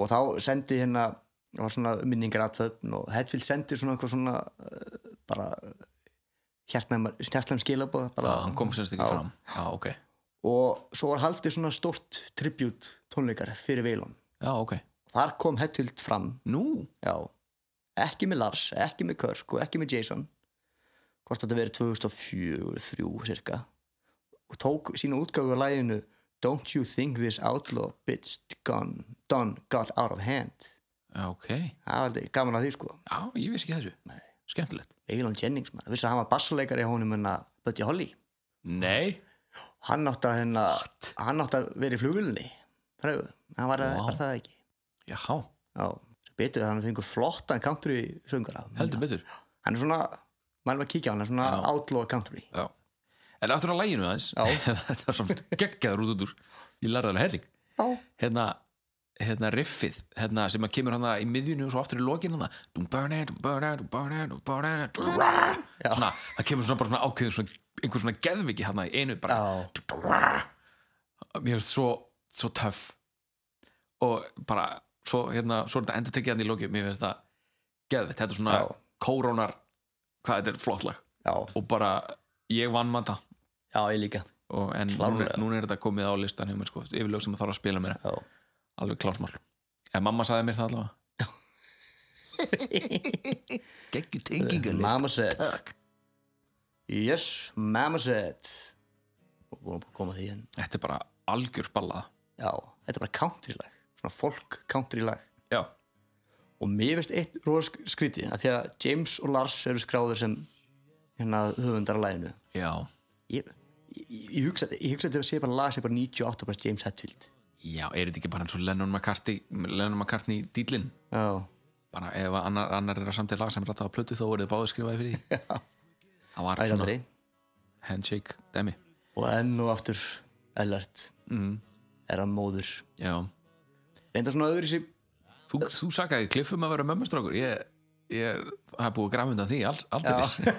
Speaker 4: Og þá sendi hérna Það var svona minningar aðtöfn og Hedfield sendi svona eitthvað svona uh, bara hjartnæm skilabóð
Speaker 8: já,
Speaker 4: bara,
Speaker 8: hann kom semst ekki
Speaker 4: Já.
Speaker 8: fram já, ok,
Speaker 4: og svo var haldið svona stort tribute tónleikar fyrir Veilon
Speaker 8: já, ok
Speaker 4: þar kom Hedfield fram
Speaker 8: nú,
Speaker 4: Já, ekki með Lars, ekki með Kirk og ekki með Jason hvort þetta verið 2004-3 cirka og tók sína útgáfu á læginu Don't you think this outlaw bitch gone, done got out of hand
Speaker 8: Já, ok,
Speaker 4: það var aldrei gaman að því sko
Speaker 8: já, ég vissi ekki þessu skemmtilegt,
Speaker 4: Elon Jennings, maður, vissi að hann var bassaleikari í honum en að Buddy Holly
Speaker 8: nei
Speaker 4: hann átti að, hérna, hann átti að vera í flugulunni fræðu, hann var,
Speaker 8: Vá.
Speaker 4: wow. var það ekki
Speaker 8: já,
Speaker 4: Já, sem betur við að hann fengur flottan country söngara
Speaker 8: heldur betur
Speaker 4: hann er svona, maður er að kíkja á hann er svona
Speaker 8: Já.
Speaker 4: outlaw country
Speaker 8: já. en aftur á læginu aðeins
Speaker 4: Já.
Speaker 8: það er samt geggjaður út út úr ég lærði alveg helling
Speaker 4: Já.
Speaker 8: hérna, hérna riffið hérna, sem að kemur hann í miðjunni og svo aftur í hérna. lokinu hann svona, það kemur svona bara svona ákveðin svona, einhver svona geðviki hann í einu bara
Speaker 4: Já.
Speaker 8: mér finnst svo, svo töff og bara svo, hérna, svo er þetta endur tekið hann í lokið mér finnst þetta geðvitt, þetta er svona
Speaker 4: Já.
Speaker 8: kórónar, hvað þetta er flott lag
Speaker 4: Já,
Speaker 8: og bara ég vann maður það
Speaker 4: já, ég líka
Speaker 8: og, en núna,
Speaker 4: Klárlega.
Speaker 8: núna er þetta komið á listan hjá mér sko, yfirlög sem það þarf að spila mér
Speaker 4: Já.
Speaker 8: alveg klásmál en mamma sagði mér það allavega geggjur tengingar
Speaker 4: Mama said Yes, mama said og búin að koma að því en
Speaker 8: þetta er bara algjör ballað
Speaker 4: já, þetta er bara country lag svona folk country lag
Speaker 8: já,
Speaker 4: og mér finnst eitt rosa skrítið að því að James og Lars eru skráður sem hérna höfundar að læginu
Speaker 8: já,
Speaker 4: ég, ég, ég hugsa ég hugsa að þetta sé bara lag sem er bara 98% James Hetfield
Speaker 8: já, er þetta ekki bara eins og Lennon McCartney Lennon McCartney dýtlin
Speaker 4: já,
Speaker 8: bara ef að annar, annar er að samtid lag sem rætta á plötu þá voru þið báðið skrifaði fyrir því það var
Speaker 4: ætla aldrei
Speaker 8: handshake dæmi
Speaker 4: og enn og aftur Ellert
Speaker 8: mm,
Speaker 4: er að móður
Speaker 8: já,
Speaker 4: reynda svona öðru sér
Speaker 8: þú, þú sakaði kliffum að vera mömmustrákur ég, ég það er búið að grafa undan því alls, aldrei já,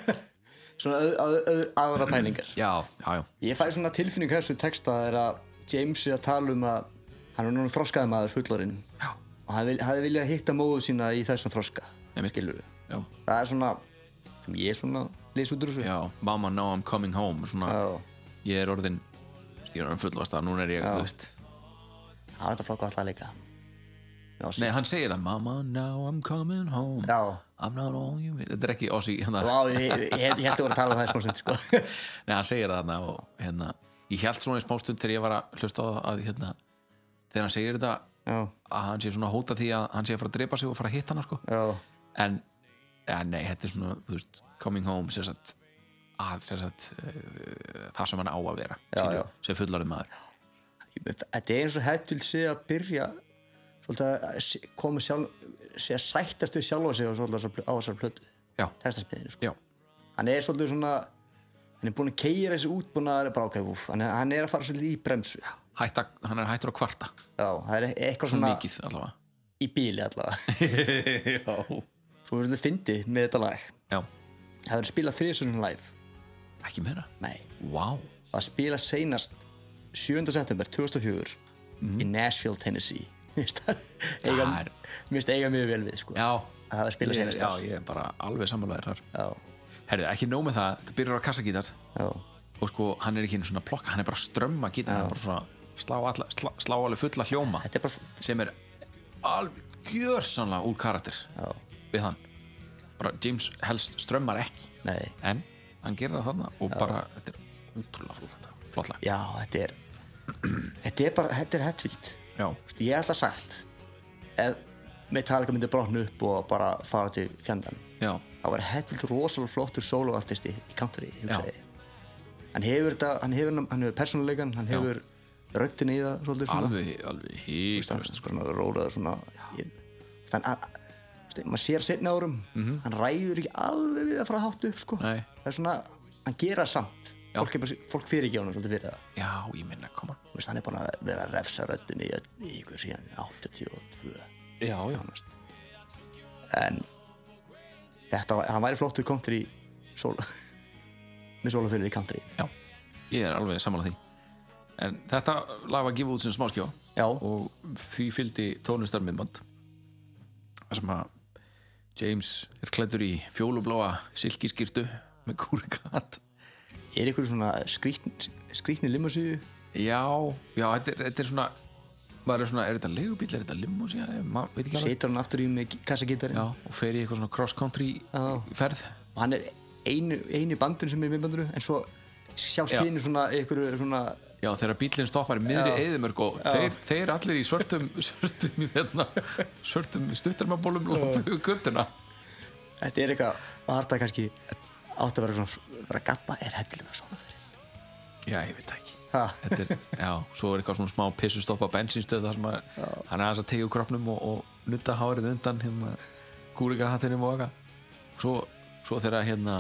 Speaker 4: svona öð, öð, öð, aðra pælingar
Speaker 8: já, já,
Speaker 4: ég fæ svona tilfinning af þessu texta er að James er að tala um að hann er núna þroskaði maður fullorinn
Speaker 8: já.
Speaker 4: og hann vil- hafði viljað hitta móðu sína í þessum þroska
Speaker 8: Nei,
Speaker 4: skilur við
Speaker 8: já.
Speaker 4: það er svona sem ég svona les út úr þessu
Speaker 8: já, mamma now I'm coming home svona,
Speaker 4: Já.
Speaker 8: ég er orðin ég er orðin fullvast að núna er ég þú veist,
Speaker 4: það var þetta flokka alltaf líka já,
Speaker 8: nei hann segir það mamma now I'm coming home
Speaker 4: já.
Speaker 8: I'm not all you þetta er ekki Ossi hérna,
Speaker 4: Vá, ég, ég, ég held- ég held að voru að tala um það í smá stund sko.
Speaker 8: nei hann segir það þarna og hérna ég held svona í smástund þegar ég var að hlusta á það að hérna þegar hann segir þetta
Speaker 4: já,
Speaker 8: að hann sé svona að hóta því að hann sé að fara að drepa sig og fara að hitta hana sko
Speaker 4: já,
Speaker 8: en, en nei, þetta er svona þú veist, coming home sér satt, að sér satt, uh, það sem hann á að vera
Speaker 4: Já,
Speaker 8: skilju,
Speaker 4: já.
Speaker 8: sem fullarðið maður
Speaker 4: þetta er eins og hættul sé að byrja svolítið að se- koma sjálf sé að sættast við sjálfa sig á svolítið þessar- á þessar plötu
Speaker 8: já,
Speaker 4: testasmiðinu sko.
Speaker 8: já,
Speaker 4: hann er svolítið svona hann er búin að keira þessi útbúnaðar bara, okay, úf, hann, er, hann er að fara svolítið í bremsu já,
Speaker 8: hætta, hann er hættur að kvarta
Speaker 4: það er eitthvað svona
Speaker 8: mikið allavega
Speaker 4: í bíli allavega
Speaker 8: já.
Speaker 4: svo við svolítið fyndið með þetta lag
Speaker 8: já,
Speaker 4: það er spilað þrið svona live
Speaker 8: ekki meira
Speaker 4: nei,
Speaker 8: wow.
Speaker 4: að spila seinast 7. september 2004
Speaker 8: Mhm.
Speaker 4: í Nashville, Tennessee Mér finnst það- eiga,
Speaker 8: Það er-
Speaker 4: mér finnst eiga mjög vel við sko.
Speaker 8: já,
Speaker 4: að það var spilað
Speaker 8: ég,
Speaker 4: seinast
Speaker 8: já,
Speaker 4: þar.
Speaker 8: ég er bara alveg sammálaðir þar
Speaker 4: já,
Speaker 8: herðu, ekki nóg með það, það byrjar á kassagítar
Speaker 4: já,
Speaker 8: og sko, hann er ekki einu svona plokka, hann er bara að strömma gítar, hann er bara svona slá, alla, slá, slá alveg fulla hljóma
Speaker 4: þetta er bara
Speaker 8: sem er algjörsanlega úr karakter
Speaker 4: já,
Speaker 8: við hann bara James helst strömmar ekki
Speaker 4: nei,
Speaker 8: en hann gerir það þarna og bara þetta er útrúlega flott, flott lag
Speaker 4: já, þetta er þetta er bara, þetta er hettvilt
Speaker 8: já,
Speaker 4: ég hef alltaf sagt ef Metallica myndi brotna upp og bara fara til fjandan
Speaker 8: já,
Speaker 4: þá var Hetfield rosalega flottur soloartisti í country,
Speaker 8: Já.
Speaker 4: hugsaði ég. hann hefur þetta, hann hefur, hann hefur persónuleikan hann hefur röddina í það svolítið svona
Speaker 8: alveg, alveg híkust
Speaker 4: Veist, hann er rólegur svona ég, veist, hann, hann, veist, maður sér setna árum hann ræður ekki alveg við að fara hátt upp sko.
Speaker 8: Mhm. Nei.
Speaker 4: það er svona, hann gera það samt
Speaker 8: Já.
Speaker 4: fólk, er bara, fólk fyrir ekki á hann fyrir það
Speaker 8: já, ég minna, koma
Speaker 4: Þú veist, hann er búin að vera að refsa röddin í, í ykkur síðan 82
Speaker 8: já, já,
Speaker 4: nánast. en þetta, var- hann væri flottur country solo með solo fyrir í country
Speaker 8: já ég er alveg sammála því en þetta lag var að gefa út sem smáskjá
Speaker 4: já,
Speaker 8: og því fylgdi tónlistarmiðband þar sem að James er klæddur í fjólubláa silkiskirtu með kúrikat
Speaker 4: er ykkur svona skrítni, skrítni limusíu
Speaker 8: Já, já, þetta er, þetta er svona maður er svona, er þetta legubíl, er þetta limmús maður veit ekki alveg
Speaker 4: setur hann aftur í með kassagítarinn
Speaker 8: Já, og fer í eitthvað svona cross country
Speaker 4: Já.
Speaker 8: ferð
Speaker 4: og hann er einu, einu bandin sem er í myndbandinu en svo sjást
Speaker 8: Já.
Speaker 4: hinn svona einhverju svona
Speaker 8: Já, þegar bílinn stoppar í miðri eðimörk og þeir, þeir allir í svörtum svörtum, hérna, svörtum stuttarmabólum og göttuna
Speaker 4: Þetta er eitthvað, maður þarf það kannski átt að vera svona, vera gappa er hellilega svona fyrir.
Speaker 8: Já, ég veit það ekki
Speaker 4: Ha.
Speaker 8: Þetta er, já, svo er eitthvað svona smá pissustoppa bensínstöð þar sem að hann er aðeins að tegja úr kroppnum og, og nutta hárið undan hérna kúrika hattinum og eitthvað svo, svo þegar hérna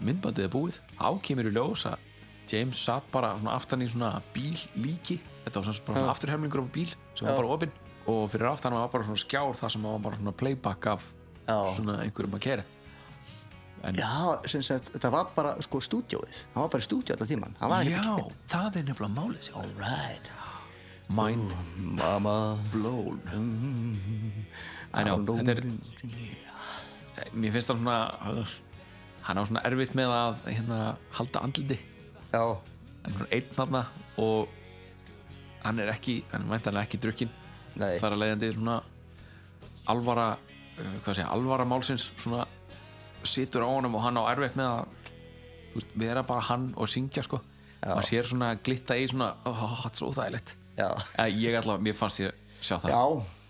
Speaker 8: myndbandið er búið, þá kemur í ljós að James satt bara svona aftan í svona bíl líki, þetta var svona bara afturhemlingur á bíl sem var bara opinn og fyrir aftan var bara svona skjár þar sem var bara svona playback af
Speaker 4: Já.
Speaker 8: svona einhverjum að kera
Speaker 4: Já, sem sagt, þetta var bara sko stúdjóið, hann var bara í stúdjó allan tíman, hann var ekki
Speaker 8: Já, það er nefnilega málið sér
Speaker 4: Alright,
Speaker 8: Mind
Speaker 4: mama blown
Speaker 8: I know, þetta er Eh, mér finnst hann svona hann á svona erfitt með að hérna, halda andliti
Speaker 4: Já,
Speaker 8: hann er svona einn þarna og hann er ekki, hann væntanlega ekki drukkin
Speaker 4: nei,
Speaker 8: þar að leiðandi svona alvara uh, hvað segja, alvara málsins svona situr á honum og hann á erfitt með að þú veist, vera bara hann og syngja sko maður sér svona glitta í svona ó, þetta er svo óþægilegt
Speaker 4: já
Speaker 8: Eh, ég allavega, mér fannst ég sjá það
Speaker 4: Já.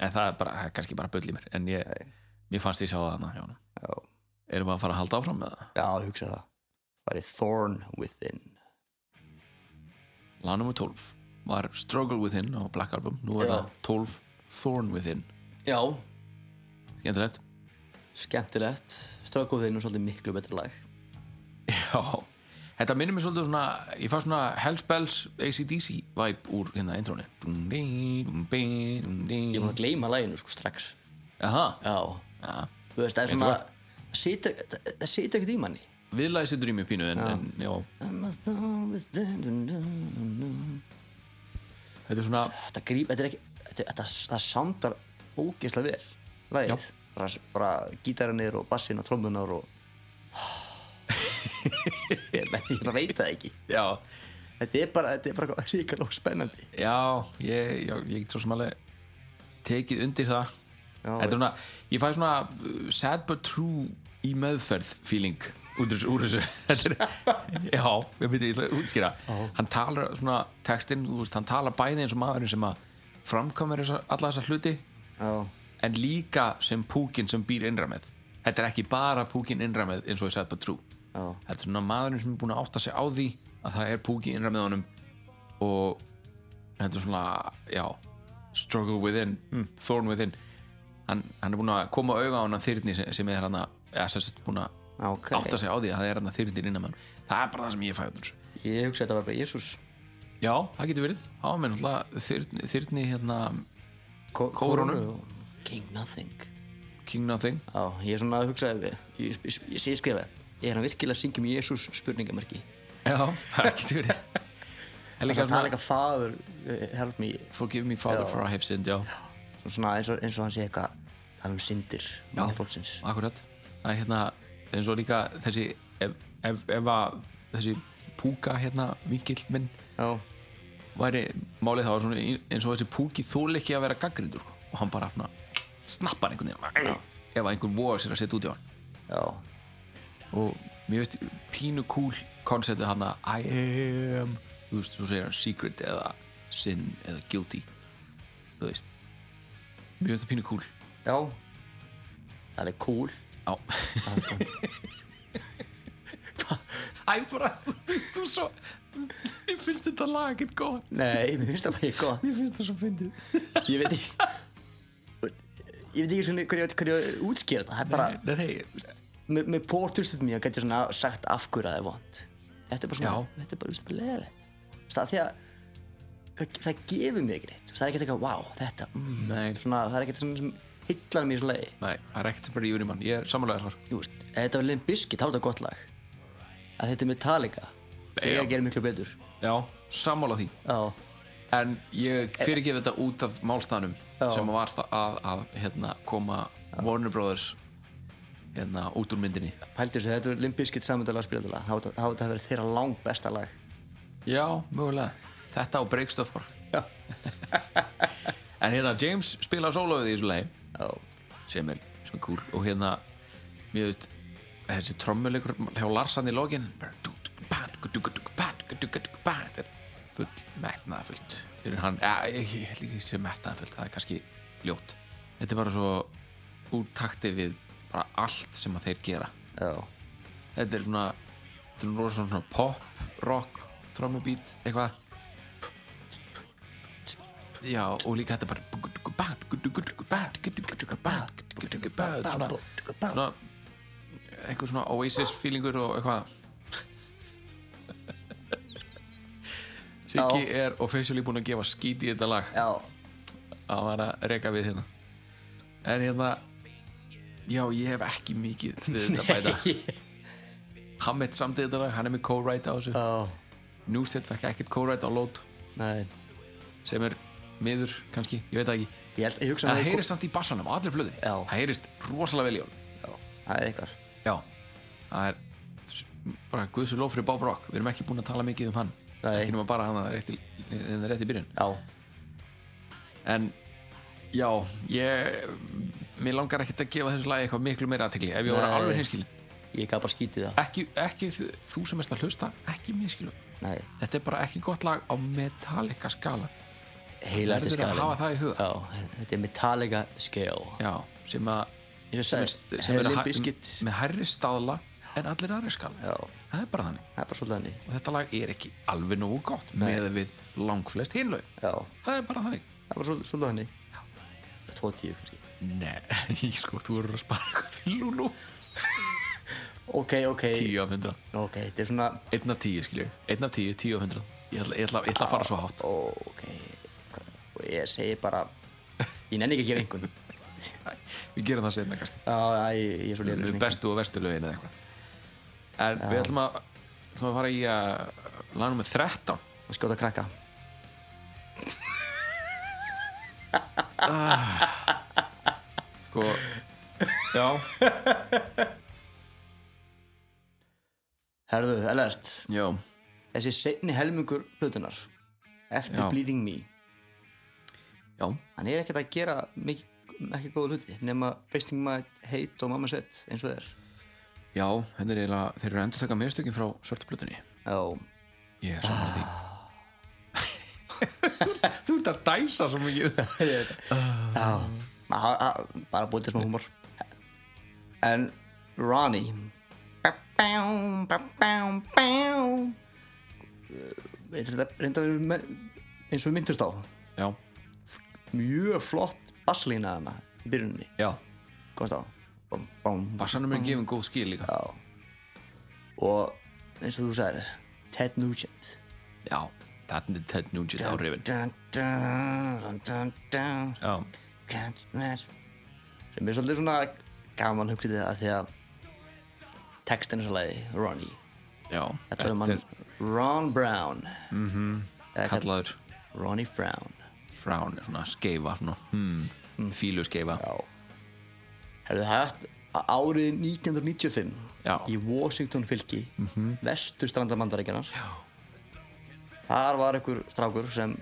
Speaker 8: en það er bara, það er kannski bara bull í mér en ég, mér fannst ég sjá það hana hjá honum
Speaker 4: Já.
Speaker 8: erum við að fara að halda áfram með það
Speaker 4: Já, ég hugsa það Var í Thorn Within
Speaker 8: lag nummer 12 var Struggle Within á Black Album nú er
Speaker 4: Já.
Speaker 8: það 12 Thorn Within
Speaker 4: Já,
Speaker 8: skemmtilegt
Speaker 4: skemmtilegt Strökuðin er svolítið miklu betri lag
Speaker 8: Já, þetta minnir mér svolítið svona ég fann svona Hells Bells ACDC vibe úr hérna intróni
Speaker 4: Ég er búin
Speaker 8: Jaha,
Speaker 4: að gleyma laginu sko strax Já,
Speaker 8: já
Speaker 4: þú veist, það er
Speaker 8: Veistu
Speaker 4: svona
Speaker 8: hvað?
Speaker 4: Það situr- það- það situr ekkert í manni
Speaker 8: viðlæði situr í mér pínu en, en já,
Speaker 4: I'm a Thorn Within
Speaker 8: þetta er svona
Speaker 4: þetta gríp, þetta er ekki þetta, þetta, það samdar ógeðslega vel lagið, bara, bara gítarinnir og bassinn og trommunar og ég, veit- ég bara veit það ekki
Speaker 8: já,
Speaker 4: þetta er bara, þetta er bara ríkar og spennandi
Speaker 8: Já, ég, já, ég get svo sem alveg tekið undir það
Speaker 4: Já,
Speaker 8: Þetta er svona, ég fæ svona uh, sad but true í meðferð feeling úr þessu, úr þessu. Þetta er, Já, ég veit, ég ætla að útskýra Hann talar svona textinn, þú veist, hann talar bæði eins og maðurinn sem að framkomur alla þessa hluti
Speaker 4: já,
Speaker 8: en líka sem púkin sem býr innra með Þetta er ekki bara púkin innra með eins og ég sad but true
Speaker 4: já,
Speaker 8: þetta er svona maðurinn sem er búin að átta sig á því að það er púki innra með honum og þetta er svona já, struggle within mm, thorn within hann, hann er búin að koma auga á hann þyrni sem, sem er hann að, eða sem sagt búin að
Speaker 4: ok
Speaker 8: átta sig á því að það er hann að þyrnir innan með honum það er bara það sem ég fæ út úr þessu
Speaker 4: ég hugsa að þetta var bara Jésús
Speaker 8: já, það getur verið, þá er mér náttúrulega þyrni, þyrni hérna Kórónu.
Speaker 4: King Nothing
Speaker 8: King Nothing
Speaker 4: já, ég er svona að hugsa ég, ég, ég, ég, ég skrifa ég er hann virkilega að syngja um Jésús spurningamarki
Speaker 8: já, það getur verið en líka
Speaker 4: það er
Speaker 8: svona
Speaker 4: eitthvað faður eh, help me
Speaker 8: forgive me father
Speaker 4: Já.
Speaker 8: for I have sinned já,
Speaker 4: svona eins og, eins og hann sé eitthvað tala um syndir mannfólksins
Speaker 8: akkurat það er hérna eins og líka þessi ef, ef, ef að þessi púka hérna vingill minn
Speaker 4: já,
Speaker 8: væri málið þá var svona í- eins og þessi púki þól ekki að vera gaggrindur sko. og hann bara svona snappar einhvern veginn bara, ef að einhver vogar sér að setja út í hann
Speaker 4: já,
Speaker 8: og mér veist pínu cool konceptið hann að I am þú veist, þú segir hann secret eða sin eða guilty þú veist mér veist það pínu cool
Speaker 4: já það er cool
Speaker 8: Já Æ, bara, þú svo Ég finnst þetta lag ekkert gott
Speaker 4: nei, mér finnst það bara ekki gott
Speaker 8: Ég finnst það svo fyndið
Speaker 4: ég veit ekki ég veit ekki svona hvernig ég, hvernig ég útskýra þetta það er bara,
Speaker 8: Nei, nei,
Speaker 4: með, með pórstustum mér gæti ég svona sagt af hverju að það er vond þetta er bara svona,
Speaker 8: Já.
Speaker 4: þetta er bara, veist, bara leðilegt það er því að það, það gefur mér ekkert neitt. það er ekkert eitthvað, wow, þetta mm,
Speaker 8: nei,
Speaker 4: svona, það er ekkert svona sem hillar mér í slagi
Speaker 8: nei Það er ekkert sem bara í unni mann Ég er samanlega þar
Speaker 4: Jú, veist, ef þetta var Limp Bizkit, þá er þetta gott lag að þetta er Metallica
Speaker 8: Já.
Speaker 4: þegar gerir miklu betur
Speaker 8: Já, sammála því
Speaker 4: já,
Speaker 8: En ég fyrirgef þetta út af málstæðanum
Speaker 4: Eh. Já.
Speaker 8: sem var það að, að hérna, koma Warner Brothers hérna, út úr myndinni
Speaker 4: pældi þessu, þetta er Limp Bizkit samöndalega spilatalega, þá hefði þetta verið þeirra langt besta lag
Speaker 8: Já, mögulega Þetta á breykstof bara
Speaker 4: Já.
Speaker 8: En hérna, James spila sólóið í þessu lagi
Speaker 4: já,
Speaker 8: sem er, sem er cool og hérna, mér veist þessi trommuleikur hjá Larsan í lokin bara dú- dú- ba- dú- dú- dú- dú- ba- dú- dú- dú- ba- þetta er full metnaðfullt fyrir hann, ja, ég ég held ekki að sé metnaðfullt það er kannski ljótt þetta er bara svo úttakti við bara allt sem að þeir gera
Speaker 4: já,
Speaker 8: þetta er svona þetta er svona rosa svona pop, rock trommubít, eitthvað já, og líka þetta bara svona svona eitthvað svona Oasis feelingur og eitthvað Siggi er officially búinn að gefa skít í þetta lag
Speaker 4: já,
Speaker 8: að hann var að reka við hérna en hérna já, ég hef ekki mikið við þetta að bæta Hammett samt þetta lag, hann er með co-write á þessu
Speaker 4: já
Speaker 8: Newstead fekk ekkert co-write á lót
Speaker 4: nei,
Speaker 8: sem er miður kannski, ég veit það ekki
Speaker 4: ég held, ég hugsa
Speaker 8: en
Speaker 4: að
Speaker 8: það heyrist samt í bassanum, á allri blöðinni
Speaker 4: Já.
Speaker 8: það heyrist rosalega vel í honum
Speaker 4: já, það er eitthvað
Speaker 8: já, það er bara guðsur lof fyrir Bob Rock við erum ekki búin að tala mikið um hann
Speaker 4: Nei.
Speaker 8: ekki nema bara hann að rétt í, hérna rétt í byrjun
Speaker 4: já,
Speaker 8: en já, ég mér langar ekkert að gefa þessu lagi eitthvað miklu meira aðtekli ef ég voru
Speaker 4: Nei.
Speaker 8: alveg hinskilin
Speaker 4: ég gaf bara skítið það
Speaker 8: ekki, ekki þ- þú sem erst að hlusta ekki miskilu,
Speaker 4: nei,
Speaker 8: þetta er bara ekki gott lag á Metallica skala
Speaker 4: heila
Speaker 8: Verður að hafa það í huga.
Speaker 4: já, þetta er Metallica scale
Speaker 8: já, sem að
Speaker 4: eins og
Speaker 8: sem er,
Speaker 4: sagði,
Speaker 8: sem er
Speaker 4: Limp
Speaker 8: að,
Speaker 4: Bizkit já,
Speaker 8: með hærri stáðla en allir aðri skala
Speaker 4: það
Speaker 8: það er bara þannig
Speaker 4: er bara svolítið hannig
Speaker 8: og þetta lag er ekki alveg nógu gott með við langflest hinlaug
Speaker 4: já, það
Speaker 8: það er bara þannig
Speaker 4: er bara svolítið- svolítið hannig 2.10 kannski
Speaker 8: nei, sko, þú verður að spara eitthvað til Lulu
Speaker 4: ok, ok,
Speaker 8: 10 af 100
Speaker 4: ok, þetta er svona
Speaker 8: 1 af 10 skilju, 1 af 10, 10 af 100 ég ætla, ég ætla, ég ætla að fara svo hátt
Speaker 4: ok og ég segi bara ég nenni ekki að gefa einhvern
Speaker 8: Æ, við gerum það seinna kannski
Speaker 4: já, já, ég, ég er svo
Speaker 8: við
Speaker 4: lélegur
Speaker 8: erum
Speaker 4: sem
Speaker 8: bestu og verstu lögin eða eitthvað en við ætlum að, ætlum að fara í uh, að laga nummer 13
Speaker 4: einhvern. og skjóta krakka
Speaker 8: sko, já,
Speaker 4: herðu, elert
Speaker 8: já
Speaker 4: þessi seinni helmingur plötunar eftir
Speaker 8: Já.
Speaker 4: Bleeding Me
Speaker 8: já,
Speaker 4: hann er ekkert að gera mikið, ekki góða hluti nema Wasting My Hate og Mama Set eins og þeir
Speaker 8: já, þetta er eiginlega þeir eru að endur taka meðstökin frá svörtublutinni
Speaker 4: já,
Speaker 8: ég er saman því þú ert að dæsa svo mikið
Speaker 4: ma- ha- ha- bara búið til smá húmor en Ronnie Ba-bám, ba-bám, bám. Eh, þetta reynda að vera með- eins og við myndist á
Speaker 8: já,
Speaker 4: mjög flott basslína hana í byrjunni
Speaker 8: já,
Speaker 4: komst á bom, bom,
Speaker 8: bassanum er gefin góð skil líka
Speaker 4: já. og eins og þú sagðir Ted Nugent
Speaker 8: já, þetta er Ted Nugent á rifin
Speaker 4: dun, dun, dun, dun,
Speaker 8: já,
Speaker 4: can't match sem er svolítið svona gaman hugsið þetta því að textin er svo leiði, Ronnie
Speaker 8: já,
Speaker 4: þetta er um hann Ron Brown mm -hmm.
Speaker 8: kallaður
Speaker 4: Ronnie Brown
Speaker 8: frán, svona skeifa svona, hmm, fílu skeifa
Speaker 4: Mm. já hefðu hægt árið 1995
Speaker 8: Já. Mhm.
Speaker 4: í Washington fylki mm -hmm. vestur strandamandaríkjarnar þar var einhver strákur sem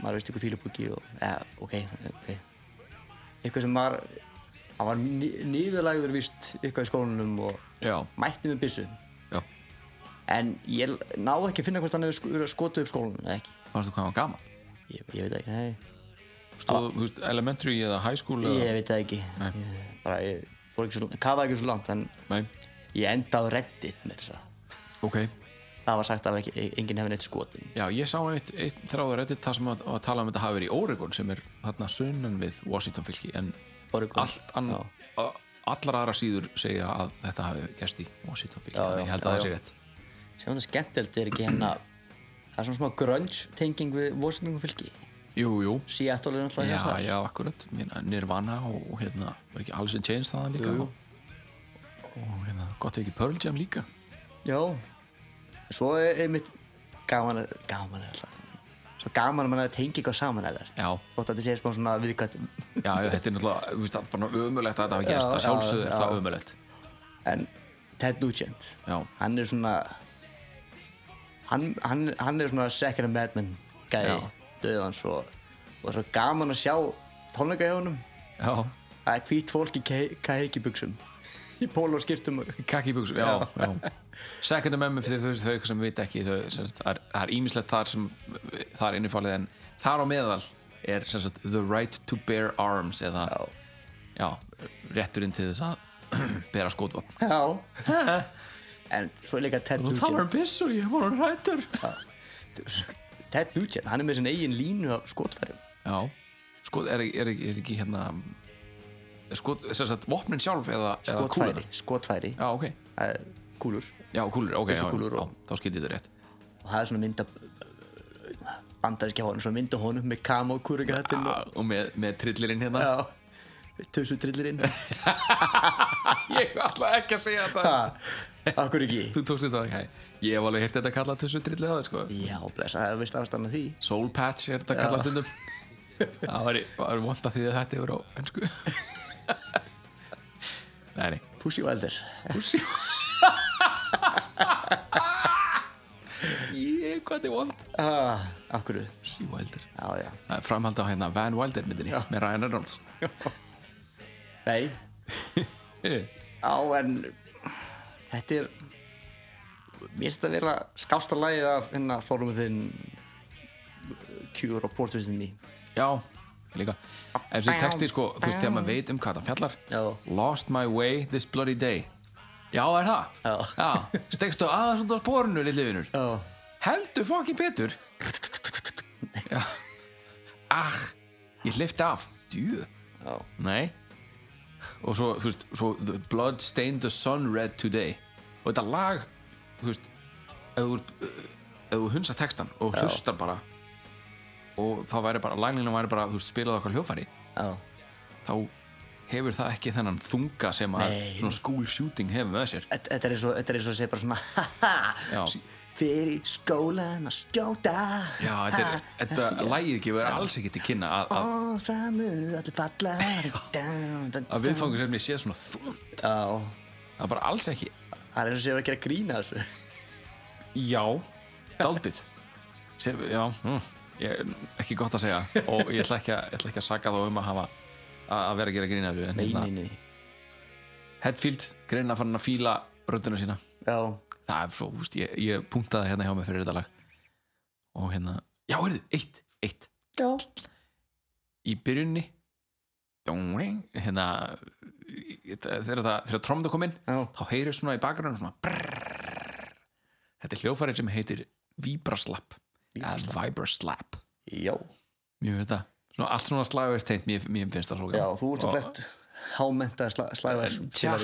Speaker 4: maður veist ykkur fílubúki og ja, ok, ok eitthvað sem var hann var nýðurlægur vist eitthvað í skólanum og
Speaker 8: já,
Speaker 4: mætti með byssu
Speaker 8: já,
Speaker 4: en ég náði ekki að finna hvort hann hefur sk- verið að skotið upp skólanum eða ekki,
Speaker 8: varstu hvað hann var gaman
Speaker 4: ég, ég veit það ekki nei,
Speaker 8: stóð, þú veist, elementary eða high school eða,
Speaker 4: ég veit það ekki
Speaker 8: Nei.
Speaker 4: ég, bara ég fór ekki svo, kafaði ekki svo langt en
Speaker 8: nei,
Speaker 4: Ég enda á Reddit með þess að
Speaker 8: ok
Speaker 4: Það var sagt að það var ekki, enginn hefði neitt skotin
Speaker 8: já, ég sá eitt, eitt þráður reddit þar sem að, að tala um þetta hafi verið í Oregon sem er þarna sunnan við Washington fylki en
Speaker 4: Oregon.
Speaker 8: allt annar allar aðra síður segja að þetta hafi gerst í Washington fylki,
Speaker 4: Já,
Speaker 8: þannig
Speaker 4: já,
Speaker 8: ég
Speaker 4: já,
Speaker 8: held að það sé
Speaker 4: já.
Speaker 8: rétt
Speaker 4: Sem þetta skemmtilegt er ekki hérna Það er svona smá grunge tenging við Washington fylki
Speaker 8: jú, jú,
Speaker 4: Seattle er náttúrulega
Speaker 8: já,
Speaker 4: hérna
Speaker 8: já, akkurat Minna, Nirvana og, og hérna, var ekki Alice in Chains þaðan líka
Speaker 4: Jú, jú.
Speaker 8: og, og hérna, gott ef ekki Pearl Jam líka
Speaker 4: Já Svo er einmitt gaman er, gaman er alltaf Svo gaman er mann að tengi eitthvað saman eða verð
Speaker 8: já,
Speaker 4: Þótt að þetta sé smá svona viðkvæmt
Speaker 8: Já, já, þetta er náttúrulega, þú veist, það er bara ömulegt að þetta hafi
Speaker 4: Já,
Speaker 8: gerst, að
Speaker 4: já,
Speaker 8: sjálfsögðu er
Speaker 4: já.
Speaker 8: það ömulegt.
Speaker 4: En Ted Nugent
Speaker 8: Já,
Speaker 4: Hann er svona Hann, hann, hann er svona second amendment gæði
Speaker 8: Já.
Speaker 4: Döðans og, og svo gaman að sjá tónleika hjá honum
Speaker 8: já,
Speaker 4: Það er hvít fólk í kaheikibuxum í pól og skiptum og
Speaker 8: Kaki buksum, já, já. Second Amendment fyrir þau, þau sem veit ekki þau, sem sagt, það er- það er ímislegt þar sem það er innifálið en þar á meðal er sem sagt, the right to bear arms eða já. rétturinn til þess að bera skotvapn
Speaker 4: Já En svo er líka Ted Nugent
Speaker 8: um pissu, ég var hann rættur um-
Speaker 4: Ted Nugent, hann er með sinna eigin línu af skotfærum
Speaker 8: Já, skot, er, er, er, er ekki hérna er skot, sem sagt, vopnin sjálf eða, eða
Speaker 4: Skotfæri,
Speaker 8: kúlur
Speaker 4: skotfæri
Speaker 8: Já, ok,
Speaker 4: Það er Kúlur
Speaker 8: já, kúlur, ok, já,
Speaker 4: Byssukúlur
Speaker 8: já,
Speaker 4: og-
Speaker 8: þá skildi ég þetta rétt
Speaker 4: Og það er svona mynda Bandarískja honum, svona mynda honum Með kam og kúrikahattinn og
Speaker 8: Og með, með trillirinn hérna
Speaker 4: Já Tussutrillirinn
Speaker 8: Ég ætla ekki að segja þetta
Speaker 4: Akkur ekki
Speaker 8: Þú tókst þetta ekki Ég hef alveg hirt þetta að kalla tussu drillið á þér sko
Speaker 4: Já, blessa, það er vist afstanna því
Speaker 8: Soul patch er þetta að kalla stundum Það var, var vond að því að þetta yfir á ennsku Nei, nei
Speaker 4: Pussy Wilder
Speaker 8: Pussi Ég, hvað þetta er vond
Speaker 4: ah, Akkur, já,
Speaker 8: Pussi Wilder
Speaker 4: já
Speaker 8: Það er Framhald á hérna Van Wilder myndinni
Speaker 4: Já.
Speaker 8: með Ryan Reynolds
Speaker 4: Nei Já, en Þetta er Mér finnst þetta að vera skásta lagið af hérna Þorlum þinn Cure og Portraits in Me
Speaker 8: Já, líka En þessi texti sko, þú veist, þegar maður veit um hvað það fjallar
Speaker 4: Já.
Speaker 8: Lost my way this bloody day Já, er það?
Speaker 4: Já.
Speaker 8: Já, stegstu aðeins út á spórinu, lilli vinur
Speaker 4: Já,
Speaker 8: Heldur fokkin Petur Já Ah, ég hlifti af Djú
Speaker 4: Já.
Speaker 8: Nei Og svo, þú veist, svo The blood stained the sun red today Og þetta lag, þú veist Ef þú, ert- eh, ef þú hunsa textan og hlustar bara Og þá væri bara, laglinu væri bara, þú veist, spilað okkar hljófæri
Speaker 4: já,
Speaker 8: Þá hefur það ekki þennan þunga sem að
Speaker 4: Nei.
Speaker 8: svona school shooting hefur með sér
Speaker 4: þetta þetta er eins og þetta er eins og að segja bara svona Haha,
Speaker 8: Já.
Speaker 4: fyrir skólan að skjóta
Speaker 8: Já, þetta, er, þetta lægið ekki verið alls ekki til kynna að,
Speaker 4: Ó,
Speaker 8: að,
Speaker 4: það munu allir falla Dun, dun,
Speaker 8: að
Speaker 4: dun.
Speaker 8: viðfangarsefni sé svona þungt
Speaker 4: Já,
Speaker 8: Það er bara alls ekki
Speaker 4: það er eins og segja að gera grína þessu
Speaker 8: Já Daldið Sef, Já, mm, ég, ekki gott að segja Og ég ætla ekki að, ég ætla ekki að saka þá um að hafa að að vera að gera grína þessu en hérna,
Speaker 4: nei
Speaker 8: Hetfield, greina farin að fíla rödduna sína
Speaker 4: Já,
Speaker 8: Það er svo, úst, ég, ég punktaði hérna hjá mig fyrir þetta lag Og hérna Já, heyrðu, eitt, eitt
Speaker 4: já,
Speaker 8: í byrjunni dóring, hérna í- í- þegar það, þegar trómda kom inn
Speaker 4: Já.
Speaker 8: þá heyrið svona í bakgrunum svona brrrr. þetta er hljófarið sem heitir Vibraslap eða Vibraslap
Speaker 4: já,
Speaker 8: mér finnst það, svona, allt svona slagverist teint mér, mér finnst það svo gaman.
Speaker 4: já, þú ert
Speaker 8: Og-
Speaker 4: að flett hámentaði sla, slæðar
Speaker 8: tja,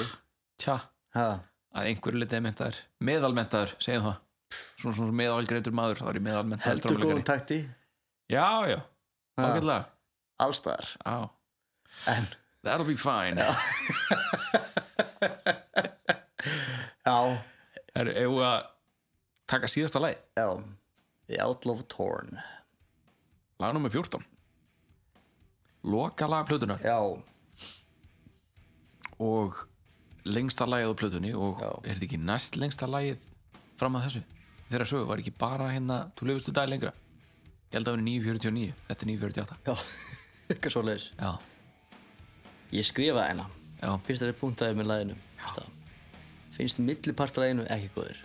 Speaker 8: tja,
Speaker 4: Ha,
Speaker 8: að einhverju litið mentaður meðalmentaður, segjum það svona, svona meðalgreitur maður, þá er ég meðalmentaður
Speaker 4: heldur
Speaker 8: trommuleikari.
Speaker 4: góðum takti
Speaker 8: já, já, ágætlega
Speaker 4: allstaðar
Speaker 8: já,
Speaker 4: en
Speaker 8: that'll be fine
Speaker 4: já,
Speaker 8: er, ef við að taka síðasta lagið
Speaker 4: já The Outlaw of Torn
Speaker 8: lag nummer 14 loka lag plötunar
Speaker 4: já,
Speaker 8: og lengsta lagið á plötunni og
Speaker 4: Já.
Speaker 8: er þetta ekki næst lengsta lagið fram að þessu þegar sögu var ekki bara hérna þú lifist þú dag lengra ég held að það vera 9.49, þetta er 9.48
Speaker 4: já eitthvað svo leiðis
Speaker 8: já,
Speaker 4: ég skrifaði hennar
Speaker 8: já,
Speaker 4: finnst þetta punktaði með læginu Stað. finnst milliparta læginu ekki góður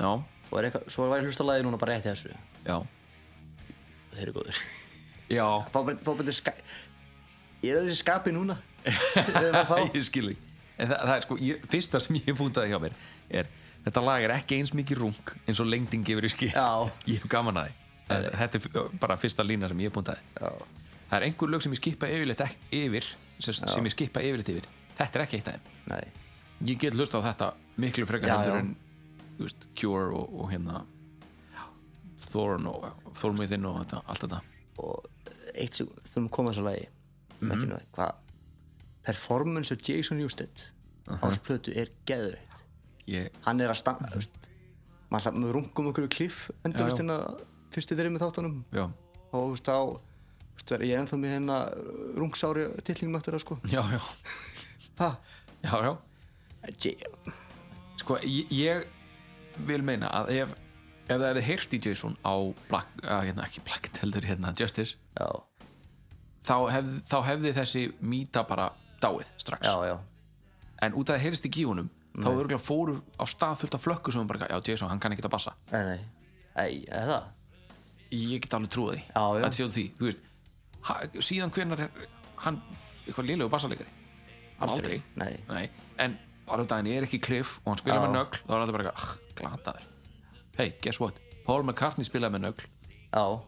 Speaker 8: já,
Speaker 4: svo er, eitthvað, svo er hlusta lægi núna bara rétti þessu
Speaker 8: já
Speaker 4: og þeir eru góður
Speaker 8: já,
Speaker 4: fá bara- fá betur ska ég er öðru skapi núna eða þá
Speaker 8: ég skil ekki en það, það er sko, ég, fyrsta sem ég fundaði hjá mér er, þetta lag er ekki eins mikið rung eins og lengding gefur í skil
Speaker 4: Já.
Speaker 8: ég hef gaman að því þetta er bara fyrsta lína sem ég fundaði
Speaker 4: já,
Speaker 8: það er einhver lög sem ég skipa yfirleitt ek- yfir sem, sem ég skipa yfirleitt yfir þetta er ekki eitt af þeim
Speaker 4: nei,
Speaker 8: ég get lust á þetta miklu frekar
Speaker 4: Já,
Speaker 8: heldur
Speaker 4: já.
Speaker 8: en þú veist, Cure og, og hérna Thorn og Thornwithin og þetta, allt þetta
Speaker 4: eh, eitt sem þurfum að koma þessu lægi
Speaker 8: Mhm.
Speaker 4: mm -hmm. hvað performance of Jason Newsted uh -huh. ásplötu er geðveitt
Speaker 8: ég,
Speaker 4: hann er að standa þú veist, maður alltaf með rungum okkur í kliff
Speaker 8: Mhm. Já, já.
Speaker 4: endurvistina fyrstu þeirri með þáttunum
Speaker 8: já,
Speaker 4: og þú veist á þú veist, ég er ennþá með hérna rungsári tillingum eftir það sko
Speaker 8: já, já,
Speaker 4: ha,
Speaker 8: já, já.
Speaker 4: J
Speaker 8: sko, ég, ég vil meina að ef, ef það hefði heyrt í Jason á Black, að, hérna, ekki Black heldur hérna Justice
Speaker 4: já,
Speaker 8: þá, hef, þá hefði þessi mýta bara dáið strax
Speaker 4: já, já,
Speaker 8: en út af það heyrist ekki í honum þá örgulega fóru á stað fullt af flökku sem bara, já Jason, hann kann ekki að bassa
Speaker 4: Nei, nei, ei, er það?
Speaker 8: ég get alveg trúið því
Speaker 4: Já, já.
Speaker 8: Þetta sé út af því, þú veist ha, síðan hvernar er hann eitthvað lélegu bassalegari aldrei,
Speaker 4: Nei,
Speaker 8: Nei. en bara út af henni er ekki kliff og hann spilaði
Speaker 4: Já.
Speaker 8: með nögl þá er alltaf bara eitthvað, "Ah, glataður hey, guess what, Paul McCartney spilaði með nögl
Speaker 4: já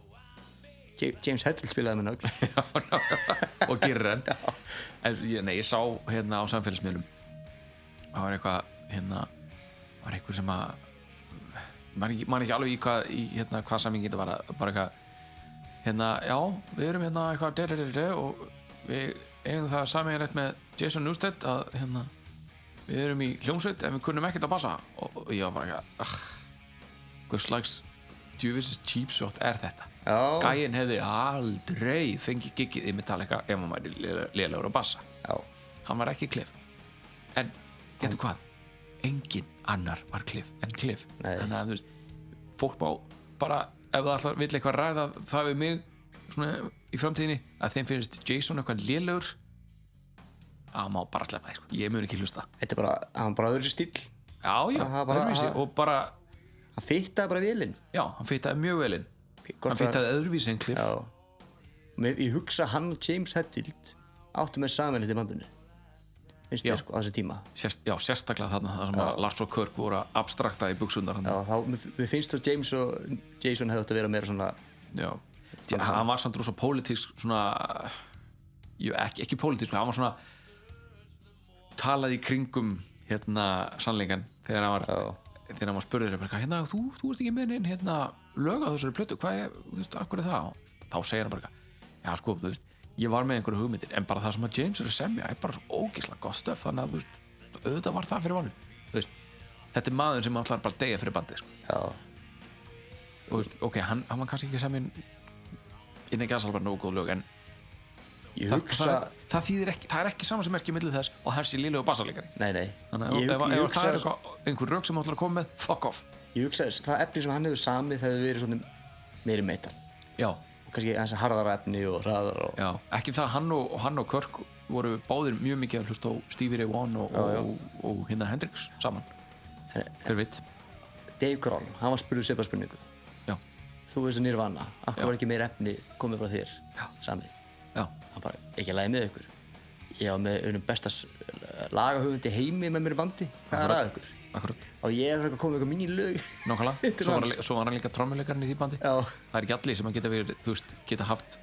Speaker 4: Ja- James Hetfield spilaði með nögl
Speaker 8: og girren en ég, nei, ég sá hérna á samfélagsmiðlum það var eitthvað hérna, var eitthvað sem að man ekki, man ekki alveg í hvað í, hérna, hvað samingi þetta var að- bara eitthvað hérna, já, við erum hérna eitthvað de, de, de, de, og við eigum það saminrætt með Jason Newsted að hérna, við erum í hljómsveit en við kunnum ekkert að passa og, og ég var bara eitthvað ah, hvað slags djúvisins cheap shot er þetta
Speaker 4: Já.
Speaker 8: gæinn hefði aldrei fengið gigið í Metallica ef hann væri lélegur á bassa
Speaker 4: Já,
Speaker 8: hann var ekki Cliff en getur hvað engin annar var Cliff en Cliff
Speaker 4: Nei.
Speaker 8: þannig að þú veist fólk má bara ef það allar vill eitthvað ræða það við mig svona í framtíðinni að þeim finnst Jason eitthvað lélegur að má bara slepa það sko. ég mun ekki hlusta
Speaker 4: þetta er bara, hann var bara öðru stíl
Speaker 8: já já
Speaker 4: Það er bara-
Speaker 8: öðruvísi.
Speaker 4: það-
Speaker 8: og bara
Speaker 4: Hann fittaði bara vélinn
Speaker 8: já hann fýttaði mjög velinn
Speaker 4: Hvort
Speaker 8: hann
Speaker 4: það-
Speaker 8: fýttaði öðruvísi en Cliff
Speaker 4: Já Mér, Ég hugsa hann og James Hetfield áttu með samanlítið bandinu finnst
Speaker 8: Já.
Speaker 4: þér sko á þessu tíma
Speaker 8: Sérst, já sérstaklega þarna það sem að Lars og Kirk voru að abstrakta í buksundar hann
Speaker 4: Já, þá, mér, mér finnst þá James og Jason hefði átt að vera meira svona
Speaker 8: Já, Þi- hann var samt rosa pólitísk svona jú, ekki, ekki pólitísk, hann var svona talaði í kringum hérna sannleikan þegar hann var, þegar hann var spurður bara, hérna, þú, þú ert ekki með neinn hérna, lög á þessari plötu, hvað er, þú veist, akkur er það og þá segir hann bara, eitthvað, já sko, þú veist ég var með einhverju hugmyndir, en bara það sem að James er að semja er bara svo ógislega gott stöf þannig að, þú veist, auðvitað var það fyrir valinu þú veist, þetta er maður sem alltaf bara að deyja fyrir bandið, sko
Speaker 4: Já,
Speaker 8: og þú veist, ok, hann, hann var kannski ekki sem inn í gasalbar nógu góð lög en
Speaker 4: ég
Speaker 8: það,
Speaker 4: hugsa
Speaker 8: það, það þýðir ekki, það er ekki saman sem er ekki millið þess og þessi lílegu basalíkari
Speaker 4: Nei, nei
Speaker 8: þannig
Speaker 4: ég,
Speaker 8: að ef,
Speaker 4: ég,
Speaker 8: ef
Speaker 4: hugsa,
Speaker 8: það er eitthvað, einhver rög sem ætlar að koma með, fuck off
Speaker 4: ég hugsa þess- það efni sem hann hefur samið það hefur verið svona meiri metal
Speaker 8: já,
Speaker 4: og kannski hans harðara efni og hraðara og
Speaker 8: já, ekki það hann og, hann og Kirk voru báðir mjög mikið að hlusta á Stevie Ray Vaughan og, og, og, og hérna Hendrix saman hver veit,
Speaker 4: Dave Grohl, hann var spurður sepa spurningu
Speaker 8: já,
Speaker 4: þú veist að nýrvana, akkur
Speaker 8: Já.
Speaker 4: var ekki meira efni komið frá þér
Speaker 8: Já.
Speaker 4: samið
Speaker 8: já,
Speaker 4: hann bara, ekki að lægi með ykkur ég var með einum besta s- lagahöfundi í heimi með mér í bandi hvað er að ykkur
Speaker 8: akkurat
Speaker 4: og ég er að koma með eitthvað mín í lög
Speaker 8: Nákvæmlega,
Speaker 4: Til
Speaker 8: svo var,
Speaker 4: hans.
Speaker 8: hann lí- svo var hann líka trommuleikarinn í því bandi
Speaker 4: Já.
Speaker 8: Það er ekki allir sem að geta verið, þú veist, geta haft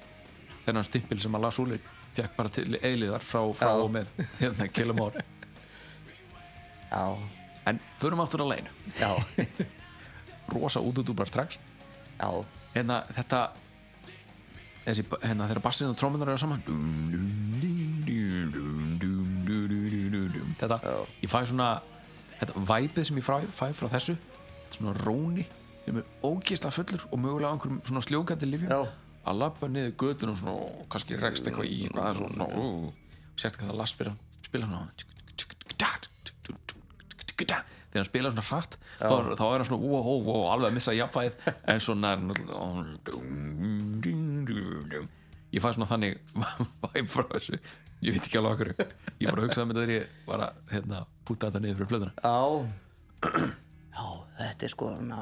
Speaker 8: þennan stimpil sem að Lars Úlrik fekk bara til eiliðar frá, frá
Speaker 4: Já.
Speaker 8: og með hérna, Killamore
Speaker 4: já,
Speaker 8: En förum aftur að læginu,
Speaker 4: já,
Speaker 8: rosa útudúbar strax
Speaker 4: já,
Speaker 8: Hérna, þetta þessi, hérna, þegar bassin og trommunar eru saman dum, dum, dum, dum, dum, dum, dum, dum, dum, dum. Þetta, ég fæ svona þetta væpið sem ég fæ, fæ frá þessu þetta svona róni sem er ógeðslega fullur og mögulega á einhverjum svona sljókandi lifjum
Speaker 4: já,
Speaker 8: að labba niður götun og svona og kannski rekst eitthvað í eitthvað aðeins og svona ó, og sért ekki að það last fyrir að spila svona þegar hann spila svona hratt þá, er- þá er hann svona ó, ó, ó, alveg að missa jafnvæð en svona er hann náttúrulega- ég fæ svona þannig væm frá þessu ég veit ekki alveg okkur ég bara hugsaði með þegar ég var að hérna, púta þetta niður fyrir plöðuna
Speaker 4: já já, þetta er sko svona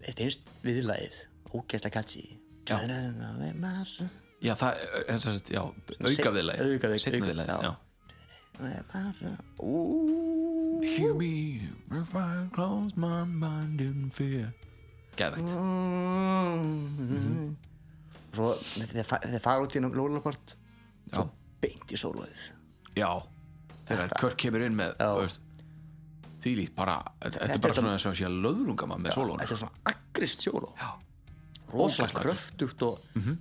Speaker 4: þetta er einst viðlæðið ógæslega katsi
Speaker 8: Já.
Speaker 4: aukaðið
Speaker 8: já það, eh, þess að já, aukaðiðlega
Speaker 4: aukaðið,
Speaker 8: setnaðiðlega,
Speaker 4: já.
Speaker 8: já
Speaker 4: ú
Speaker 8: Hear me if I close my mind in fear Geðvægt
Speaker 4: Mm. og svo þeir fa- þeir fara út í ennum lólapart
Speaker 8: Já,
Speaker 4: beint í sólóðið
Speaker 8: já Þegar að Körk kemur inn með þú veist, Þýlít bara Þetta þetta
Speaker 4: Þetta
Speaker 8: er bara
Speaker 4: er
Speaker 8: svona eins og sé að löðrunga maður með sólón
Speaker 4: þetta er svona aggrist sóló
Speaker 8: Já. Mhm.
Speaker 4: rosalega
Speaker 8: Ógeðslega
Speaker 4: kröftugt og mm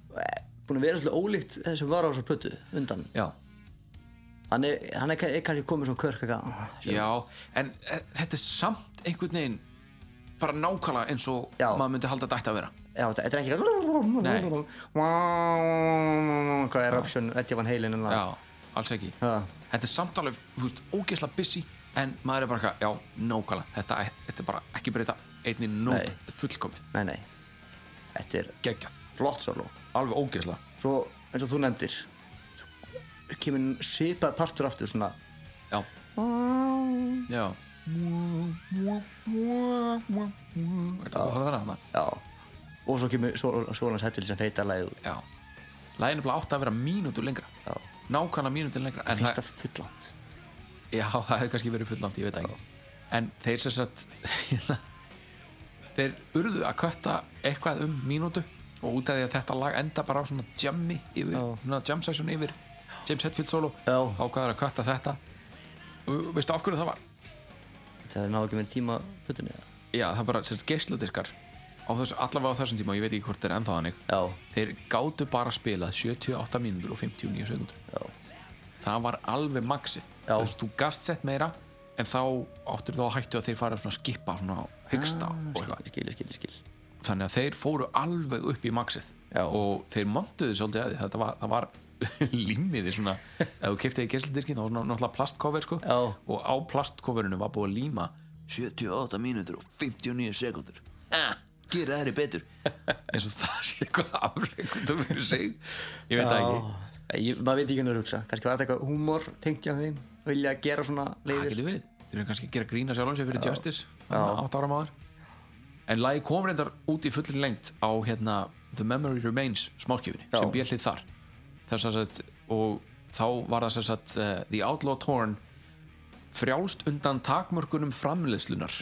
Speaker 4: búin að vera svolítið ólíkt þeim sem var á þessu plötu undan
Speaker 8: Já,
Speaker 4: hann er, hann er, kann- er kannski komið svona körk eitthvað
Speaker 8: já En eh, þetta er samt einhvern veginn bara nákvæmlega eins og
Speaker 4: Já.
Speaker 8: maður myndi halda dætt að vera
Speaker 4: já, þetta þetta er ekki eitthvað-
Speaker 8: Nei.
Speaker 4: hvað er option, Eddie Van Halen en um það.
Speaker 8: Já, alls ekki
Speaker 4: Já.
Speaker 8: Þetta er samt alveg, þú veist, ógeðslega busy en maður er bara eitthvað, já, nákvæmlega þetta, þetta er bara ekki breyta einni nót
Speaker 4: Nei.
Speaker 8: Þetta er fullkomið,
Speaker 4: nei, nei þetta er
Speaker 8: geggjað
Speaker 4: flott sóló
Speaker 8: alveg ógeðslega
Speaker 4: svo eins og þú nefndir svo kemur svipað partur aftur svona
Speaker 8: já,
Speaker 4: og
Speaker 8: já Ertu að horfa á það?
Speaker 4: já og svo kemur Sólans Hettil sem feitar lagið
Speaker 8: Já Lægin er bara átt að vera mínútur lengra
Speaker 4: Já.
Speaker 8: Nákvæmlega mínútur lengra En
Speaker 4: finnst
Speaker 8: það,
Speaker 4: það fullant
Speaker 8: já, það hefði kannski verið fullangt, ég veit það ekki En þeir sem sagt hérna, Þeir urðu að kötta eitthvað um mínútu Og út af því að þetta lag enda bara á svona jammi yfir Svona jam session yfir James Hetfield solo
Speaker 4: Já.
Speaker 8: Ákvaður að kötta þetta Og Veistu af hverju það var?
Speaker 4: það náðu ekki með tíma hlutinni
Speaker 8: Já, það er bara sérst geisladiskar á þess, allavega á þessum tíma, og ég veit ekki hvort það er ennþá þannig
Speaker 4: já,
Speaker 8: þeir gátu bara að spila 78 mínútur og 59 sekundur
Speaker 4: já,
Speaker 8: það var alveg maxið
Speaker 4: Já.
Speaker 8: Þess, þú gast sett meira en þá áttur þá að hættu að þeir fara svona að skipa svona hyggsta
Speaker 4: Ah,
Speaker 8: og eitthvað
Speaker 4: skil, skil, skil, skil
Speaker 8: þannig að þeir fóru alveg upp í maxið
Speaker 4: Já.
Speaker 8: og þeir montuðu svolítið að því þetta var, það var límiði svona ef þú keftiði geisladiskinn þá var svona náttúrulega plastkofir sko
Speaker 4: Já.
Speaker 8: og á plastkoverinu var búið að líma
Speaker 1: 78 mínútur og 59 sekundur ah, gera þeirri betur
Speaker 8: eins og það sé eitthvað afreikundum fyrir sig ég veit það ekki
Speaker 4: ég, maður veit ekki hvernig að hugsa kannski var þetta eitthvað húmor tengja þeim vilja gera svona
Speaker 8: það
Speaker 4: leiðir
Speaker 8: getur verið þeir eru kannski að gera grína sjálfum sér fyrir Justice þarna átt ára maður en lagi kom reyndar út í fullin lengt á hérna The Memory Remains smáskjöfinni sem björlið þar þess að sagt, og þá var það þess að uh, The Outlaw Torn frjálst undan takmörkunum framleiðslunar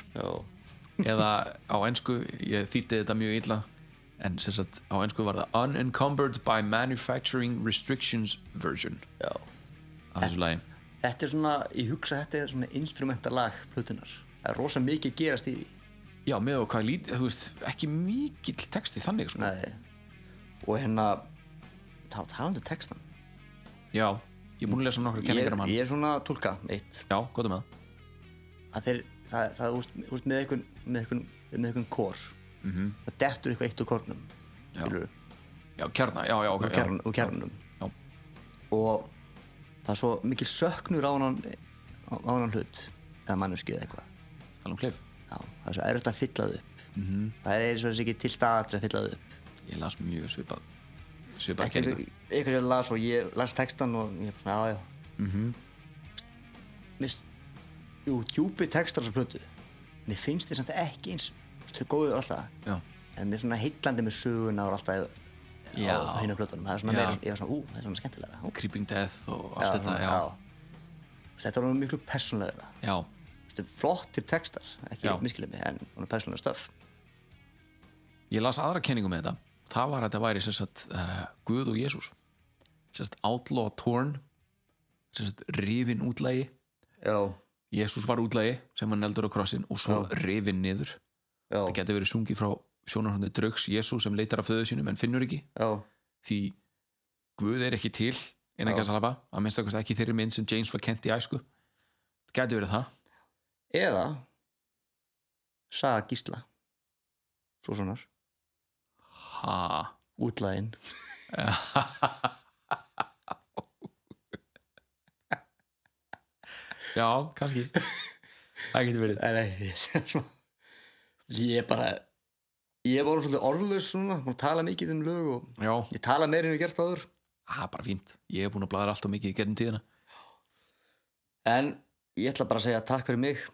Speaker 8: eða á ennsku ég þýtti þetta mjög illa en sem sagt á ennsku var það Unencumbered by Manufacturing Restrictions version
Speaker 4: Já.
Speaker 8: af þessu lagi
Speaker 4: þetta er svona, ég hugsa þetta er svona instrumentalag hlutinnar það er rosa mikið gerast í því.
Speaker 8: Já, með og hvað lít, þú veist, ekki mikill texti þannig, sko.
Speaker 4: Nei. og hérna þá talandi um textan
Speaker 8: Já, ég er búin að lesa nokkra
Speaker 4: ég,
Speaker 8: kenningar um hann.
Speaker 4: ég er svona að túlka eitt
Speaker 8: Já, gott um það.
Speaker 4: að þeir, það, það úst, úst með einhvern með einhvern, með einhvern kór
Speaker 8: Mhm.
Speaker 4: -hmm. það dettur eitthvað eitt úr kórnum
Speaker 8: Já.
Speaker 4: skilurðu,
Speaker 8: Já, kjarna, já, já, ok.
Speaker 4: úr kjarn- úr kjarnum
Speaker 8: Já.
Speaker 4: og það er svo mikil söknur á hann á á hann hlut eða manneski eða eitthvað
Speaker 8: Já, tala um klif.
Speaker 4: Já, það er svo erfitt að fylla það upp
Speaker 8: Mhm.
Speaker 4: -hmm. það er eins og þessi ekki til staðar til að fylla það upp
Speaker 8: Ég las mjög svipað, svipað
Speaker 4: ekki
Speaker 8: kenningar.
Speaker 4: eitthvað sem las og ég las textan og ég bara svona, já, já mm -hmm.
Speaker 8: Mhm.
Speaker 4: Mist, jú, djúpi textar þessu plötu mér finnst þið samt ekki eins þú veist, þau eru góður alltaf
Speaker 8: Já,
Speaker 4: en mér er svona heillandi með söguna og alltaf
Speaker 8: Já.
Speaker 4: á hinu plötunum það er svona
Speaker 8: Já.
Speaker 4: meira, ég var svona, ú, það er svona skemmtilega ú,
Speaker 8: Creeping Death og allt þetta,
Speaker 4: svona,
Speaker 8: já.
Speaker 4: þetta var miklu persónlegra
Speaker 8: Já,
Speaker 4: Þetta er flottir textar, ekki
Speaker 8: Já.
Speaker 4: miskilið mig en hún er persónlega stöf
Speaker 8: ég las aðra kenningu með þetta. Það var að þetta væri, sem sagt, uh, Guð og Jésús. Sem sagt, Outlaw Torn, sem sagt, rifin útlægi.
Speaker 4: já,
Speaker 8: Jésús var útlægi sem hann eldur á krossin og svo rifin niður.
Speaker 4: já,
Speaker 8: Það geti verið sungið frá sjónarhundu draugs Jésús sem leitar af föðu sínum en finnur ekki.
Speaker 4: já,
Speaker 8: því Guð er ekki til innan gæðsalaba, að minnst okkur ekki í þeirri mynd sem James var kent í æsku gæti verið það,
Speaker 4: eða Saga Gísla svo svonar,
Speaker 8: ha
Speaker 4: útlæðin
Speaker 8: já, kannski það getur verið
Speaker 4: Nei, nei, ég sé svona Ég er bara Ég er bara svolítið orðlaus svona Búin að tala mikið um lög og
Speaker 8: já,
Speaker 4: Ég tala meira en ég hef gert áður
Speaker 8: það er bara fínt ég hef búin að blæða alltaf mikið í gerðum tíðina
Speaker 4: En ég ætla bara að segja takk fyrir mig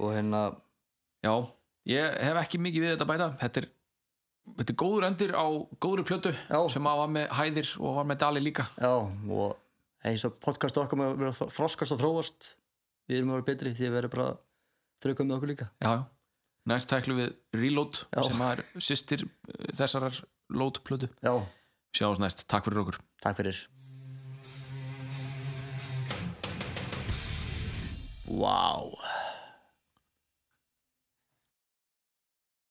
Speaker 4: Og hérna
Speaker 8: já, ég hef ekki mikið við þetta að bæta þetta er, þetta er góður endur á góðri plötu
Speaker 4: Já.
Speaker 8: sem að var með hæðir og var með dali líka
Speaker 4: Já, og eins og podcast okkar með að vera að þroskast og þróast Við erum að vera betri því að vera bara að Þrauka með okkur líka
Speaker 8: já, já. næst tæklu við Reload
Speaker 4: Já.
Speaker 8: sem að er sýstir eh, þessarar Load plötu
Speaker 4: Já,
Speaker 8: sjáumst næst, takk fyrir okkur
Speaker 4: takk fyrir Vá wow.